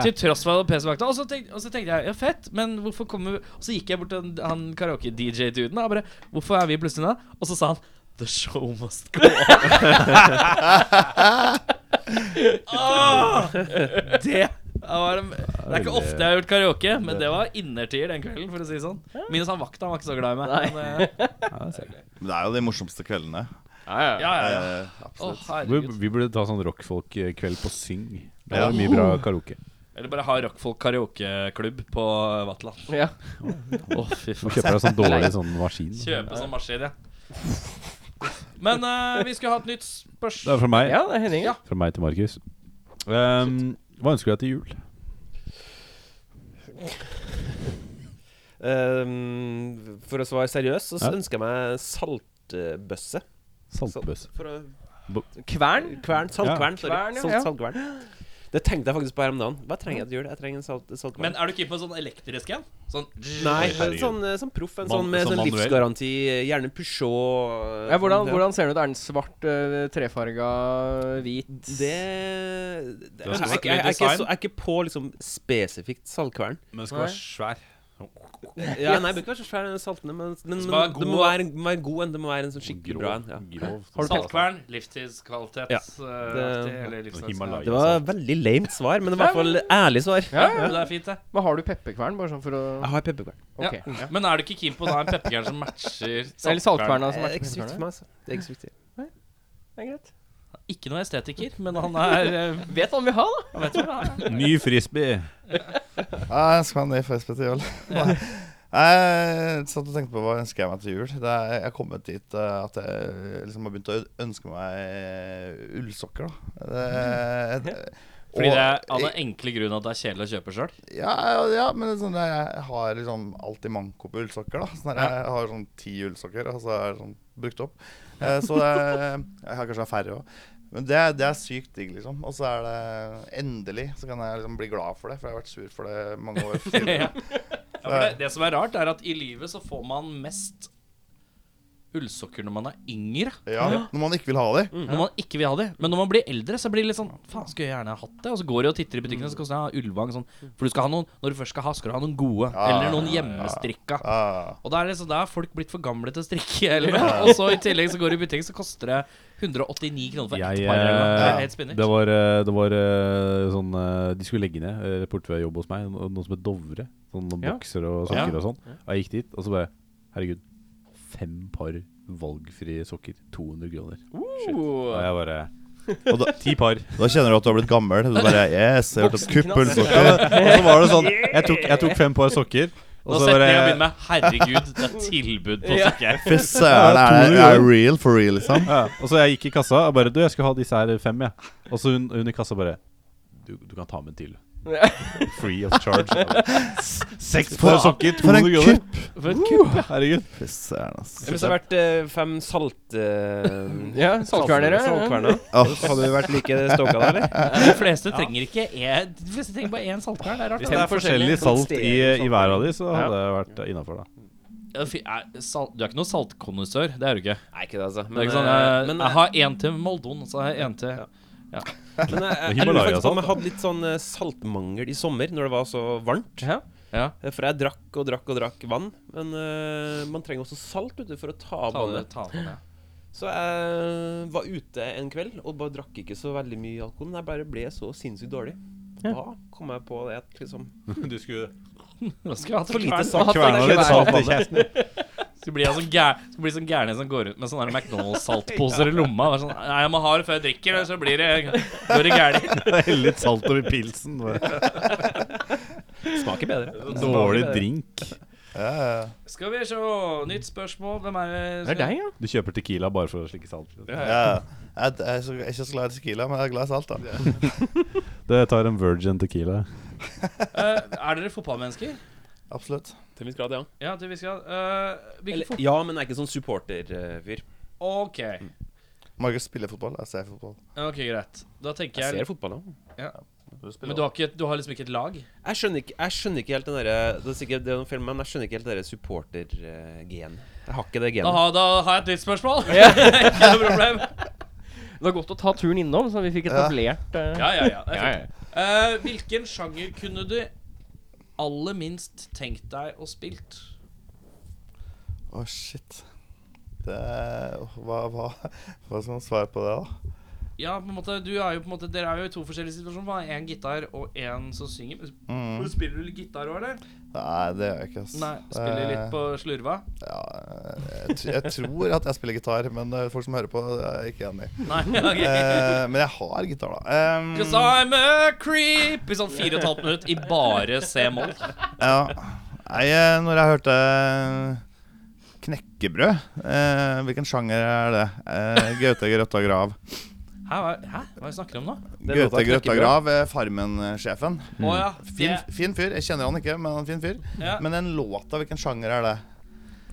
Speaker 2: Til tross for PC-makta. Og, så tenk- og så tenkte jeg ja, fett, men hvorfor kommer vi Og så gikk jeg bort til han- han karaoke-DJ-duden og bare Hvorfor er vi plutselig der? Og så sa han The show must go on. ah, det var en, Det er ikke ofte jeg har gjort karaoke, men det var innertier den kvelden. for å si det sånn Minus han vakta, han var ikke så glad i meg. Men, eh,
Speaker 6: Men det er jo de morsomste kveldene.
Speaker 2: ja, ja, ja.
Speaker 6: Eh,
Speaker 2: Å,
Speaker 6: absolutt.
Speaker 4: Vi,
Speaker 2: herregud.
Speaker 4: vi burde ta sånn rockfolk-kveld på Syng. Det
Speaker 6: Ja.
Speaker 4: er mye bra karaoke.
Speaker 2: Eller bare ha rockfolk karaokeklubb på Vatland.
Speaker 3: Ja.
Speaker 2: Å, fy
Speaker 4: Du kjøper deg sånn dårlig sånn maskin.
Speaker 2: Kjøpe sånn maskin, ja. Men eh, vi skulle ha et nytt
Speaker 4: Det er
Speaker 2: spørsmål.
Speaker 4: fra meg.
Speaker 3: ja, det er Henning. Ja.
Speaker 4: Fra meg til Markus. Ehm, hva ønsker du deg til jul?
Speaker 5: Ehm, for å svare seriøst, så
Speaker 4: Ja.
Speaker 5: ønsker jeg meg saltbøsse.
Speaker 4: Saltbøss.
Speaker 5: For å
Speaker 3: Kvern?
Speaker 5: Kvern, saltkvern. sorry.
Speaker 3: Kvern, ja,
Speaker 5: Salt-
Speaker 3: ja.
Speaker 5: saltkvern. Det tenkte jeg faktisk på her om dagen. Hva trenger jeg til jul? Jeg trenger en salt, saltkvern.
Speaker 2: Men er du keen på en sånn elektrisk en? Sånn
Speaker 5: Nei,
Speaker 4: Oi, herregud.
Speaker 5: sånn, eh, sånn proff. En
Speaker 4: Man-
Speaker 5: sånn med
Speaker 4: sånn
Speaker 5: sånn
Speaker 4: manuell.
Speaker 5: livsgaranti. Gjerne Peugeot. eh,
Speaker 3: Ja, hvordan,
Speaker 5: sånn,
Speaker 3: hvordan ser den ut? Er den svart, øh, trefarga, hvit?
Speaker 5: Det, det,
Speaker 4: er
Speaker 5: jeg, jeg,
Speaker 4: vanskelig
Speaker 5: jeg, er ikke
Speaker 4: design.
Speaker 5: så- jeg er ikke på liksom spesifikt saltkvern.
Speaker 4: Men
Speaker 3: skal være
Speaker 4: svær.
Speaker 5: Ja, nei, det bør ikke være så svær den saltende, men, men
Speaker 2: skal være
Speaker 5: det må
Speaker 2: god.
Speaker 5: være, må være god en. Det må være en sånn skikkelig bra en. Ja.
Speaker 4: Har du pelt
Speaker 2: Saltkvern, livstidskvalitet
Speaker 5: Ja.
Speaker 2: eh,
Speaker 5: Det-
Speaker 2: aktig, eller livsaktig.
Speaker 4: Himalaya.
Speaker 5: Det var veldig lamet svar, men det var i hvert fall ærlig svar.
Speaker 2: Ja, men det er fint, det.
Speaker 3: Men har du pepperkvern, bare sånn for å
Speaker 5: Jeg har pepperkvern.
Speaker 3: Ok.
Speaker 2: Ja. Men er du ikke keen på å ha en pepperkjern som matcher
Speaker 3: Eller
Speaker 2: saltkvern?
Speaker 3: saltkverna
Speaker 5: Det
Speaker 3: som
Speaker 5: er
Speaker 3: er
Speaker 5: ikke så viktig for meg, altså. Det er ikke så viktig.
Speaker 3: Det er greit.
Speaker 2: Ikke noe estetiker, men han er eh,
Speaker 3: Vet hva han vil ha, da.
Speaker 2: Han vet hva det er.
Speaker 4: Ny frisbee.
Speaker 6: Ja, jeg skal ha en ny festspesial. Jeg satt og tenkte på hva ønsker jeg meg til jul. Det er, jeg har kommet dit eh, at jeg liksom har begynt å ønske meg eh, ullsokker. Da. Det,
Speaker 2: Mhm. Fordi
Speaker 6: og-
Speaker 2: det er av den enkle grunnen at det er kjedelig å kjøpe sjøl.
Speaker 6: ja, ja, ja, men det er sånn, at jeg har liksom alltid manko på ullsokker. da sånn, at Jeg har sånn ti ullsokker, og så er det sånn brukt opp. Eh, Så det, jeg har kanskje færre òg. Men det, er- det er sykt digg, liksom. Og så er det endelig så kan jeg liksom bli glad for det, for jeg har vært sur for det mange år. tidligere.
Speaker 2: ja, for det, det som er rart, er at i livet så får man mest ullsokker når man er yngre.
Speaker 6: Ja, Når man ikke vil ha dem.
Speaker 2: Når man ikke vil ha de. Men når man blir eldre, så blir det litt sånn Faen, skulle jeg gjerne hatt det? Og så går jeg og titter i butikkene, så koster jeg ullvang sånn. For du skal ha noen Når du først skal ha, skal du ha noen gode.
Speaker 6: Ja,
Speaker 2: Eller noen
Speaker 6: ja,
Speaker 2: hjemmestrikka.
Speaker 6: Ah.
Speaker 2: Og da er, det liksom, da er folk blitt for gamle til å strikke. Eller noe. Og så i tillegg så går du i butikken, så koster det 189 kroner for ett
Speaker 4: Jeg,
Speaker 2: par. Eller noe. Det
Speaker 4: eh,
Speaker 2: er helt spinner.
Speaker 4: det var, eh, det var eh, sånn eh, De skulle legge ned eh, borte ved jobb hos meg, no- noe som het Dovre. Sånn
Speaker 3: Ja.
Speaker 4: bokser og
Speaker 2: Ja.
Speaker 4: sokker og sånn. Og jeg gikk dit, og så bare Herregud, fem par valgfrie sokker. 200 kroner. Shit. Og
Speaker 6: Oh.
Speaker 4: jeg bare
Speaker 6: Og da,
Speaker 4: Ti par.
Speaker 6: da kjenner du at du har blitt gammel. Du bare Yes, jeg har gjort et kupp på ullsokker.
Speaker 4: Og så var det sånn Jeg tok, jeg tok fem par sokker, og
Speaker 2: Nå
Speaker 4: så
Speaker 2: setter jeg og begynner
Speaker 4: bare
Speaker 2: med Herregud, det er tilbud på sokker.
Speaker 6: Fy søren, er det er det real for real, liksom?
Speaker 4: ja, Og så jeg gikk i kassa og bare Du, jeg skal ha disse her fem, jeg. Og så hun, hun i kassa bare Du, du kan ta med en til. Free of charge. S- Seks par sokker,
Speaker 6: For en
Speaker 4: 200 kroner.
Speaker 3: For et kupp.
Speaker 4: Uh, Herregud.
Speaker 6: Fy søren, ass.
Speaker 5: Hvis det hadde vært eh, fem salt... eh,
Speaker 3: Ja, saltkvernere.
Speaker 5: Saltkverner.
Speaker 6: Åh.
Speaker 5: Hadde vi vært like stoka der, eller?
Speaker 2: De fleste trenger ikke én, De fleste trenger bare én saltkvern. Det er rart.
Speaker 4: Hvis
Speaker 2: da.
Speaker 4: det er forskjellig salt i, i hver av de, så
Speaker 5: Ja.
Speaker 4: hadde det vært innafor, da.
Speaker 2: Ja, fy- er- salt- Du er ikke noen saltkondisør. Det er du ikke.
Speaker 5: Nei, ikke det, altså.
Speaker 2: Det er ikke sånn,
Speaker 5: eh,
Speaker 2: jeg,
Speaker 5: men,
Speaker 2: jeg har én til Moldon, så har jeg én til
Speaker 5: Men jeg, jeg, lurer
Speaker 4: Himalaya-salt,
Speaker 5: faktisk på om jeg
Speaker 4: da.
Speaker 5: hadde litt sånn eh, saltmangel i sommer, når det var så varmt.
Speaker 3: Ja.
Speaker 2: Ja.
Speaker 5: Eh, For jeg drakk og drakk og drakk vann. Men eh, man trenger også salt vet du, for å ta av
Speaker 2: Ta det,
Speaker 5: vannet.
Speaker 2: ta det, ja.
Speaker 5: Så jeg var ute en kveld og bare drakk ikke så veldig mye alkohol. Men jeg bare ble så sinnssykt dårlig. Da kom jeg på det at liksom
Speaker 4: Du skulle
Speaker 2: Nå skal jeg ha
Speaker 5: For lite
Speaker 2: saltkvern.
Speaker 5: salt.
Speaker 4: kverna litt salt altså. i kjeften.
Speaker 2: Skal bli en sånn gær- skal bli sånn gærning som går rundt med sånne McDonald's-saltposer i lomma. Bare Sånn, Nei, jeg må ha det før jeg drikker, eller så blir det, går det gærent.
Speaker 4: Helle litt salt over pilsen. bare.
Speaker 5: Smaker bedre.
Speaker 4: Dårlig drink.
Speaker 6: Ja, ja.
Speaker 2: Skal vi se Nytt spørsmål. Hvem er det?
Speaker 3: Det er deg, ja.
Speaker 4: Du kjøper Tequila bare for å slikke salt. liksom.
Speaker 6: ja. Jeg, jeg er så- jeg er ikke så glad i tequila, men jeg er glad i salt. da
Speaker 4: Det tar en virgin tequila.
Speaker 2: Eh, er dere fotballmennesker?
Speaker 6: Absolutt.
Speaker 5: Til en viss grad, ja.
Speaker 2: Ja, det vi skal eh, hvilken
Speaker 5: Eller,
Speaker 2: fot-
Speaker 5: ja, men jeg er ikke sånn supporterfyr.
Speaker 2: OK.
Speaker 6: Markus spiller fotball. Jeg ser fotball.
Speaker 2: Ok, Greit. Da tenker
Speaker 5: Jeg
Speaker 2: jeg
Speaker 5: ser fotball òg.
Speaker 6: Du spiller
Speaker 2: Men du har, ikke, du har liksom ikke et lag?
Speaker 5: Jeg skjønner ikke, jeg skjønner ikke helt den derre Det er sikkert det er noen film, men jeg skjønner ikke helt det derre supportergen. Jeg har ikke det
Speaker 2: Da,
Speaker 5: genet.
Speaker 2: har- da har jeg et nytt spørsmål. ikke noe problem.
Speaker 3: Det var godt å ta turen innom, så vi fikk etablert eh,
Speaker 2: Ja, ja, ja. Det er fint. Eh, hvilken sjanger kunne du aller minst tenkt deg å spilt?
Speaker 6: Å, shit. Det, åh, hva, hva, hva skal man svare på det, da?
Speaker 2: Ja, på en måte, du er jo på en måte Dere er jo i to forskjellige situasjoner. Hva er én gitar og én som synger? Men
Speaker 6: Mm.
Speaker 2: Spiller du litt gitar òg, eller?
Speaker 6: Nei, det gjør jeg ikke. ass.
Speaker 2: Nei, spiller litt
Speaker 6: Eh,
Speaker 2: på slurva?
Speaker 6: Ja, jeg, tr- jeg tror at jeg spiller gitar, men eh, folk som hører på, er ikke enig.
Speaker 2: Nei, ok
Speaker 6: Eh, men jeg har gitar, da. Em,
Speaker 2: Cause I'm a creep I sånn fire og et halvt minutt i bare C-moll.
Speaker 6: ja. Nei, eh, når jeg hørte eh, Knekkebrød eh, Hvilken sjanger er det? Eh, Gaute Grøtta Grav.
Speaker 2: Hæ, hva, hæ? hva snakker du om nå?
Speaker 5: Den låta
Speaker 6: Gaute Grøtta
Speaker 5: Knekkebrød.
Speaker 6: Grav er Farmen-sjefen.
Speaker 2: Å ja.
Speaker 6: Fin,
Speaker 2: det-
Speaker 6: fin fyr. Jeg kjenner han ikke, men han er en fin fyr.
Speaker 2: ja.
Speaker 6: Men den låta, hvilken sjanger er det?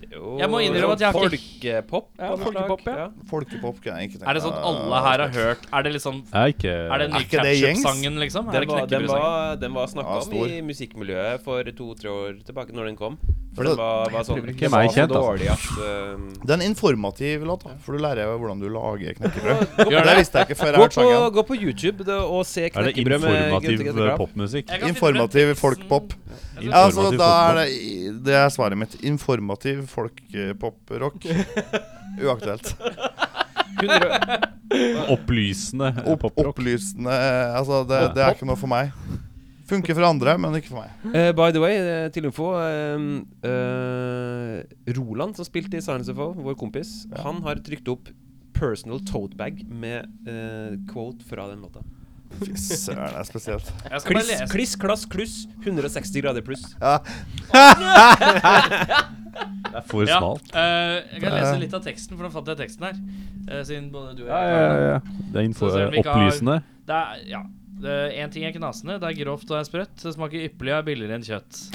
Speaker 2: Jeg må innrømme at jeg har ikke eh,
Speaker 5: Folkepop?
Speaker 3: Ja, folkepop, ja.
Speaker 6: Folkepop? kan jeg ikke tenke
Speaker 2: Er det sånn
Speaker 6: meg.
Speaker 2: at alle her har hørt Er det litt sånn
Speaker 4: Jeg er ikke
Speaker 2: Er det den
Speaker 6: Eh, Er
Speaker 2: nye
Speaker 6: ikke det gjengs?
Speaker 2: Ketchup-sangen, liksom? Er det
Speaker 5: Den var, den
Speaker 2: Knekkebrødsangen?
Speaker 5: var, den var snakka
Speaker 6: Ja,
Speaker 5: om i musikkmiljøet for to-tre år tilbake, når den kom. For
Speaker 6: det-
Speaker 5: den var, var sånn
Speaker 4: Ikke meg
Speaker 5: så
Speaker 4: kjent, altså.
Speaker 5: dårlig at um,
Speaker 6: Det er en informativ låt, da, for du lærer jo hvordan du lager knekkebrød.
Speaker 2: Gjør
Speaker 6: Det
Speaker 2: det?
Speaker 6: visste jeg ikke før jeg
Speaker 5: gå,
Speaker 6: hørte
Speaker 5: på,
Speaker 6: sangen.
Speaker 5: gå på YouTube det, og
Speaker 4: Er
Speaker 5: se
Speaker 4: det
Speaker 5: Knekkebrød med
Speaker 4: informativ
Speaker 5: Gutter Gutter Grav.
Speaker 4: popmusikk?
Speaker 2: Jeg kan finne Mm.
Speaker 6: Informativ
Speaker 2: frem teksten.
Speaker 6: folkpop.
Speaker 2: Jeg
Speaker 6: Ja,
Speaker 2: tror-
Speaker 6: altså, da er det, det er svaret mitt. Informativ folkepoprock. Uaktuelt.
Speaker 5: 100
Speaker 4: Opplysende
Speaker 6: Opp,
Speaker 4: poprock.
Speaker 6: opplysende Altså, det, det er ikke noe for meg. Funker for andre, men ikke for meg.
Speaker 5: Eh, by the way, eh, til info ehm, eh, Roland, som spilte i Silence of O, vår kompis, han har trykt opp personal tote bag med eh, quote fra den låta.
Speaker 6: Fy søren, det er spesielt.
Speaker 2: Jeg skal bare
Speaker 5: Kliss,
Speaker 2: lese
Speaker 5: kliss, klass, kluss. 160 grader pluss.
Speaker 6: Ja,
Speaker 4: For
Speaker 2: Ja,
Speaker 4: smalt.
Speaker 2: eh, jeg kan lese litt av teksten, for nå fant jeg teksten her. Eh, siden både du og jeg
Speaker 4: Ja, ja, ja, ja. Det er info
Speaker 2: Så selv om vi ikke har-
Speaker 4: opplysende.
Speaker 2: Det er, ja. Én ting er knasende, det er grovt og er sprøtt. Det smaker ypperlig og er billigere enn kjøtt.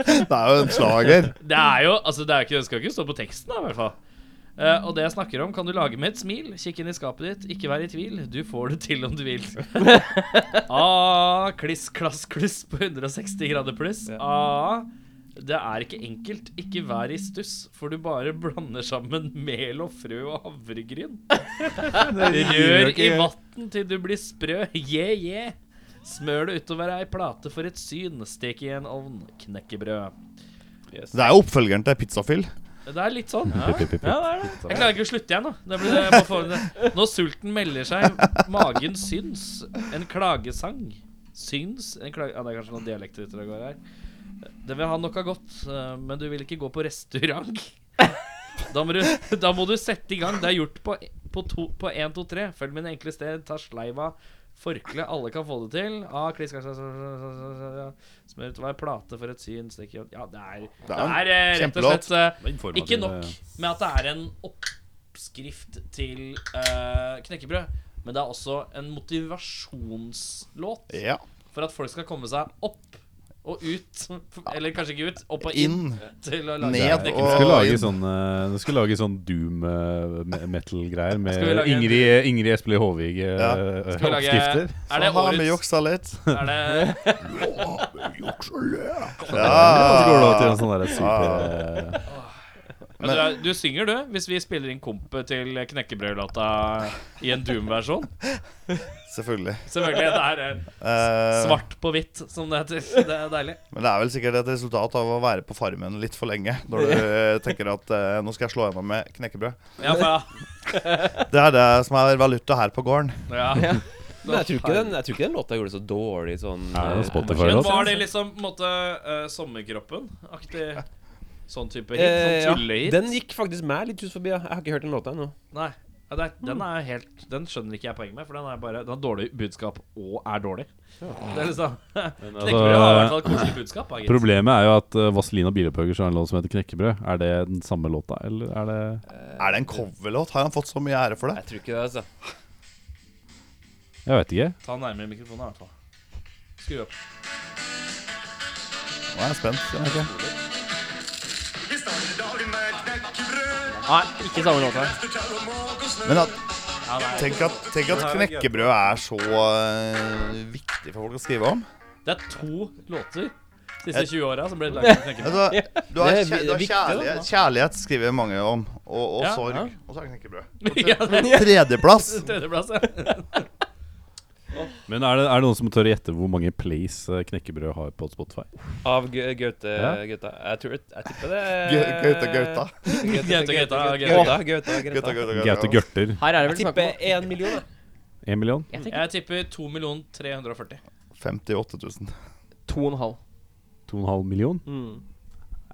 Speaker 6: det er jo en slager.
Speaker 2: Det er jo, altså det, er ikke, det skal ikke stå på teksten, da, i hvert fall. Eh, og det jeg snakker om, kan du lage med et smil. Kikk inn i skapet ditt, ikke vær i tvil. Du får det til om du vil. ah, kliss, klass, kluss på 160 grader pluss. Ah, det er ikke enkelt. Ikke vær i stuss, for du bare blander sammen mel og frø og havregryn. Rør i vann til du blir sprø. Yeah, yeah. Smør det utover ei plate for et syn. Stek i en ovn. Knekkebrød.
Speaker 6: Det er jo oppfølgeren til Pizzafyll.
Speaker 2: Det er litt sånn. Ja.
Speaker 4: Pip, pip, pip.
Speaker 2: Ja, det er det. Jeg klarer ikke å slutte igjen, da. Det blir, jeg må få det. Når sulten melder seg, magen syns. En klagesang. Syns en klage... Ja, det er kanskje noen dialekter ute og går her. Det vil ha nok av godt, eh, men du vil ikke gå på restaurant. Da må, du, da må du sette i gang. Det er gjort på, på, to, på 1, 2, 3. Følg mine enkle steg. Ta sleiv av forkle. Alle kan få det til. Ah, kliss, kliss, kliss, kliss, kliss, kliss, kliss. Smør ut hver plate for et syn. Stikk i Ja, det er,
Speaker 6: Det
Speaker 2: det
Speaker 6: er
Speaker 2: er eh, rett og
Speaker 6: kjempelåt.
Speaker 2: slett eh,
Speaker 4: Informativ,
Speaker 2: ikke nok
Speaker 4: eh,
Speaker 2: med at det er en oppskrift til eh, knekkebrød, men det er også en motivasjonslåt
Speaker 6: Ja.
Speaker 2: for at folk skal komme seg opp og ut. Eller kanskje ikke ut, opp og
Speaker 6: Inn.
Speaker 2: inn. Til å lage
Speaker 6: Ned
Speaker 4: Du
Speaker 2: knekkebrød.
Speaker 6: og-
Speaker 4: skulle lage
Speaker 6: inn.
Speaker 4: sånn, eh, du skulle lage sånn doom eh, me- metal-greier med
Speaker 2: Skal vi lage en-
Speaker 4: Ingrid, Ingrid Espelid Håvig eh,
Speaker 6: Ja.
Speaker 4: eh,
Speaker 2: Skal vi lage-
Speaker 4: oppskrifter.
Speaker 2: Er det
Speaker 6: Så Sånn har vi
Speaker 2: årets
Speaker 6: juksa litt.
Speaker 2: er det,
Speaker 6: Ah.
Speaker 4: Og så går det over til
Speaker 6: Ja.
Speaker 4: en sånn der super eh,
Speaker 2: men du, er- du synger, du, hvis vi spiller inn komp til knekkebrødlåta i en Doom-versjon.
Speaker 6: Selvfølgelig.
Speaker 2: Selvfølgelig. Det er eh,
Speaker 6: Eh,
Speaker 2: svart på hvitt, som det heter. Det er deilig.
Speaker 6: Men det er vel sikkert et resultat av å være på farmen litt for lenge. Når du eh, tenker at eh, nå skal jeg slå gjennom med knekkebrød.
Speaker 2: Ja, for ja.
Speaker 6: Det er det som er valuta her på gården.
Speaker 2: ja.
Speaker 5: Men jeg tror, ikke den, jeg tror ikke den låta gjorde det så dårlig sånn
Speaker 4: Er det
Speaker 5: eh,
Speaker 4: noe Spotify
Speaker 2: Men
Speaker 4: låt?
Speaker 2: var det liksom på en måte eh, sommerkroppen-aktig sånn type hit?
Speaker 5: Eh, ja.
Speaker 2: sånn tullehit?
Speaker 5: Den gikk faktisk meg litt hus forbi. ja. Jeg har ikke hørt den låta ennå.
Speaker 2: Nei. Ja, det er, den er helt Den skjønner ikke jeg poenget med, for den er bare Den har dårlig budskap og er dålig. Det er liksom
Speaker 5: altså-
Speaker 2: Knekkebrød har i hvert fall et koselig budskap. da, gitt.
Speaker 4: Problemet er jo at eh, Vaselina Bilepøggers har en låt som heter 'Knekkebrød'. Er det den samme låta, eller er det
Speaker 6: Er det en coverlåt? Har han fått så mye ære for det?
Speaker 5: Jeg tror ikke det, altså.
Speaker 4: Jeg vet ikke.
Speaker 2: Ta nærmere mikrofonen, i hvert fall. Skru opp.
Speaker 6: Nå er jeg spent. kjenner jeg ikke.
Speaker 3: Nei, ikke samme låta.
Speaker 6: Men at,
Speaker 2: Ja, nei.
Speaker 6: tenk, at, tenk at knekkebrød er så eh, viktig for folk å skrive om.
Speaker 2: Det er to låter siste 20 åra som ble laget til knekkebrød.
Speaker 6: Altså, du har,
Speaker 5: Det er
Speaker 6: kjæ,
Speaker 5: vi-
Speaker 6: du har
Speaker 5: viktig, da.
Speaker 6: kjærlighet, kjærlighet skriver mange om, og, og
Speaker 2: Ja,
Speaker 6: sorg.
Speaker 5: ja.
Speaker 6: Og så er det knekkebrød.
Speaker 2: Ja, det
Speaker 6: Tredjeplass.
Speaker 2: er Tredjeplass, ja.
Speaker 4: Men er det, er det noen som tør å gjette hvor mange plays eh, knekkebrød har på Spotify?
Speaker 7: Av Gau- Gaute
Speaker 4: Ja.
Speaker 7: Gauta. Jeg tror jeg tipper det
Speaker 6: Gau- Gaute Gauta.
Speaker 7: Gaute Gauta.
Speaker 2: Gauta,
Speaker 7: Gauta, Gauta,
Speaker 6: Gutta,
Speaker 7: Gauta.
Speaker 6: gutta, gutta.
Speaker 4: Gaute Gørter,
Speaker 3: Her
Speaker 7: Jeg
Speaker 3: er det vel snakk
Speaker 7: tipper
Speaker 3: om
Speaker 7: én million. da.
Speaker 4: én million?
Speaker 2: Jeg tipper 2 340.
Speaker 6: 58 000.
Speaker 3: to og en halv.
Speaker 4: 2,5 million?
Speaker 3: Mm.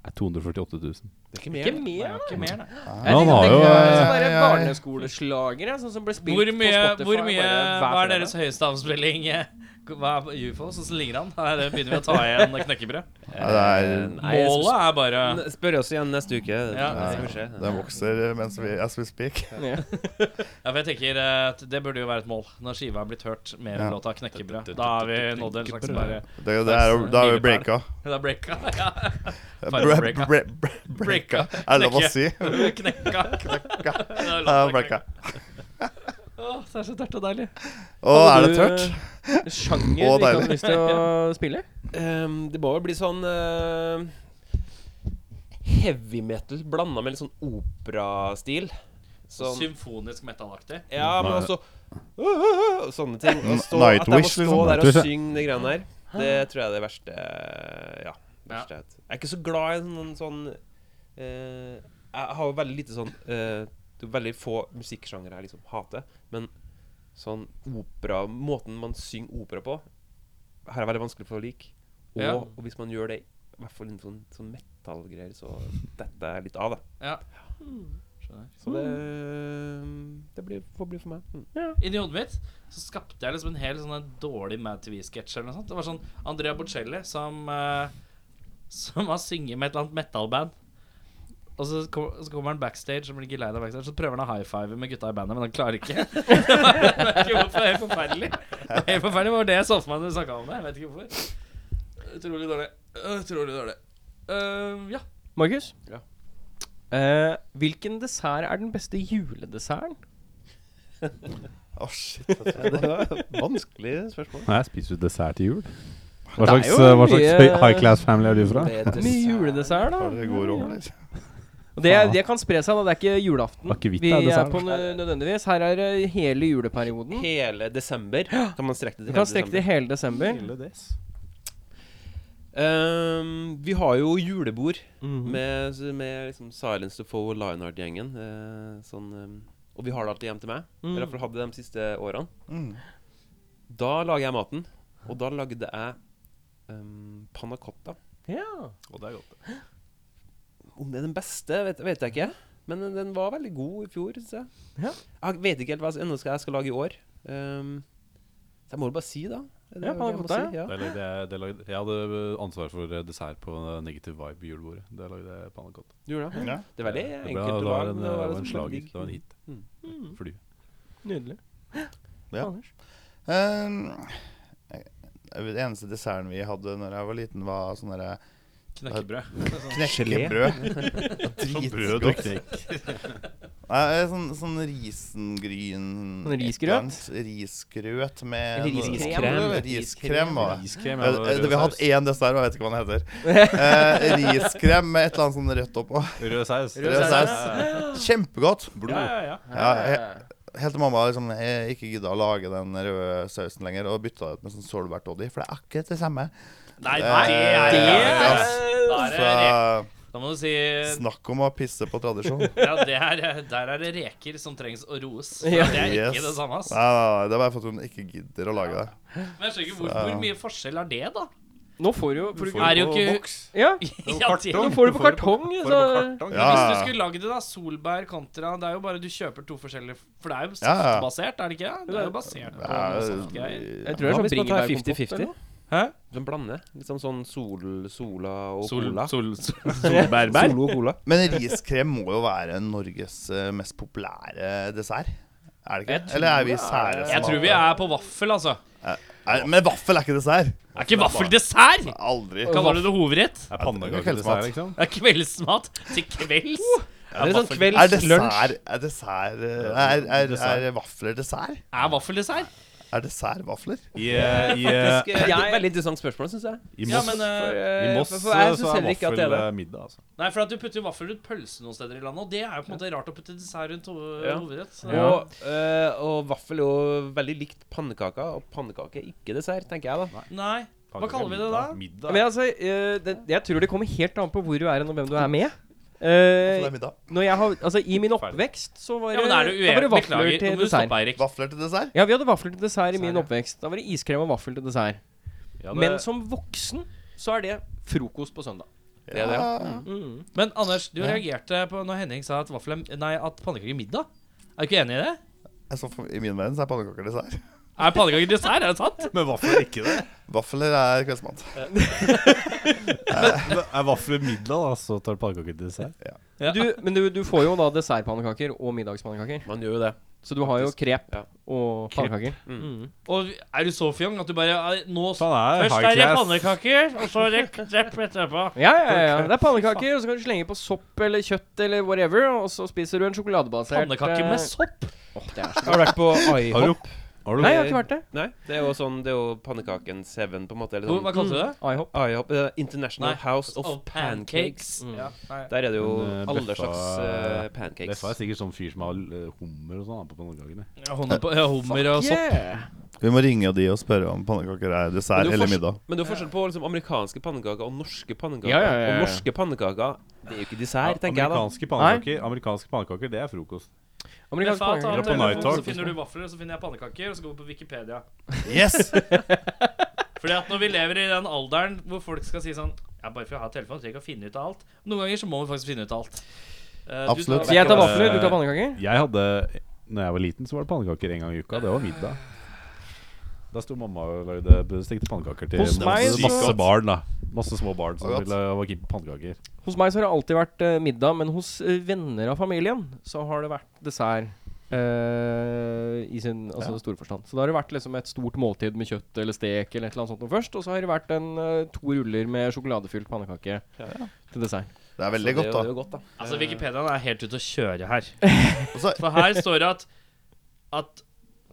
Speaker 4: Nei, 248 000.
Speaker 3: Ikke mer, da.
Speaker 2: Ikke mer, nei.
Speaker 3: Jeg
Speaker 4: han
Speaker 3: tenker-
Speaker 4: har jo,
Speaker 3: tenker det skal
Speaker 6: eh,
Speaker 3: være
Speaker 6: ja, ja.
Speaker 3: barneskoleslagere, sånn som ble spilt
Speaker 2: Hvor mye,
Speaker 3: på Spotify.
Speaker 2: hvor mye
Speaker 3: bare hver
Speaker 2: Hva er
Speaker 3: fredag.
Speaker 2: deres høyeste avspilling? eh, Hva er UFO? Sånn som ligger an. Her begynner vi å ta igjen knekkebrød.
Speaker 6: Ja, det er
Speaker 5: Nei, jeg
Speaker 2: Målet er bare
Speaker 5: N- Spør oss igjen neste uke.
Speaker 2: Ja.
Speaker 5: Det skal vi se.
Speaker 6: Det vokser mens vi as we speak.
Speaker 2: Ja, for jeg tenker eh, at Det burde jo være et mål. Når skiva er blitt hørt mer enn
Speaker 6: Ja.
Speaker 2: låta 'Knekkebrød'. Da har vi nådd en slags bare
Speaker 6: Det, det er, da er vi breaka.
Speaker 2: Da breaka. Ja.
Speaker 6: Bre-
Speaker 2: breaka.
Speaker 6: bre- bre- Breaka. Er det lov å si?
Speaker 2: Knekka.
Speaker 6: Breaka.
Speaker 2: Det er
Speaker 6: Ja,
Speaker 2: låta
Speaker 6: breaka.
Speaker 2: Åh, det er så tørt og deilig.
Speaker 6: Å, er det tørt?
Speaker 3: Hadde du, eh, Sjanger vi
Speaker 6: Å,
Speaker 3: ikke
Speaker 6: deilig.
Speaker 3: hadde lyst til å spille?
Speaker 5: Ehm, det må vel bli sånn eh, heavy metal blanda med litt sånn operastil. Sånn,
Speaker 2: Symfonisk metallaktig.
Speaker 5: ja, men også og Sånne ting. Og stå,
Speaker 6: N-
Speaker 5: at jeg må
Speaker 6: Nightwish,
Speaker 5: stå
Speaker 6: liksom.
Speaker 5: der og
Speaker 4: Nightwish, ja.
Speaker 5: synge de greiene der, det tror jeg er det verste Ja. Verste jeg vet. Jeg er ikke så glad i sånn, sånn eh, Jeg har jo veldig lite sånn eh, Det er veldig få musikksjangere jeg liksom hater, men sånn opera Måten man synger opera på, her er veldig vanskelig for å like. Og,
Speaker 2: Ja.
Speaker 5: og hvis man gjør det, i hvert fall innenfor sånn, sånn metallgreier, så detter jeg litt av, da.
Speaker 2: Ja.
Speaker 5: Så det, øh, det blir, får bli for meg. Mm.
Speaker 2: Inni hodet mitt så skapte jeg liksom en hel sånn en dårlig Mad TV-sketsj eller noe sånt. Det var sånn Andrea Bocelli som eh, Som har synget med et eller annet metalband. Og så, kom, så kommer han backstage og blir ikke lei av backstage. Så prøver han å high five med gutta i bandet, men han klarer ikke. det er ikke hvorfor, det er helt forferdelig. Det er helt forferdelig det var det jeg så for meg når du snakka om det. Jeg vet ikke hvorfor. Utrolig dårlig. Utrolig dårlig. Eh, ja.
Speaker 3: Markus?
Speaker 5: Ja.
Speaker 3: Eh, hvilken dessert er den beste juledesserten?
Speaker 6: Å, shit. vet du.
Speaker 5: Vanskelig spørsmål.
Speaker 4: Nei, spiser du dessert til jul?
Speaker 3: Det
Speaker 4: Hva
Speaker 3: er
Speaker 4: slags,
Speaker 3: jo
Speaker 4: eh, hva slags
Speaker 3: mye-
Speaker 4: høy- high class family er du fra?
Speaker 3: Mye juledessert, da.
Speaker 6: Har dere god råd, eller?
Speaker 3: Og det, det kan spre seg, da. Det er ikke julaften.
Speaker 4: Akevitt
Speaker 3: Vi
Speaker 4: er
Speaker 3: er
Speaker 4: dessert.
Speaker 3: på nø- nødvendigvis. Her er eh, hele juleperioden.
Speaker 5: Hele desember kan man strekke det
Speaker 3: Vi Mm.
Speaker 5: til.
Speaker 3: kan
Speaker 5: hele
Speaker 3: strekke det i
Speaker 5: desember.
Speaker 3: hele desember.
Speaker 5: Ehm, vi har jo julebord
Speaker 3: Mhm.
Speaker 5: med, med liksom Silence to Foe og Lionheart-gjengen. eh, sånn, ehm, og vi har det alltid hjem til meg.
Speaker 3: Mm.
Speaker 5: I hvert fall hadde det de siste årene.
Speaker 6: Mm.
Speaker 5: Da lager jeg maten. Og da lagde jeg um, panna cotta.
Speaker 3: Ja.
Speaker 5: Om det er den beste, vet, vet jeg ikke. Men den, den var veldig god i fjor. synes Jeg.
Speaker 3: Ja.
Speaker 5: jeg vet ikke helt hva jeg skal- ennå skal, jeg skal lage i år. Ehm, så jeg må jo bare si, da. Er
Speaker 3: Ja, panna
Speaker 5: det det jeg må
Speaker 3: cotta,
Speaker 5: si? ja.
Speaker 4: Det lagde jeg, det lagde, jeg hadde ansvar for eh, dessert på eh, Negative Vibe i julebordet. Det eh, lagde jeg panna cotta.
Speaker 5: Du gjorde det?
Speaker 6: Ja.
Speaker 5: Det er veldig
Speaker 4: Det ble-
Speaker 5: enkelt
Speaker 4: det
Speaker 5: å
Speaker 4: var en,
Speaker 5: lage.
Speaker 4: eh,
Speaker 5: men
Speaker 4: det var
Speaker 5: liksom
Speaker 4: en
Speaker 5: veldig
Speaker 4: slager.
Speaker 5: digg.
Speaker 4: Det var en hit. Mm. Fly.
Speaker 3: Nydelig.
Speaker 6: Ja.
Speaker 3: Anders?
Speaker 6: Um, jeg- jeg- eneste desserten vi hadde når jeg var liten, var sånn derre
Speaker 2: Knekkebrød.
Speaker 6: knekkebrød. Sånn
Speaker 4: Brød og
Speaker 6: Dritgodt.
Speaker 4: knekk.
Speaker 6: Nei, Sånn, sånn risengryn
Speaker 3: Sånn risgrøt?
Speaker 6: et eller annet. Risgrøt med
Speaker 3: Eller
Speaker 6: noe-
Speaker 3: riskrem.
Speaker 6: Riskrem var det.
Speaker 4: Iskrem
Speaker 6: Eh,
Speaker 4: er jo
Speaker 6: eh, Vi har
Speaker 4: rød
Speaker 6: hatt
Speaker 4: saus.
Speaker 6: én dessert, og jeg vet ikke hva den heter. Eh, riskrem med et eller annet sånn rødt oppå.
Speaker 4: Rød saus.
Speaker 6: Rød saus. Kjempegodt.
Speaker 2: Ja, ja, ja.
Speaker 6: Ja, he- helt til mamma liksom, eh, ikke gidda å lage den røde sausen lenger, og bytta det ut med sånn solbærdoddy, for det er akkurat det samme.
Speaker 2: Nei,
Speaker 6: Eh,
Speaker 2: nei, det er Da er det re-
Speaker 6: Så eh,
Speaker 2: Da må du si
Speaker 6: snakk om å pisse på tradisjon. Nei,
Speaker 2: ja, det er, Der er det reker som trengs å roes. For
Speaker 3: Ja.
Speaker 2: Det er ikke
Speaker 6: Yes.
Speaker 2: det samme. ass
Speaker 6: nei, nei, det er bare for at hun ikke gidder å lage det.
Speaker 2: Men jeg skjønner ikke hvor, hvor mye forskjell er det, da?
Speaker 3: Nå får du jo for du,
Speaker 2: Er det jo ikke
Speaker 3: Ja,
Speaker 2: ja, det,
Speaker 3: nå får du på kartong. Så,
Speaker 6: Ja,
Speaker 2: Hvis du skulle lagd det, da. Solbær kontra Det er jo bare du kjøper to forskjellige For det er jo
Speaker 6: Ja, ja.
Speaker 2: saftbasert, er det ikke? det? Det er jo basert
Speaker 6: ja,
Speaker 2: på noe saftgreier.
Speaker 3: jeg tror det er
Speaker 5: Hva hvis
Speaker 3: sånn
Speaker 5: man tar
Speaker 3: bringebærkompott. eller
Speaker 5: 50-50?
Speaker 3: noe.
Speaker 5: Som blander. Liksom sånn sol, Sola og Cola.
Speaker 2: solbærbær?
Speaker 5: Solo og Cola.
Speaker 6: Men riskrem må jo være Norges eh, mest populære dessert. Er det
Speaker 2: Jeg
Speaker 6: ikke?
Speaker 2: tror
Speaker 6: Eller er vi sære? som
Speaker 2: Jeg tror
Speaker 6: hater
Speaker 2: vi
Speaker 6: det?
Speaker 2: er på vaffel, altså.
Speaker 6: Nei, Men vaffel er ikke dessert.
Speaker 2: Er ikke vaffel dessert?
Speaker 6: Aldri.
Speaker 2: Kaller du det hovedrett?
Speaker 4: Er pannekaker dessert, liksom?
Speaker 2: Det er kveldsmat til kvelds.
Speaker 5: Det er sånn kvelds,
Speaker 6: Er
Speaker 5: lunsj.
Speaker 6: dessert Er, dessert, eh, er, er, er,
Speaker 4: Dessert.
Speaker 6: vafler dessert?
Speaker 2: Er vaffel dessert?
Speaker 6: Er dessertvafler?
Speaker 4: I, eh, i, eh,
Speaker 5: Faktisk, eh, Veldig interessant spørsmål, syns jeg.
Speaker 4: i
Speaker 2: Ja,
Speaker 4: Moss,
Speaker 2: men
Speaker 4: i
Speaker 2: eh,
Speaker 4: Moss
Speaker 7: for-
Speaker 4: eh,
Speaker 7: for jeg
Speaker 4: så
Speaker 7: synes
Speaker 4: er
Speaker 7: heller ikke at det er
Speaker 4: vaffel
Speaker 7: det.
Speaker 4: eh, middag, altså.
Speaker 2: Nei, for at du putter jo vaffel rundt pølse noen steder i landet, og det er jo på en måte rart å putte dessert rundt ho-
Speaker 7: Ja.
Speaker 2: hovedrett. Så.
Speaker 5: Og, eh, og vaffel er jo veldig likt pannekaker, og pannekake er ikke dessert, tenker jeg da.
Speaker 2: Nei. Hva kaller vi det da?
Speaker 4: Middag.
Speaker 3: Men altså, eh, det, jeg tror det kommer helt an på hvor du er og hvem du er med. Eh,
Speaker 6: Vaffel er middag.
Speaker 3: når jeg har, altså, I min oppvekst så var
Speaker 2: Ja,
Speaker 3: det,
Speaker 2: men er du
Speaker 3: da var
Speaker 2: uenig?
Speaker 3: det vafler
Speaker 2: Beklager. Nå
Speaker 3: til
Speaker 2: må du
Speaker 3: dessert.
Speaker 2: stoppe, Eirik.
Speaker 6: Vafler til dessert?
Speaker 3: Ja, vi hadde vafler til dessert i
Speaker 2: Dessert,
Speaker 3: min
Speaker 2: ja.
Speaker 3: oppvekst. Da var det iskrem og vaffel til dessert.
Speaker 4: Ja, det-
Speaker 3: Men som voksen så er det frokost på søndag.
Speaker 7: Det er det, ja.
Speaker 6: Mm.
Speaker 2: Men Anders, du reagerte på når Henning sa at, vaffel er- nei, at pannekaker er middag. Er du ikke enig i det?
Speaker 6: Altså, for- I min verden så er pannekaker dessert.
Speaker 2: Er pannekaker dessert? Er det sant?
Speaker 4: Men vaffel er ikke det.
Speaker 6: Vafler er kveldsmat.
Speaker 4: Men Er vaffel middag, da, så tar pannekaker til dessert?
Speaker 3: Du, men du, du får jo da dessertpannekaker og middagspannekaker.
Speaker 5: Man gjør jo det.
Speaker 3: Så du har jo krep
Speaker 5: Ja.
Speaker 3: og pannekaker.
Speaker 2: Og er du så fjong at du bare er, Nå s-
Speaker 4: Faen, det er
Speaker 2: Først
Speaker 4: high
Speaker 2: er det
Speaker 4: class.
Speaker 2: pannekaker, og så er det krepp etterpå.
Speaker 3: Ja, ja, ja, ja. Det er pannekaker, og så kan du slenge på sopp eller kjøtt eller whatever, og så spiser du en sjokoladebasert
Speaker 2: Pannekaker med
Speaker 3: eh,
Speaker 2: sopp?
Speaker 3: Åh, det er så
Speaker 5: Jeg har vært på
Speaker 4: Har
Speaker 5: IHOP.
Speaker 4: du, har du
Speaker 3: Nei, jeg har ikke vært det.
Speaker 5: Nei, det er jo sånn Det er jo pannekakens heaven, på en måte. Eller
Speaker 2: Hvor- Hva
Speaker 5: sånn.
Speaker 2: kalte du det?
Speaker 3: IHOP.
Speaker 5: IHOP eh, International
Speaker 2: Nei, altså, oh,
Speaker 5: House of,
Speaker 2: Mm. Of
Speaker 5: Pancakes.
Speaker 3: Mm.
Speaker 2: Ja, nei.
Speaker 5: Der er det jo
Speaker 4: Men, eh,
Speaker 5: alle
Speaker 4: Beffa-
Speaker 5: slags eh, pancakes.
Speaker 4: Leffa er sikkert sånn fyr som har eh, hummer og sånn da, på pannekakene.
Speaker 2: Ja, hånda på- ja, Hummer og sopp.
Speaker 3: Yeah.
Speaker 6: Vi må ringe de og spørre om pannekaker er
Speaker 5: Men
Speaker 6: dessert
Speaker 5: det er
Speaker 6: eller
Speaker 5: forskjell-
Speaker 6: middag.
Speaker 5: Men det er jo forskjell på liksom, amerikanske pannekaker og norske pannekaker.
Speaker 3: Ja, ja, ja, ja.
Speaker 5: Og norske pannekaker Det er jo ikke dessert, tenker jeg da.
Speaker 4: Amerikanske pannekaker, amerikanske pannekaker, det er frokost.
Speaker 3: Amerikansk
Speaker 2: Beffa, ta en
Speaker 3: pannekaker.
Speaker 4: Dra på liksom.
Speaker 2: telefon,
Speaker 4: Nighthawk.
Speaker 2: Så finner du vafler, så finner jeg pannekaker, og så går vi på Wikipedia.
Speaker 6: Yes!
Speaker 2: Fordi at når vi lever i den alderen hvor folk skal si sånn Ja, bare for å ha telefon, trenger ikke å finne ut av alt. Noen ganger så må vi faktisk finne ut av alt. Eh, du
Speaker 6: Absolutt.
Speaker 2: tar-
Speaker 3: Så jeg tar vafler, du tar pannekaker?
Speaker 4: Jeg hadde Når jeg var liten, så var det pannekaker en gang i uka. Det var middag. Da sto mamma og lagde stekte pannekaker til
Speaker 3: Hos meg
Speaker 4: masse,
Speaker 3: så-
Speaker 4: masse barn. da Masse små barn som
Speaker 6: Og godt.
Speaker 4: ville var keen på pannekaker.
Speaker 3: Hos meg så har det alltid vært eh, middag, men hos eh, venner av familien så har det vært dessert. eh, I sin altså, store forstand. Så da har det vært liksom et stort måltid med kjøtt eller stek eller et eller annet sånt noe først. Og så har det vært en, eh, to ruller med sjokoladefylt pannekake til dessert.
Speaker 6: Det er veldig
Speaker 5: Så
Speaker 6: godt,
Speaker 5: det er jo- det er
Speaker 6: da.
Speaker 5: jo godt, da.
Speaker 2: Altså, Wikipediaen er helt ute å kjøre her.
Speaker 6: Og så-
Speaker 2: For her står det at At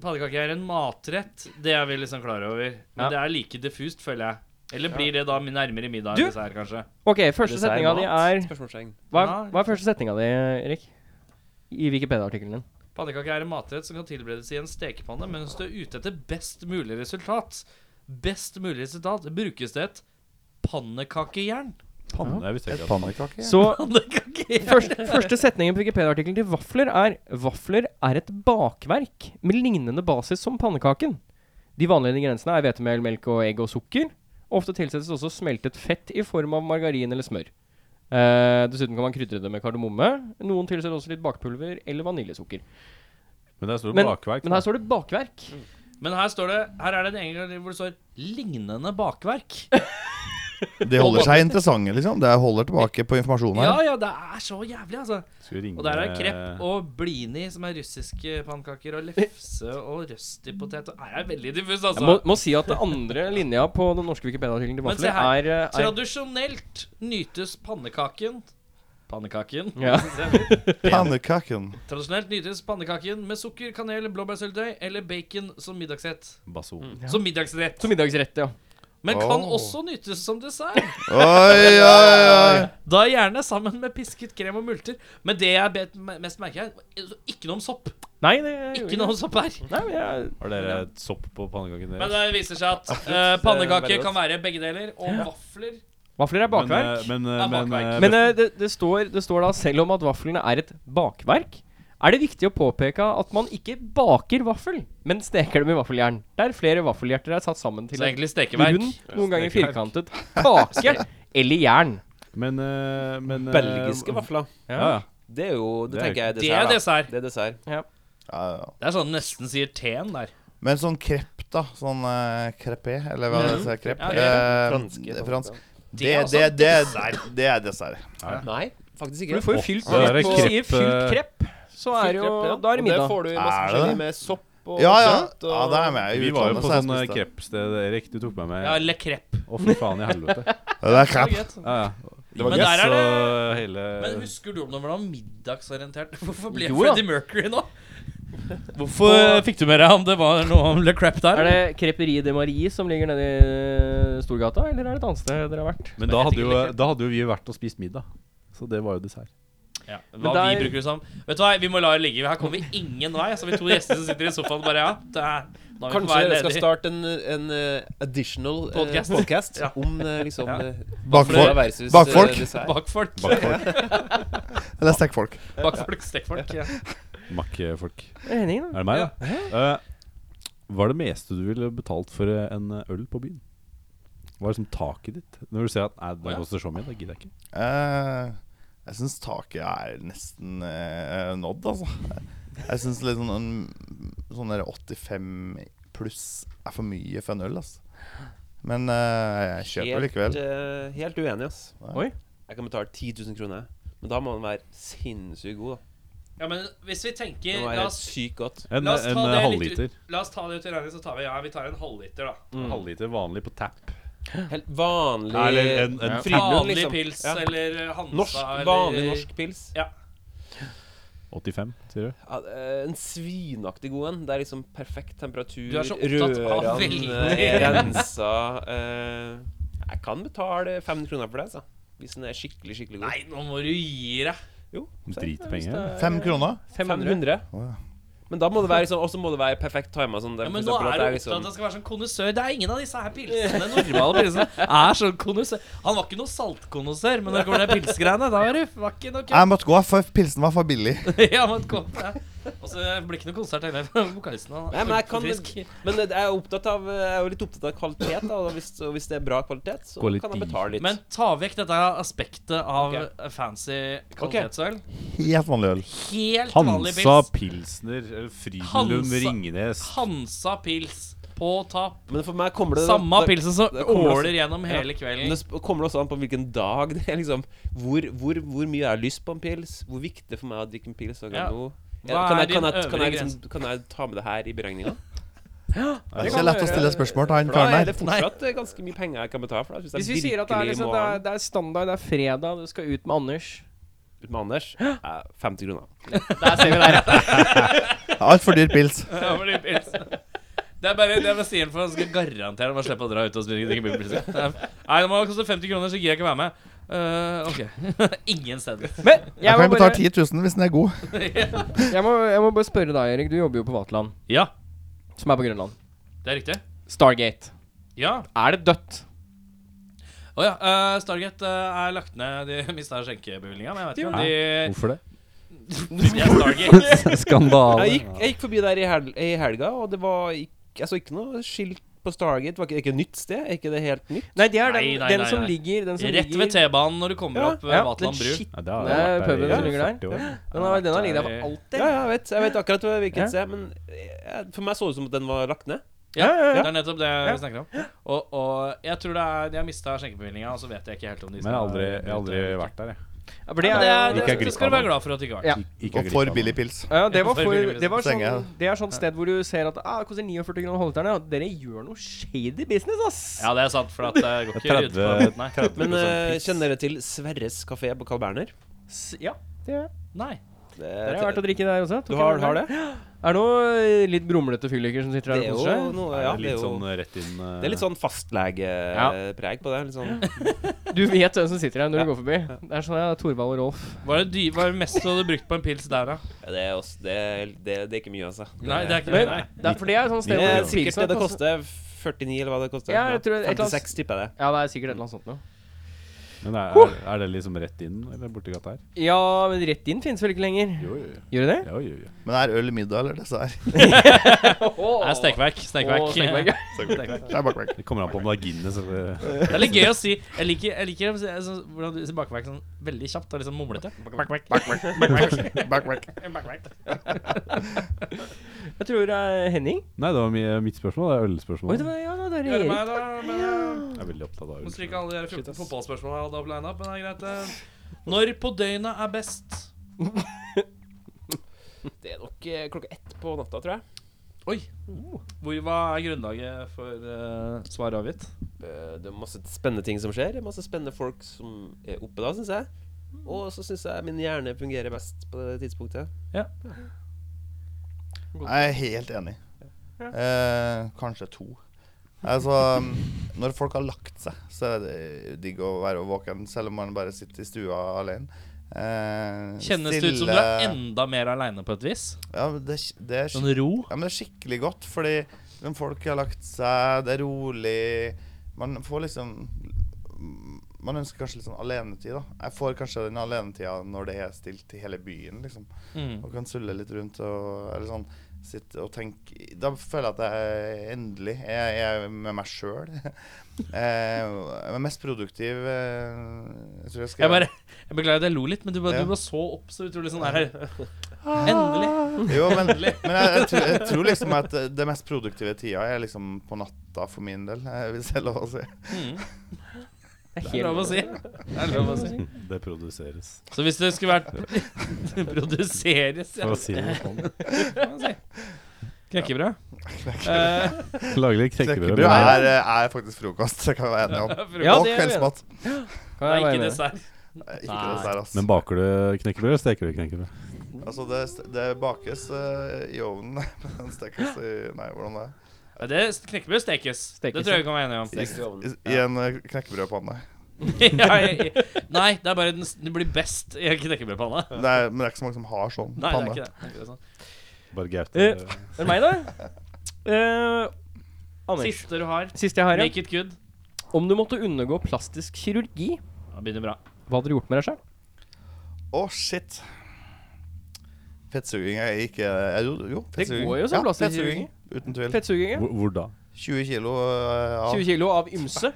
Speaker 2: pannekaker er en matrett. Det er vi liksom klar over. Men
Speaker 3: Ja.
Speaker 2: det er like diffust, føler jeg. Eller blir det da min nærmere middag
Speaker 3: Du!
Speaker 2: enn dessert, kanskje?
Speaker 3: Ok, første
Speaker 5: Dessert,
Speaker 3: setninga di
Speaker 5: mat?
Speaker 3: er
Speaker 5: Spørsmålstegn.
Speaker 3: hva, er- hva er første setninga di, Erik? I Wikipedia-artikkelen din.
Speaker 2: Pannekaker er en matrett som kan tilberedes i en stekepanne mens du er ute etter best mulig resultat. Best mulig resultat brukes det et pannekakejern.
Speaker 4: Panne, jeg visste ikke at
Speaker 6: Pannekaker?
Speaker 3: Så
Speaker 2: Pannekakejern.
Speaker 3: Først, første setningen på Wikipedia-artikkelen til vafler er Vafler er et bakverk med lignende basis som pannekaken. De vanlige ingrediensene er hvetemel, melk og egg og sukker. Ofte tilsettes også smeltet fett i form av margarin eller smør. Eh, dessuten kan man krydre det med kardemomme. Noen tilsetter også litt bakpulver eller vaniljesukker.
Speaker 4: Men der står det
Speaker 3: Men-
Speaker 4: bakverk.
Speaker 3: Men her står det bakverk.
Speaker 2: Men her står det Her er det en egen hvor det står 'lignende bakverk'.
Speaker 6: De holder seg interessante, liksom. Det holder tilbake på informasjonen
Speaker 2: Ja
Speaker 6: her.
Speaker 2: ja, det er så jævlig, altså.
Speaker 4: Skal vi ringe
Speaker 2: Og der er krepp og blini, som er russiske pannekaker, og lefse og røstipotet. Og her er veldig diffus,
Speaker 3: Jeg må,
Speaker 2: altså.
Speaker 3: må si at det andre linja på den norske Wikipedia-artikkelen til
Speaker 2: Men se
Speaker 3: vafler
Speaker 2: her.
Speaker 3: er, eh, er
Speaker 2: Tradisjonelt nytes pannekaken Pannekaken?
Speaker 3: Ja.
Speaker 6: Pannekaken.
Speaker 2: Tradisjonelt nytes pannekaken med sukker, kanel, blåbærsyltetøy eller bacon som middagsrett.
Speaker 4: Bason.
Speaker 2: Som middagsrett.
Speaker 3: Som middagsrett, ja.
Speaker 2: Men kan
Speaker 6: Åh.
Speaker 2: også nytes som dessert.
Speaker 6: Oi, oi, oi!
Speaker 2: Da gjerne sammen med pisket krem og multer. Men det jeg bet mest merker, er altså, ikke noe om sopp.
Speaker 3: Nei, det gjorde
Speaker 2: Ikke noe om sopp her.
Speaker 3: Nei, men jeg
Speaker 4: Har dere sopp på pannekakene
Speaker 2: Men
Speaker 4: deres?
Speaker 2: det viser seg at eh, pannekaker kan være begge deler, og vafler
Speaker 3: Vafler er bakverk.
Speaker 4: Men, eh,
Speaker 2: Ja,
Speaker 4: men, eh,
Speaker 2: bakverk.
Speaker 3: Men eh, det, det, står, det står da selv om at vaflene er et bakverk, er det viktig å påpeke at man ikke baker vaffel, men steker dem i vaffeljern. Der flere vaffelhjerter er satt sammen til
Speaker 2: Så
Speaker 3: en
Speaker 2: egentlig stekeverk.
Speaker 3: rund, noen ganger firkantet kake eller jern.
Speaker 4: men, eh, men, eh,
Speaker 5: Belgiske vafler.
Speaker 4: Ja, ja.
Speaker 5: Det er jo Det,
Speaker 4: Det er-
Speaker 5: tenker jeg er
Speaker 2: Det er
Speaker 5: dessert. da.
Speaker 2: dessert.
Speaker 5: Det er dessert.
Speaker 6: Ja, ja.
Speaker 2: Det er sånn nesten sier teen der.
Speaker 6: Men sånn krepp, da. Sånn uh, crepé, eller hva det
Speaker 2: Mhm.
Speaker 6: heter. Krepp.
Speaker 2: Ja, ja,
Speaker 6: Eh,
Speaker 5: Franske
Speaker 6: det er
Speaker 5: pannekaker.
Speaker 6: fransk.
Speaker 2: Det
Speaker 6: Det,
Speaker 2: er
Speaker 6: det,
Speaker 2: også
Speaker 6: det, er- det er dessert.
Speaker 5: Nei,
Speaker 3: For
Speaker 5: faktisk ikke.
Speaker 3: du får jo fylt
Speaker 4: Åh, det er
Speaker 3: Hvis du sier
Speaker 4: krepp,
Speaker 3: fylt
Speaker 4: eh,
Speaker 3: krepp, så er jo
Speaker 5: Krepp,
Speaker 3: Da er
Speaker 5: ja.
Speaker 3: det
Speaker 7: Og Det
Speaker 3: middag.
Speaker 7: får du i masse
Speaker 6: Er det
Speaker 7: forskjellig
Speaker 6: det?
Speaker 7: med sopp og
Speaker 6: Ja, ja.
Speaker 7: kjøtt og
Speaker 6: ja det er med. i
Speaker 4: Vi var jo
Speaker 6: utlandet,
Speaker 4: på
Speaker 6: så jeg
Speaker 4: sånn eh,
Speaker 6: spiste det.
Speaker 4: kreppsted, Erik. Du tok meg med.
Speaker 2: Ja, le crepe.
Speaker 4: Å, fy faen i helvete.
Speaker 6: Det er krepp.
Speaker 4: Ja, ja.
Speaker 6: Det var
Speaker 2: Men der er
Speaker 4: Så
Speaker 2: det
Speaker 4: hele
Speaker 2: Men husker du om det var noe middagsorientert? Hvorfor ble jeg
Speaker 3: Jo da.
Speaker 2: Freddie Mercury nå? Hvorfor fikk du med deg om det var noe om Le Crep der?
Speaker 3: Er det Creperie de Marie som ligger nede i Storgata, eller er det et annet sted dere har vært?
Speaker 4: Men da hadde, jo, da hadde jo vi vært og spist middag. Så det var jo dessert.
Speaker 2: Ja,
Speaker 3: Men
Speaker 2: hva
Speaker 3: der-
Speaker 2: vi bruker det som. Vet du hva, vi må la det ligge. Her kommer vi ingen vei. Altså, vi to gjester som sitter i sofaen bare, ja. Det er, nå er vi på
Speaker 5: Kanskje
Speaker 2: vei
Speaker 5: jeg skal
Speaker 2: ned i-
Speaker 5: starte en, en eh, additional eh,
Speaker 2: Podcast.
Speaker 5: podcast
Speaker 2: Ja.
Speaker 5: om eh, liksom
Speaker 2: Ja.
Speaker 5: eh,
Speaker 6: Bakfolk.
Speaker 5: middag versus, eh,
Speaker 6: Bakfolk.
Speaker 5: dessert.
Speaker 2: Bakfolk.
Speaker 6: Eller stekkfolk.
Speaker 2: Bakfolk, stekkfolk. Ja.
Speaker 4: Makkfolk.
Speaker 3: Henning,
Speaker 4: Er
Speaker 3: da.
Speaker 4: det meg, da? Eh, hva er det meste du ville betalt for eh, en eh, øl på byen? Hva er liksom taket ditt? Når du ser at nei,
Speaker 2: Å,
Speaker 4: det
Speaker 2: ja.
Speaker 4: koster så mye, det gidder jeg ikke.
Speaker 6: Eh, jeg syns taket er nesten eh, nådd, altså. Jeg syns litt sånn en- Sånn der 85 pluss er for mye for en øl, altså. Men eh, jeg kjøper likevel.
Speaker 5: eh, helt uenig, ass.
Speaker 3: Oi.
Speaker 5: Jeg kan betale 10 000 kroner. Men da må den være sinnssykt god, da.
Speaker 2: ja, men hvis vi
Speaker 5: Den
Speaker 2: tenker La
Speaker 5: må være helt
Speaker 2: oss,
Speaker 5: sykt godt.
Speaker 4: En,
Speaker 2: la oss ta
Speaker 4: en eh,
Speaker 2: det litt
Speaker 4: halvliter.
Speaker 2: ut, Mm. la oss ta det ut i regning, så tar vi Ja, vi tar en halvliter, da.
Speaker 4: En Halvliter vanlig på tap.
Speaker 5: Helt vanlig
Speaker 4: Eller en, en
Speaker 5: Frilund,
Speaker 2: Vanlig
Speaker 5: liksom.
Speaker 2: pils
Speaker 5: Ja.
Speaker 2: eller eh, Hansa
Speaker 5: norsk,
Speaker 2: eller
Speaker 5: vanlig norsk pils.
Speaker 2: Ja.
Speaker 4: 85, sier du?
Speaker 5: Ja, eh, en svinaktig god en. Det er liksom perfekt temperatur.
Speaker 2: Du er så opptatt av
Speaker 5: rørene,
Speaker 2: veldig.
Speaker 5: eh, rensa eh, Jeg kan betale 500 kroner for det, altså. Hvis den er skikkelig, skikkelig god.
Speaker 2: Nei, nå må du gi deg.
Speaker 5: Jo, se, hvis det
Speaker 4: Dritpenger.
Speaker 5: er
Speaker 6: Fem kroner?
Speaker 3: 500.
Speaker 5: 500.
Speaker 6: Å, ja.
Speaker 5: Men da må det være sånn, også må det være perfekt tima. Sånn, det,
Speaker 2: Ja,
Speaker 5: for
Speaker 2: men nå
Speaker 5: eksempel
Speaker 2: er
Speaker 5: at
Speaker 2: du
Speaker 5: det liksom-
Speaker 2: opptatt av at det skal være sånn konnoissør. Det er ingen av disse her pilsene. Normale pilsene er sånn konnoissør. Han var ikke noe saltkonnoissør, men når det kommer til pilsgreiene, da var det var ikke noe kødd.
Speaker 6: Jeg måtte gå, for pilsen var for billig.
Speaker 2: ja, men kom, ja. Og så blir det ikke noe konsert heller. for Vokalisten han
Speaker 5: Nei, men jeg
Speaker 2: for
Speaker 5: kan-
Speaker 2: frisk.
Speaker 5: Men jeg er, opptatt av, jeg er jo litt opptatt av kvalitet, da, og hvis, og hvis det er bra kvalitet, så kan jeg
Speaker 4: Kvalitet.
Speaker 5: betale litt.
Speaker 2: Men ta vekk dette aspektet av
Speaker 5: Ok.
Speaker 2: eh, fancy kvalitetsøl.
Speaker 6: Helt vanlig øl.
Speaker 2: Helt vanlig
Speaker 4: Hansa
Speaker 2: pils.
Speaker 4: Pilsner, eller Frydenlund
Speaker 2: Hansa-
Speaker 4: Ringnes.
Speaker 2: Hansa pils på tapp.
Speaker 5: Men for meg kommer det
Speaker 2: Samme
Speaker 5: det-
Speaker 2: pilsen som
Speaker 5: det kommer også-
Speaker 2: åler gjennom hele
Speaker 5: Men
Speaker 2: kvelden.
Speaker 5: det sp- kommer det også an på hvilken dag det er. liksom Hvor, hvor, hvor mye jeg har lyst på en pils? Hvor viktig det er for meg å drikke en pils
Speaker 2: Ja.
Speaker 5: akkurat nå?
Speaker 2: Hva
Speaker 5: kan,
Speaker 2: er
Speaker 5: jeg, kan,
Speaker 2: din
Speaker 5: jeg, kan,
Speaker 2: øvre
Speaker 5: jeg liksom, kan jeg ta med det her i beregninga?
Speaker 6: Det er ikke lett å stille spørsmål til han
Speaker 5: For da
Speaker 6: karen
Speaker 5: er det
Speaker 6: der.
Speaker 5: fortsatt eh, ganske mye penger jeg kan betale for. Da, hvis,
Speaker 3: Hvis vi sier at det er, liksom, det, er, det er standard, det er fredag, du skal ut med Anders
Speaker 5: Ut med Anders eh, 50 kroner.
Speaker 3: Der ser vi der, ja.
Speaker 6: Altfor dyr pils.
Speaker 2: Ja, for de pilsene. Det er bare det jeg sier for han skal garantere å slippe å dra ut og spille drikke bilpilser. Nei, det må koste 50 kroner, så gidder jeg ikke være med. Eh, ok. Ingen steder.
Speaker 3: Men
Speaker 6: Jeg
Speaker 3: jeg må,
Speaker 6: kan betale
Speaker 3: bare,
Speaker 6: 10 000 hvis den er god.
Speaker 3: jeg, må, jeg må bare spørre deg, Erik. Du jobber jo på Vaterland,
Speaker 2: Ja,
Speaker 3: som er på Grønland.
Speaker 2: det er riktig.
Speaker 3: Stargate.
Speaker 2: Ja.
Speaker 3: Er det dødt?
Speaker 2: Å ja. eh, Stargate eh, er lagt ned. De mista skjenkebevillinga, men jeg vet ikke om de
Speaker 4: Hvorfor det?
Speaker 2: Det er Stargate.
Speaker 5: Jeg
Speaker 4: Skandale.
Speaker 5: gikk, jeg gikk forbi der i, hel, i helga, og det var ikke, jeg så ikke noe skilt på Stargate. Det var ikke, ikke et nytt sted? Er ikke det helt nytt?
Speaker 3: Nei, det er den,
Speaker 2: Nei, nei,
Speaker 3: den
Speaker 2: nei,
Speaker 3: som
Speaker 2: nei.
Speaker 3: ligger Den som
Speaker 2: Rett
Speaker 3: ligger
Speaker 2: ved T-banen når du kommer
Speaker 5: Ja,
Speaker 2: opp ved
Speaker 3: ja,
Speaker 2: Vaterland
Speaker 3: den
Speaker 2: bru.
Speaker 3: skitt-
Speaker 4: Ja, det har
Speaker 3: Det er
Speaker 4: vært der i
Speaker 3: puben som ligger der.
Speaker 4: 40 år.
Speaker 3: Den har, den har ligget
Speaker 2: Ja,
Speaker 3: der for alltid.
Speaker 5: Ja, ja, jeg vet, jeg vet akkurat hvilket
Speaker 3: Ja.
Speaker 5: sted, men eh, for meg så det ut som at den var lagt ned.
Speaker 2: Ja,
Speaker 3: ja.
Speaker 2: Det er nettopp det vi snakker om. Og, og jeg tror det er De har mista skjenkebevillinga, og så vet jeg ikke helt om de
Speaker 4: Men jeg har aldri, jeg har aldri vært der, jeg.
Speaker 3: Ja, for
Speaker 2: det,
Speaker 3: det,
Speaker 2: det,
Speaker 3: er,
Speaker 2: det,
Speaker 4: Gikk
Speaker 2: det,
Speaker 4: jeg glipp
Speaker 2: skal
Speaker 4: av
Speaker 2: du være
Speaker 4: noe?
Speaker 2: glad for at du ikke har vært.
Speaker 3: Ja.
Speaker 4: Gikk jeg
Speaker 6: Og
Speaker 4: glipp
Speaker 6: for
Speaker 4: av noe?
Speaker 6: billig pils.
Speaker 3: ja, det var
Speaker 2: Hvorfor
Speaker 3: for
Speaker 2: driver vi
Speaker 3: Det var sånn,
Speaker 6: Senga,
Speaker 3: det er sånn sted hvor du ser at ah, det koster 49 kroner å holde terne. og Dere gjør noe shady business, ass!
Speaker 2: Ja, det er sant, for at det går ikke ut på
Speaker 4: 30
Speaker 2: Nei.
Speaker 4: 30
Speaker 5: Men eh,
Speaker 4: pils.
Speaker 5: kjenner dere til Sverres kafé på Carl Berner?
Speaker 3: S- ja det gjør jeg.
Speaker 2: Nei.
Speaker 5: Det,
Speaker 3: Dere har vært og drikke der også?
Speaker 5: du
Speaker 3: Tok
Speaker 5: har,
Speaker 3: jeg
Speaker 5: har det?
Speaker 3: med. Er det noen eh, litt brumlete fylliker som sitter
Speaker 5: Det
Speaker 3: her og
Speaker 5: er jo
Speaker 3: koser seg?
Speaker 5: noe
Speaker 4: Nei,
Speaker 5: ja,
Speaker 4: det er
Speaker 5: det er
Speaker 4: litt
Speaker 5: jo
Speaker 4: sånn rett inn eh,
Speaker 5: det er litt sånn fastlegepreg på det. Litt sånn.
Speaker 3: Du vet hvem som sitter her når du går forbi. Det er sånn ja, Torvald og Rolf.
Speaker 2: Hva er det, dy hva er det mest du hadde brukt på en pils der, da?
Speaker 5: Ja, Det, er også, det, er- det, det er ikke mye, altså.
Speaker 2: Nei, det er ikke
Speaker 3: Men
Speaker 2: det. Nei.
Speaker 3: det er, for det er et sånt
Speaker 5: Det
Speaker 3: sted hvor
Speaker 5: er
Speaker 3: det
Speaker 5: sikkert det det
Speaker 3: tvilsomt-
Speaker 5: koster. 49, eller hva det koster.
Speaker 3: Ja, jeg tror et eller annet-
Speaker 5: 56, tipper jeg det.
Speaker 3: Ja, det er sikkert et eller annet sånt noe.
Speaker 4: Men er, er, er det liksom rett inn, eller borti gata her?
Speaker 3: Ja, men rett inn finnes vel ikke lenger?
Speaker 4: Jo, jo, jo.
Speaker 3: Gjør det det?
Speaker 4: jo, jo, jo.
Speaker 6: Men det er øl, middag eller dessert.
Speaker 2: Nei, Stekverk. Stekverk.
Speaker 3: Å, stekverk, ja.
Speaker 6: Det er bakverk.
Speaker 4: Det kommer an på om det er Guinness altså. eller
Speaker 2: Det er litt gøy å si. Jeg liker, jeg liker å si- sånn- hvordan du sier bakverk sånn veldig kjapt og liksom mumlete. Bakverk.
Speaker 6: Bakverk.
Speaker 2: Bakverk.
Speaker 3: Jeg tror det er Henning.
Speaker 4: Nei, det var mi- mitt spørsmål. Det er
Speaker 3: Oi, det
Speaker 4: ølspørsmålet.
Speaker 3: var, ja, det er
Speaker 2: Hør
Speaker 3: Erik.
Speaker 2: meg, da. men-
Speaker 4: Jeg er veldig opptatt av
Speaker 2: Må
Speaker 4: øl.
Speaker 2: stryke alle de her 14 fotballspørsmålene jeg hadde opp line-up, men det er greit. det. Når på døgnet er best?
Speaker 5: Det er nok eh, klokka ett på natta, tror jeg.
Speaker 2: Oi. Hvor, hva er grunnlaget for uh, svar avgitt?
Speaker 5: Eh, Det er masse spennende ting som skjer. Masse spennende folk som er oppe da, syns jeg. Og så syns jeg min hjerne fungerer best på det tidspunktet.
Speaker 6: Jeg er helt enig. Eh, kanskje to. Altså, når folk har lagt seg, så er det digg å være våken, selv om man bare sitter i stua alene. Eh,
Speaker 2: Kjennes det ut som
Speaker 6: stille-
Speaker 2: du er enda mer aleine på et vis?
Speaker 6: ja, men det, det er
Speaker 2: Sånn ro?
Speaker 6: ja, men det er skikkelig godt, fordi liksom, folk har lagt seg, det er rolig Man får liksom Man ønsker kanskje litt sånn alenetid, da. Jeg får kanskje den alenetida når det er stilt i hele byen, liksom.
Speaker 2: Mm.
Speaker 6: Og kan sulle litt rundt og eller sånn sitte og tenke Da føler jeg at jeg endelig er, er med meg sjøl. Jeg er mest produktiv eh, Jeg tror jeg skal
Speaker 2: Jeg bare jeg Beklager at jeg lo litt, men du bare,
Speaker 6: Ja.
Speaker 2: du bare så opp så utrolig sånn der Endelig.
Speaker 6: Jo, men, men jeg, jeg, tror, jeg tror liksom at eh, det mest produktive tida er liksom på natta for min del, eh, hvis jeg er lov å si.
Speaker 3: Det er
Speaker 2: Det er lov å si. Det er lov å si.
Speaker 4: Det produseres.
Speaker 2: Så hvis det skulle vært Produseres, ja.
Speaker 4: For å si det sånn.
Speaker 2: kan man si. Knekkebrød? Eh,
Speaker 4: Lage litt
Speaker 6: Knekkebrød
Speaker 4: Nei,
Speaker 6: er, eh, er faktisk frokost, det kan vi være enige om.
Speaker 2: Ja,
Speaker 6: og
Speaker 2: det er vi enige om.
Speaker 6: kveldsmat.
Speaker 2: Det
Speaker 3: Kan
Speaker 2: er
Speaker 3: jeg være
Speaker 2: ikke
Speaker 3: med?
Speaker 2: dessert.
Speaker 6: Eh, Ikke dessert, altså.
Speaker 4: Men baker du knekkebrød, eller steker du knekkebrød?
Speaker 6: altså det, det bakes eh, i ovnen, men stekes i Nei, hvordan det er
Speaker 2: Ja, Det Knekkebrød stekes. Det
Speaker 3: Stekes,
Speaker 2: tror jeg vi kan være enige om.
Speaker 6: I, i en eh, knekkebrødpanne.
Speaker 2: ja, jeg, jeg- nei, det er bare den, s- den blir best i en knekkebrødpanne.
Speaker 6: Det er, men det er ikke så mange som har sånn
Speaker 2: Nei, det er
Speaker 6: panne.
Speaker 2: ikke det. det. er ikke det sånn.
Speaker 4: Bare
Speaker 3: Eh,
Speaker 4: Gaute.
Speaker 3: Er det meg, da? Eh, Anders.
Speaker 2: Siste du har.
Speaker 3: Siste jeg har, ja.
Speaker 2: Make it good.
Speaker 3: Om du måtte undergå plastisk kirurgi,
Speaker 2: Ja, begynner bra.
Speaker 3: hva hadde du gjort med deg sjøl?
Speaker 6: Å, shit. Fettsuging er ikke eh, Jo, jo
Speaker 3: Det
Speaker 6: fettsuging.
Speaker 3: går jo som
Speaker 6: ja,
Speaker 3: plass til
Speaker 6: fettsuging. Uten tvil.
Speaker 3: Fettsuging? ja.
Speaker 4: Hvor, hvor da?
Speaker 6: 20 kilo eh, av
Speaker 3: 20 kilo av ymse.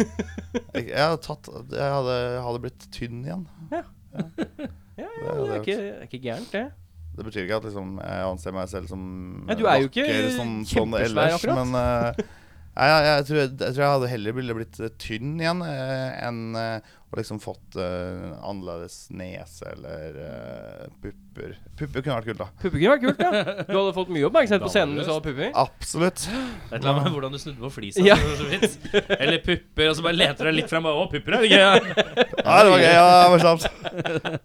Speaker 6: Jeg, jeg, hadde tatt, jeg hadde, hadde blitt tynn igjen.
Speaker 3: Ja,
Speaker 6: Det
Speaker 3: ja,
Speaker 6: er jo
Speaker 3: det er
Speaker 6: det.
Speaker 3: ikke, det er ikke gærent, det.
Speaker 6: Det betyr ikke at liksom, jeg anser meg selv som
Speaker 3: Nei, du er jo
Speaker 6: vakker
Speaker 3: ikke
Speaker 6: som- som
Speaker 3: kjempesvær
Speaker 6: ellers,
Speaker 3: akkurat.
Speaker 6: Men eh, nei, jeg, jeg, tror, jeg tror jeg hadde heller ville blitt eh, tynn igjen eh, enn eh, å liksom fått eh, annerledes nese eller eh, pupper. Pupper kunne vært kult, da.
Speaker 3: Pupper kunne vært kult, ja. Du hadde fått mye oppmerksomhet på scenen hvis du hadde pupper.
Speaker 6: Absolutt.
Speaker 2: Det er et eller annet med hvordan du snudde på flisa.
Speaker 3: Ja.
Speaker 2: så- så vidt. Eller pupper, og så bare leter du deg litt frem. bare, Å, pupper er det gøy. ja.
Speaker 6: Ja, det var gøy. Ja, det var sant.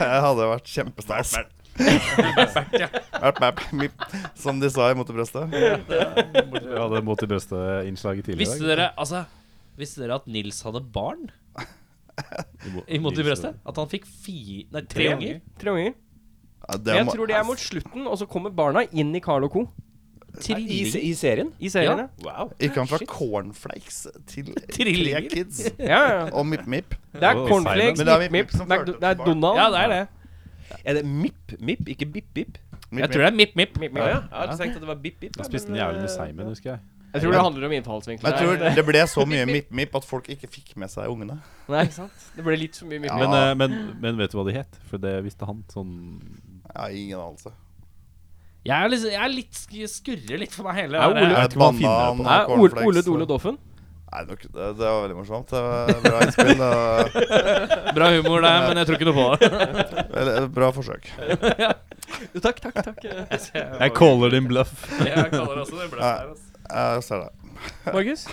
Speaker 6: Det hadde vært kjempesterkt. Map, map, mip, Som de sa i Motebrøstet.
Speaker 4: Vi hadde mot i brøstet-innslaget tidligere.
Speaker 2: Visste dere altså Visste dere at Nils hadde barn i Mot i brøstet? At han fikk fi, nei, tre unger?
Speaker 3: Tre unger.
Speaker 6: Ja, det
Speaker 3: Men jeg
Speaker 6: må-
Speaker 3: tror det er mot slutten, og så kommer barna inn i Carl og co.
Speaker 7: I, se-
Speaker 2: Trillinger?
Speaker 7: I serien?
Speaker 3: I serien,
Speaker 7: Wow.
Speaker 6: Gikk han fra cornflakes til tre
Speaker 2: Trillinger.
Speaker 6: kids
Speaker 3: ja. ja. ja.
Speaker 6: og mip-mip?
Speaker 3: Det er
Speaker 4: Oh,
Speaker 3: cornflakes,
Speaker 6: Men det er
Speaker 3: Mip
Speaker 6: Mip
Speaker 3: Mip,
Speaker 6: som
Speaker 3: Mac-
Speaker 6: førte opp
Speaker 3: det er
Speaker 6: til barn.
Speaker 3: Donald.
Speaker 2: Ja, det er det.
Speaker 7: Er det Mip Mip, ikke Bip Bip?
Speaker 2: Jeg tror det er Mip-Mip.
Speaker 3: Mip,
Speaker 7: Ja,
Speaker 3: Mip.
Speaker 7: ja. Jeg hadde tenkt at det var Bip Bip.
Speaker 4: Jeg spiste den jævlig med seimen, husker jeg.
Speaker 3: Jeg tror det handler om innfallsvinkler.
Speaker 6: Men jeg tror det ble så mye mip-mip at folk ikke fikk med seg ungene.
Speaker 3: Nei, ikke sant? Det ble litt så mye Mip
Speaker 6: Ja.
Speaker 3: Mip.
Speaker 4: Men, eh, men, men vet du hva de het? For det visste han. Sånn
Speaker 6: Jeg har ingen anelse.
Speaker 2: Jeg er, liksom, jeg er litt sk- skurrer litt for meg hele
Speaker 3: Er
Speaker 2: det her.
Speaker 4: vet ikke hva han finner
Speaker 6: Eh, Banan
Speaker 4: på.
Speaker 3: Nei,
Speaker 6: og
Speaker 3: Ole,
Speaker 6: cornflakes.
Speaker 3: Ole Dole Doffen.
Speaker 6: Nei, nok- det, det var veldig morsomt. Det var bra innspill. det var-
Speaker 2: Bra humor, det, men jeg tror ikke noe på det.
Speaker 6: eller, Bra forsøk.
Speaker 3: Takk, takk, takk. eh,
Speaker 4: Jeg caller din bluff.
Speaker 2: Jeg kaller også det bløff
Speaker 6: Ja.
Speaker 2: der, altså.
Speaker 6: Jeg ser det.
Speaker 3: Markus.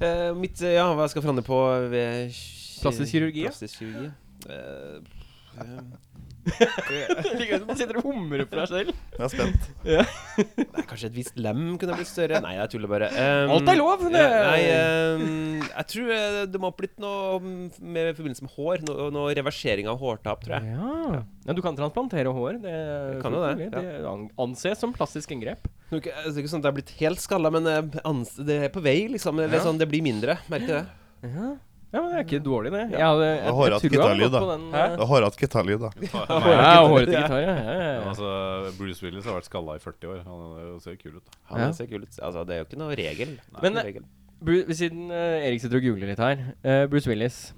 Speaker 7: Eh, mitt, eh, ja, hva jeg skal forandre på ved ki-
Speaker 3: Plastisk kirurgi, ja.
Speaker 7: Plastisk kirurgi. Eh, eh,
Speaker 3: Ligger du og sitter og humrer for deg selv?
Speaker 6: Jeg er spent.
Speaker 7: nei, kanskje et visst lem kunne blitt større? Nei, jeg tuller bare. Eh,
Speaker 3: Alt er lov!
Speaker 7: ja,
Speaker 3: Det.
Speaker 7: Nei, eh, jeg tror eh, det må opp litt noe mm, med i forbindelse med hår. Noe, noe reversering av hårtap, tror jeg.
Speaker 3: ja. ja, du kan transplantere hår. Det,
Speaker 7: Jeg kan jo det,
Speaker 3: selvfølgelig. det an- anses som plastisk inngrep.
Speaker 7: Nå er ikke- altså, Det er ikke sånn at jeg er blitt helt skalla, men eh, ans det er på vei, liksom. Det, er sånn, det blir mindre, merker jeg det.
Speaker 3: Ja. ja, men det er ikke dårlig, det. Jeg, hadde, jeg,
Speaker 6: Det var hårete
Speaker 3: jeg tror jeg
Speaker 6: gitarlyd,
Speaker 3: hadde gått
Speaker 6: da.
Speaker 3: på den.
Speaker 2: Hæ?
Speaker 6: Det er Hårete gitarlyd, da.
Speaker 3: eh, Ja, hårete gitar, ja. ja, ja, ja.
Speaker 4: Altså, Bruce Willis har vært skalla i 40 år. Han er jo- ser kul ut.
Speaker 7: Han
Speaker 3: Ja.
Speaker 7: ser kul ut. Altså, det er jo ikke noe regel. Ikke
Speaker 3: Men,
Speaker 7: noe
Speaker 3: eh,
Speaker 7: regel.
Speaker 3: Bru siden eh, Erik sitter og googler litt her. eh, Bruce Willis.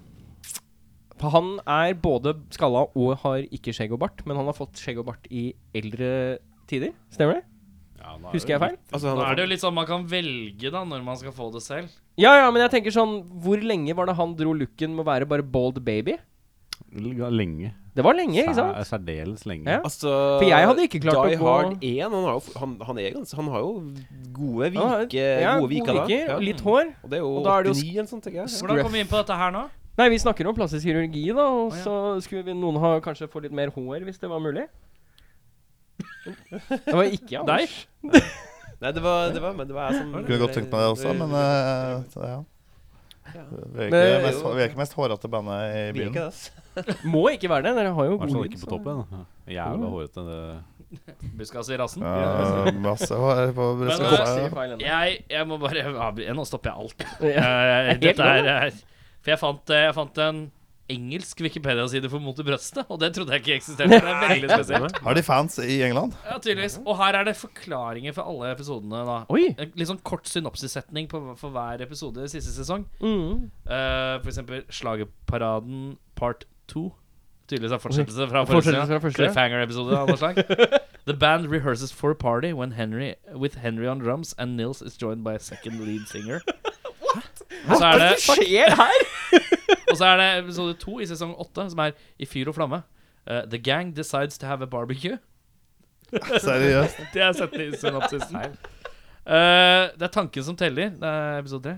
Speaker 3: For Han er både skalla og har ikke skjegg og bart, men han har fått skjegg og bart i eldre tider. Stemmer det?
Speaker 4: Ja, nå er
Speaker 3: Husker jeg
Speaker 4: det-
Speaker 3: feil?
Speaker 7: Altså, han
Speaker 2: Nå
Speaker 7: har
Speaker 2: er det jo litt sånn man kan velge da når man skal få det selv.
Speaker 3: Ja, ja, men jeg tenker sånn Hvor lenge var det han dro looken med å være bare bald baby?
Speaker 4: Lenge.
Speaker 3: Det var lenge, ikke
Speaker 4: Sær-
Speaker 3: sant?
Speaker 4: Særdeles lenge.
Speaker 3: Ja.
Speaker 7: Altså,
Speaker 3: For jeg hadde ikke klart
Speaker 7: Die
Speaker 3: å gå-
Speaker 7: Hard 1 han har, jo, f- han, han, er gans, han har jo gode
Speaker 3: Han har-
Speaker 7: vike,
Speaker 3: ja, mm.
Speaker 7: gode viker, da.
Speaker 3: viker,
Speaker 7: Ja.
Speaker 3: og Litt hår.
Speaker 7: Og det er jo
Speaker 3: og da er det jo
Speaker 7: 89 eller sånt, tenker jeg.
Speaker 2: Hvordan kom vi inn på dette her nå?
Speaker 3: Nei, vi snakker om plastisk kirurgi, da, og
Speaker 2: Å, ja.
Speaker 3: så skulle vi, noen ha, kanskje få litt mer hår hvis det var mulig. Det var ikke han.
Speaker 2: Deg?
Speaker 7: Nei, det var, det var, men det var sånn- jeg som
Speaker 6: Kunne godt tenkt meg det også, men eh, så, ja. Vi er ikke
Speaker 3: Men-
Speaker 6: mest, vi er ikke mest hårete bandet i
Speaker 7: Blir ikke
Speaker 6: byen.
Speaker 7: det, ass.
Speaker 3: Må ikke være det. Dere har jo
Speaker 4: I
Speaker 3: god
Speaker 4: hvert fall
Speaker 3: lyd.
Speaker 4: sånn ikke på
Speaker 3: så-
Speaker 4: toppen. da. Jævla hårete. det-
Speaker 2: Buskas i rassen.
Speaker 6: Ja, masse hår på
Speaker 2: Men,
Speaker 6: brystet.
Speaker 2: eh,
Speaker 6: ja, ja.
Speaker 3: Sier feil ennå.
Speaker 2: Jeg, jeg må bare avbry- Nå stopper jeg alt.
Speaker 3: Ja.
Speaker 2: Eh,
Speaker 3: Helt
Speaker 2: dette
Speaker 3: lov,
Speaker 2: er, er For jeg fant, eh, jeg fant en engelsk Wikipedia-side for mot i brøstet, og det trodde jeg ikke eksisterte. Det er veldig spesielt.
Speaker 6: Har de fans i England?
Speaker 2: Ja, tydeligvis. Og her er det forklaringer for alle episodene, da.
Speaker 3: Oi!
Speaker 2: En Litt sånn kort synopsissetning på, for hver episode i siste sesong.
Speaker 3: Mm.
Speaker 2: Eh, for eksempel Slagerparaden part 2. Tydeligvis en fortsettelse fra
Speaker 3: Fortsettelse
Speaker 2: forrige
Speaker 3: fra første.
Speaker 2: Cliffhanger-episode av noe slag. The band rehearses for a party when Henry, with Henry on drums and Nils is joined by a second lead singer. What? Og så er det,
Speaker 3: skjer her?
Speaker 2: og så er det episode 2 i sesong 8, som er I fyr og flamme. Eh, the gang decides to have a barbecue.
Speaker 6: Seriøst?
Speaker 2: Det er sett i synopsisen. Eh, det er tanken som teller. Det er episode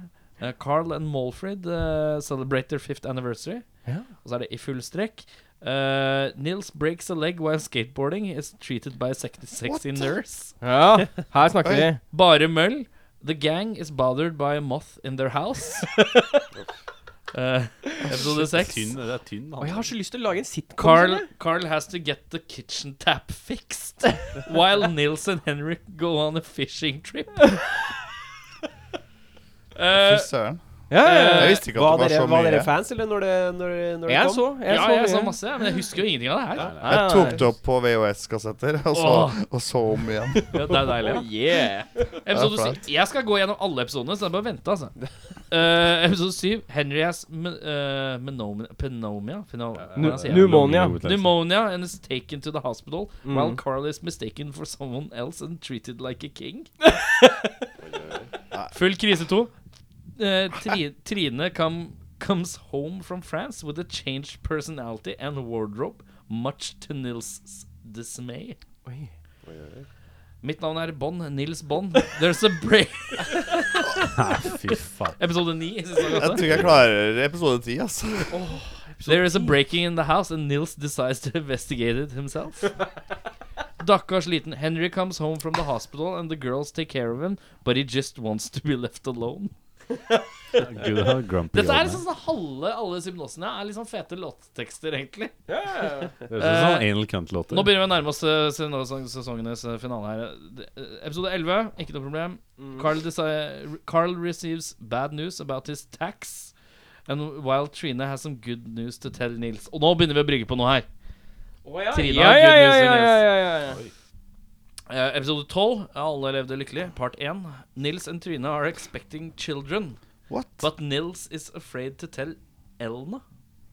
Speaker 2: 3. Carl and Malfred eh, celebrate their fifth anniversary.
Speaker 3: Ja.
Speaker 2: Og så er det i full strekk. eh, Nils breaks a leg while skateboarding is treated by a sexy, sexy nurse.
Speaker 3: Ja, her snakker vi.
Speaker 2: Bare møll. The gang is bothered by a moth in their house. Eh, episode 6.
Speaker 4: Tynn, det er tynn
Speaker 3: Og jeg har så lyst til å lage en sitcom.
Speaker 2: Carl,
Speaker 3: skjønner jeg.
Speaker 2: Carl has to get the kitchen tap fixed while Nils and Henrik go on a fishing trip. Eh,
Speaker 6: Fy søren.
Speaker 3: Ja, ja, ja.
Speaker 6: Jeg visste ikke
Speaker 7: Var
Speaker 6: at det
Speaker 7: dere,
Speaker 6: var så
Speaker 7: var dere
Speaker 6: mye.
Speaker 7: fans, eller når det, når, det- når det
Speaker 3: Jeg
Speaker 7: kom?
Speaker 3: så. Jeg
Speaker 2: ja,
Speaker 3: så,
Speaker 2: jeg så
Speaker 3: mye.
Speaker 2: masse, men jeg husker jo ingenting av det her.
Speaker 3: Nei,
Speaker 6: Jeg
Speaker 3: nei,
Speaker 6: tok
Speaker 3: nei.
Speaker 6: det opp på VHS-kassetter, og, så- og så om igjen.
Speaker 2: Ja, det er deilig.
Speaker 3: Oh, yeah.
Speaker 2: Episode
Speaker 6: Det er
Speaker 2: 7. Jeg skal gå gjennom alle episodene, så det er bare å vente, altså. Eh, episode 7. Henry has me- eh, menomia Penomia? Phenom-
Speaker 3: Nu-
Speaker 2: hva sier jeg?
Speaker 3: Pneumonia.
Speaker 2: Pneumonia and is taken to the hospital
Speaker 3: Mm.
Speaker 2: while Carl is mistaken for someone else and treated like a king. Full krise to. Eh, tri Trine come, comes home from France with a changed personality and wardrobe, much to Nils' dismay.
Speaker 3: Oi.
Speaker 2: Mitt navn er Bond. Nils Bond. There's a break
Speaker 4: Fy faen.
Speaker 2: Episode 9. sesong
Speaker 6: Jeg
Speaker 2: åtte.
Speaker 6: tror ikke jeg klarer episode ti, altså.
Speaker 2: There is a breaking in the house, and Nils decides to investigate it himself. Stakkars liten Henry comes home from the hospital, and the girls take care of him, but he just wants to be left alone.
Speaker 4: Gud, det er grumpy
Speaker 2: Dette er
Speaker 4: jobb,
Speaker 2: liksom sånn halve alle hypnosene er liksom fete låttekster, egentlig.
Speaker 4: det. Det er sånn anal cunt-låter.
Speaker 2: eh, Nå begynner vi å nærme oss eh, sesong- sesongenes eh, finale her. Det- eh, Episode 11, ikke noe problem. Carl, desi- Carl receives bad news about his tax. And while Trine has some good news to tell Nils Og nå begynner vi å brygge på noe her.
Speaker 3: ja.
Speaker 2: Trina,
Speaker 3: ja, ja,
Speaker 2: good
Speaker 3: ja,
Speaker 2: news,
Speaker 3: ja,
Speaker 2: Nils.
Speaker 3: ja, ja, ja.
Speaker 2: Eh, episode 12, Alle levde lykkelig, part 1. Nils and Trine are expecting children.
Speaker 6: What?
Speaker 2: But Nils is afraid to tell Elna.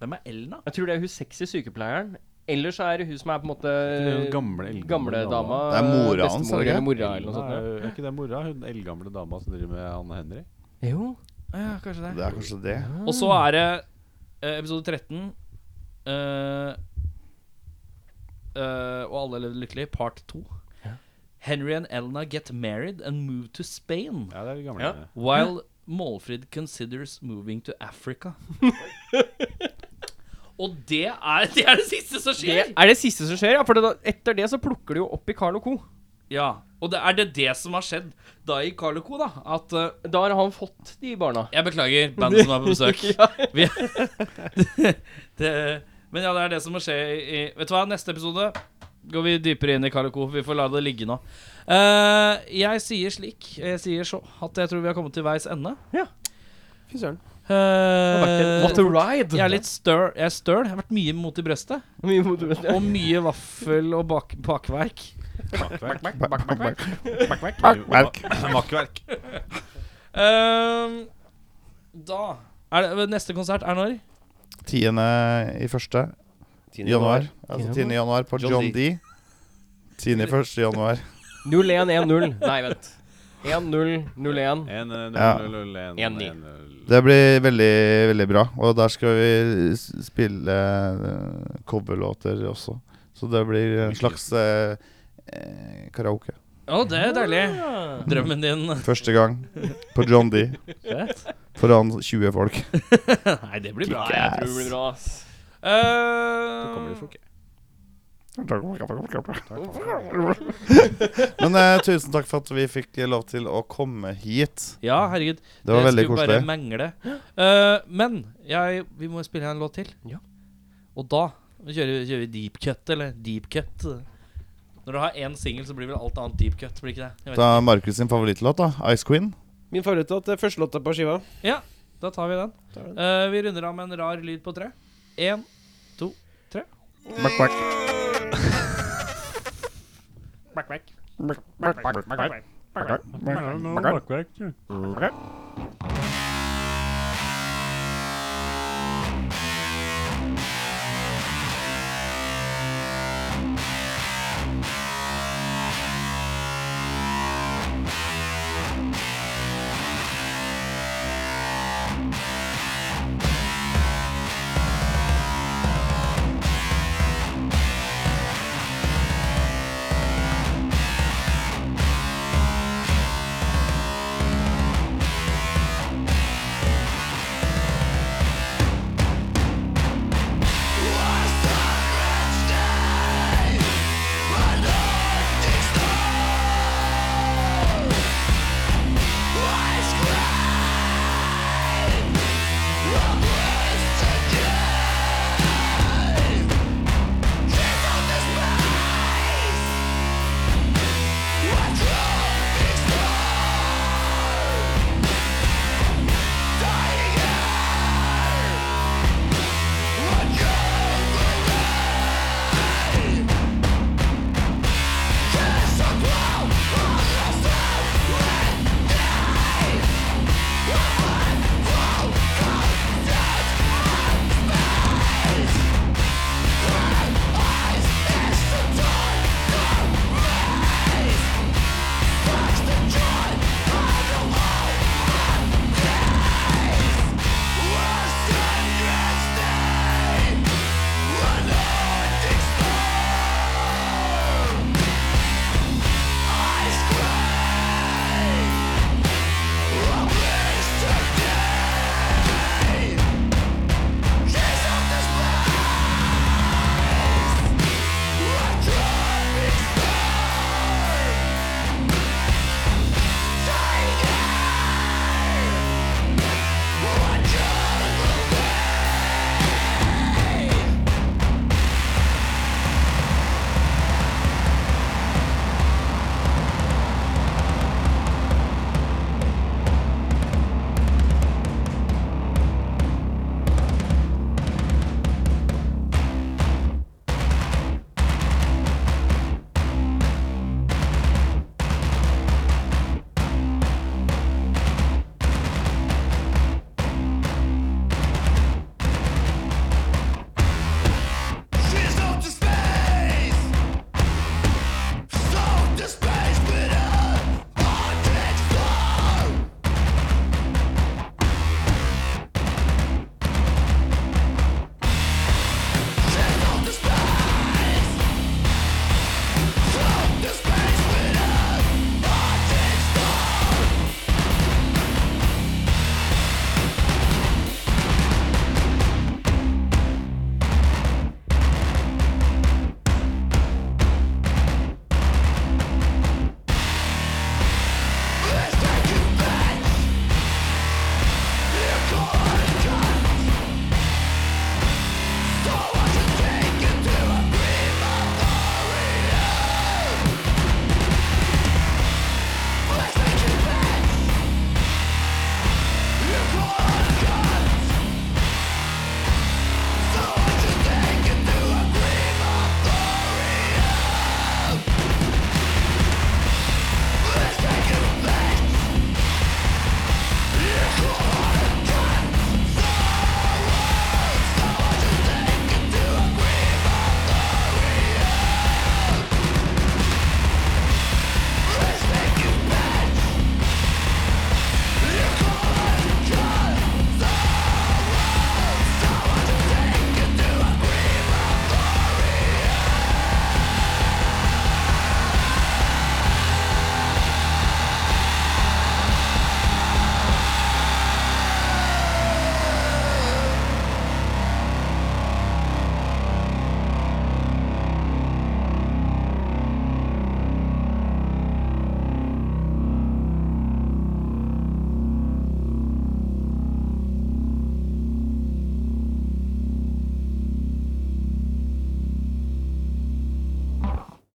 Speaker 2: Hvem er Elna?
Speaker 3: Jeg tror det er hun sexy sykepleieren. Eller så er det hun som er på en måte
Speaker 4: Den gamle, eldgamle
Speaker 3: gamle dama.
Speaker 6: Det er mora hans,
Speaker 3: bestemor
Speaker 6: er det ikke?
Speaker 3: eller mora eller noe sånt.
Speaker 4: Er ikke det mora? Hun eldgamle dama som driver med Anne Henry?
Speaker 3: ja. Jo.
Speaker 2: Ja, kanskje
Speaker 6: Det er kanskje det.
Speaker 2: Og så er det eh, episode 13. eh, eh, og alle levde lykkelig, part 2. Henry and Elna get married and move to Spain.
Speaker 4: Ja, det er de gamle.
Speaker 3: Ja.
Speaker 2: While Målfrid considers moving to Africa. og det er, det er det siste som
Speaker 3: Det
Speaker 2: skjer!
Speaker 3: er det siste som skjer, ja. For det, da- etter det så plukker de jo opp i Carl Co.
Speaker 2: Ja, Og det er det det som har skjedd da i Carl Co. da, at eh,
Speaker 3: Da har han fått de barna.
Speaker 2: Jeg beklager bandet som er på besøk. Vi, det, men ja, det er det som må skje i Vet du hva, neste episode går vi dypere inn i Karl Co. Vi får la det ligge nå. Eh, jeg sier slik, jeg sier så, at jeg tror vi har kommet til veis ende.
Speaker 3: Ja.
Speaker 7: Fy søren.
Speaker 2: Eh,
Speaker 3: What a ride!
Speaker 2: jeg er litt støl. Jeg er støl. Jeg har vært mye mot i brøstet.
Speaker 3: Mye mot du vet det.
Speaker 2: Og mye vaffel og bak, bakverk.
Speaker 6: Merk.
Speaker 4: Makkverk.
Speaker 2: Eh, da er det, Neste konsert er når?
Speaker 6: Tiende i første januar. Altså 10. januar på
Speaker 7: John
Speaker 6: John D. 10. i første januar.
Speaker 3: 0110. Nei, vent. 1001.
Speaker 4: 1-0-0-1-1-0.
Speaker 6: Det blir veldig, veldig bra. Og der skal vi s- spille eh, coverlåter også. Så det blir en slags eh, eh, karaoke.
Speaker 2: Å, det er deilig. Drømmen din.
Speaker 6: Første gang på John D. Foran 20 folk.
Speaker 2: Nei, det blir bra. Ehm,
Speaker 3: Ja, jeg tror det blir bra, ass.
Speaker 2: Eh,
Speaker 6: Men eh, tusen takk for at vi fikk eh, lov til å komme hit.
Speaker 2: Ja, herregud.
Speaker 6: Det var veldig
Speaker 2: skulle
Speaker 6: koselig.
Speaker 2: bare mengle. Eh, men jeg, vi må spille en låt til.
Speaker 3: Ja.
Speaker 2: Og da kjører, vi- kjører vi deep cut, eller deep cut. Når du har én singel, så blir vel alt annet deep cut, blir ikke det? Jeg vet.
Speaker 6: Da er Markus sin favorittlåt, da. Ice Queen.
Speaker 7: Min favorittlåt er førstelåta på skiva.
Speaker 2: Ja, da tar vi den. Eh, vi runder av med en rar lyd på tre. Én, to, tre.
Speaker 8: Back, back. Back, back. Back, back. Back, back. Back, back. Back, back.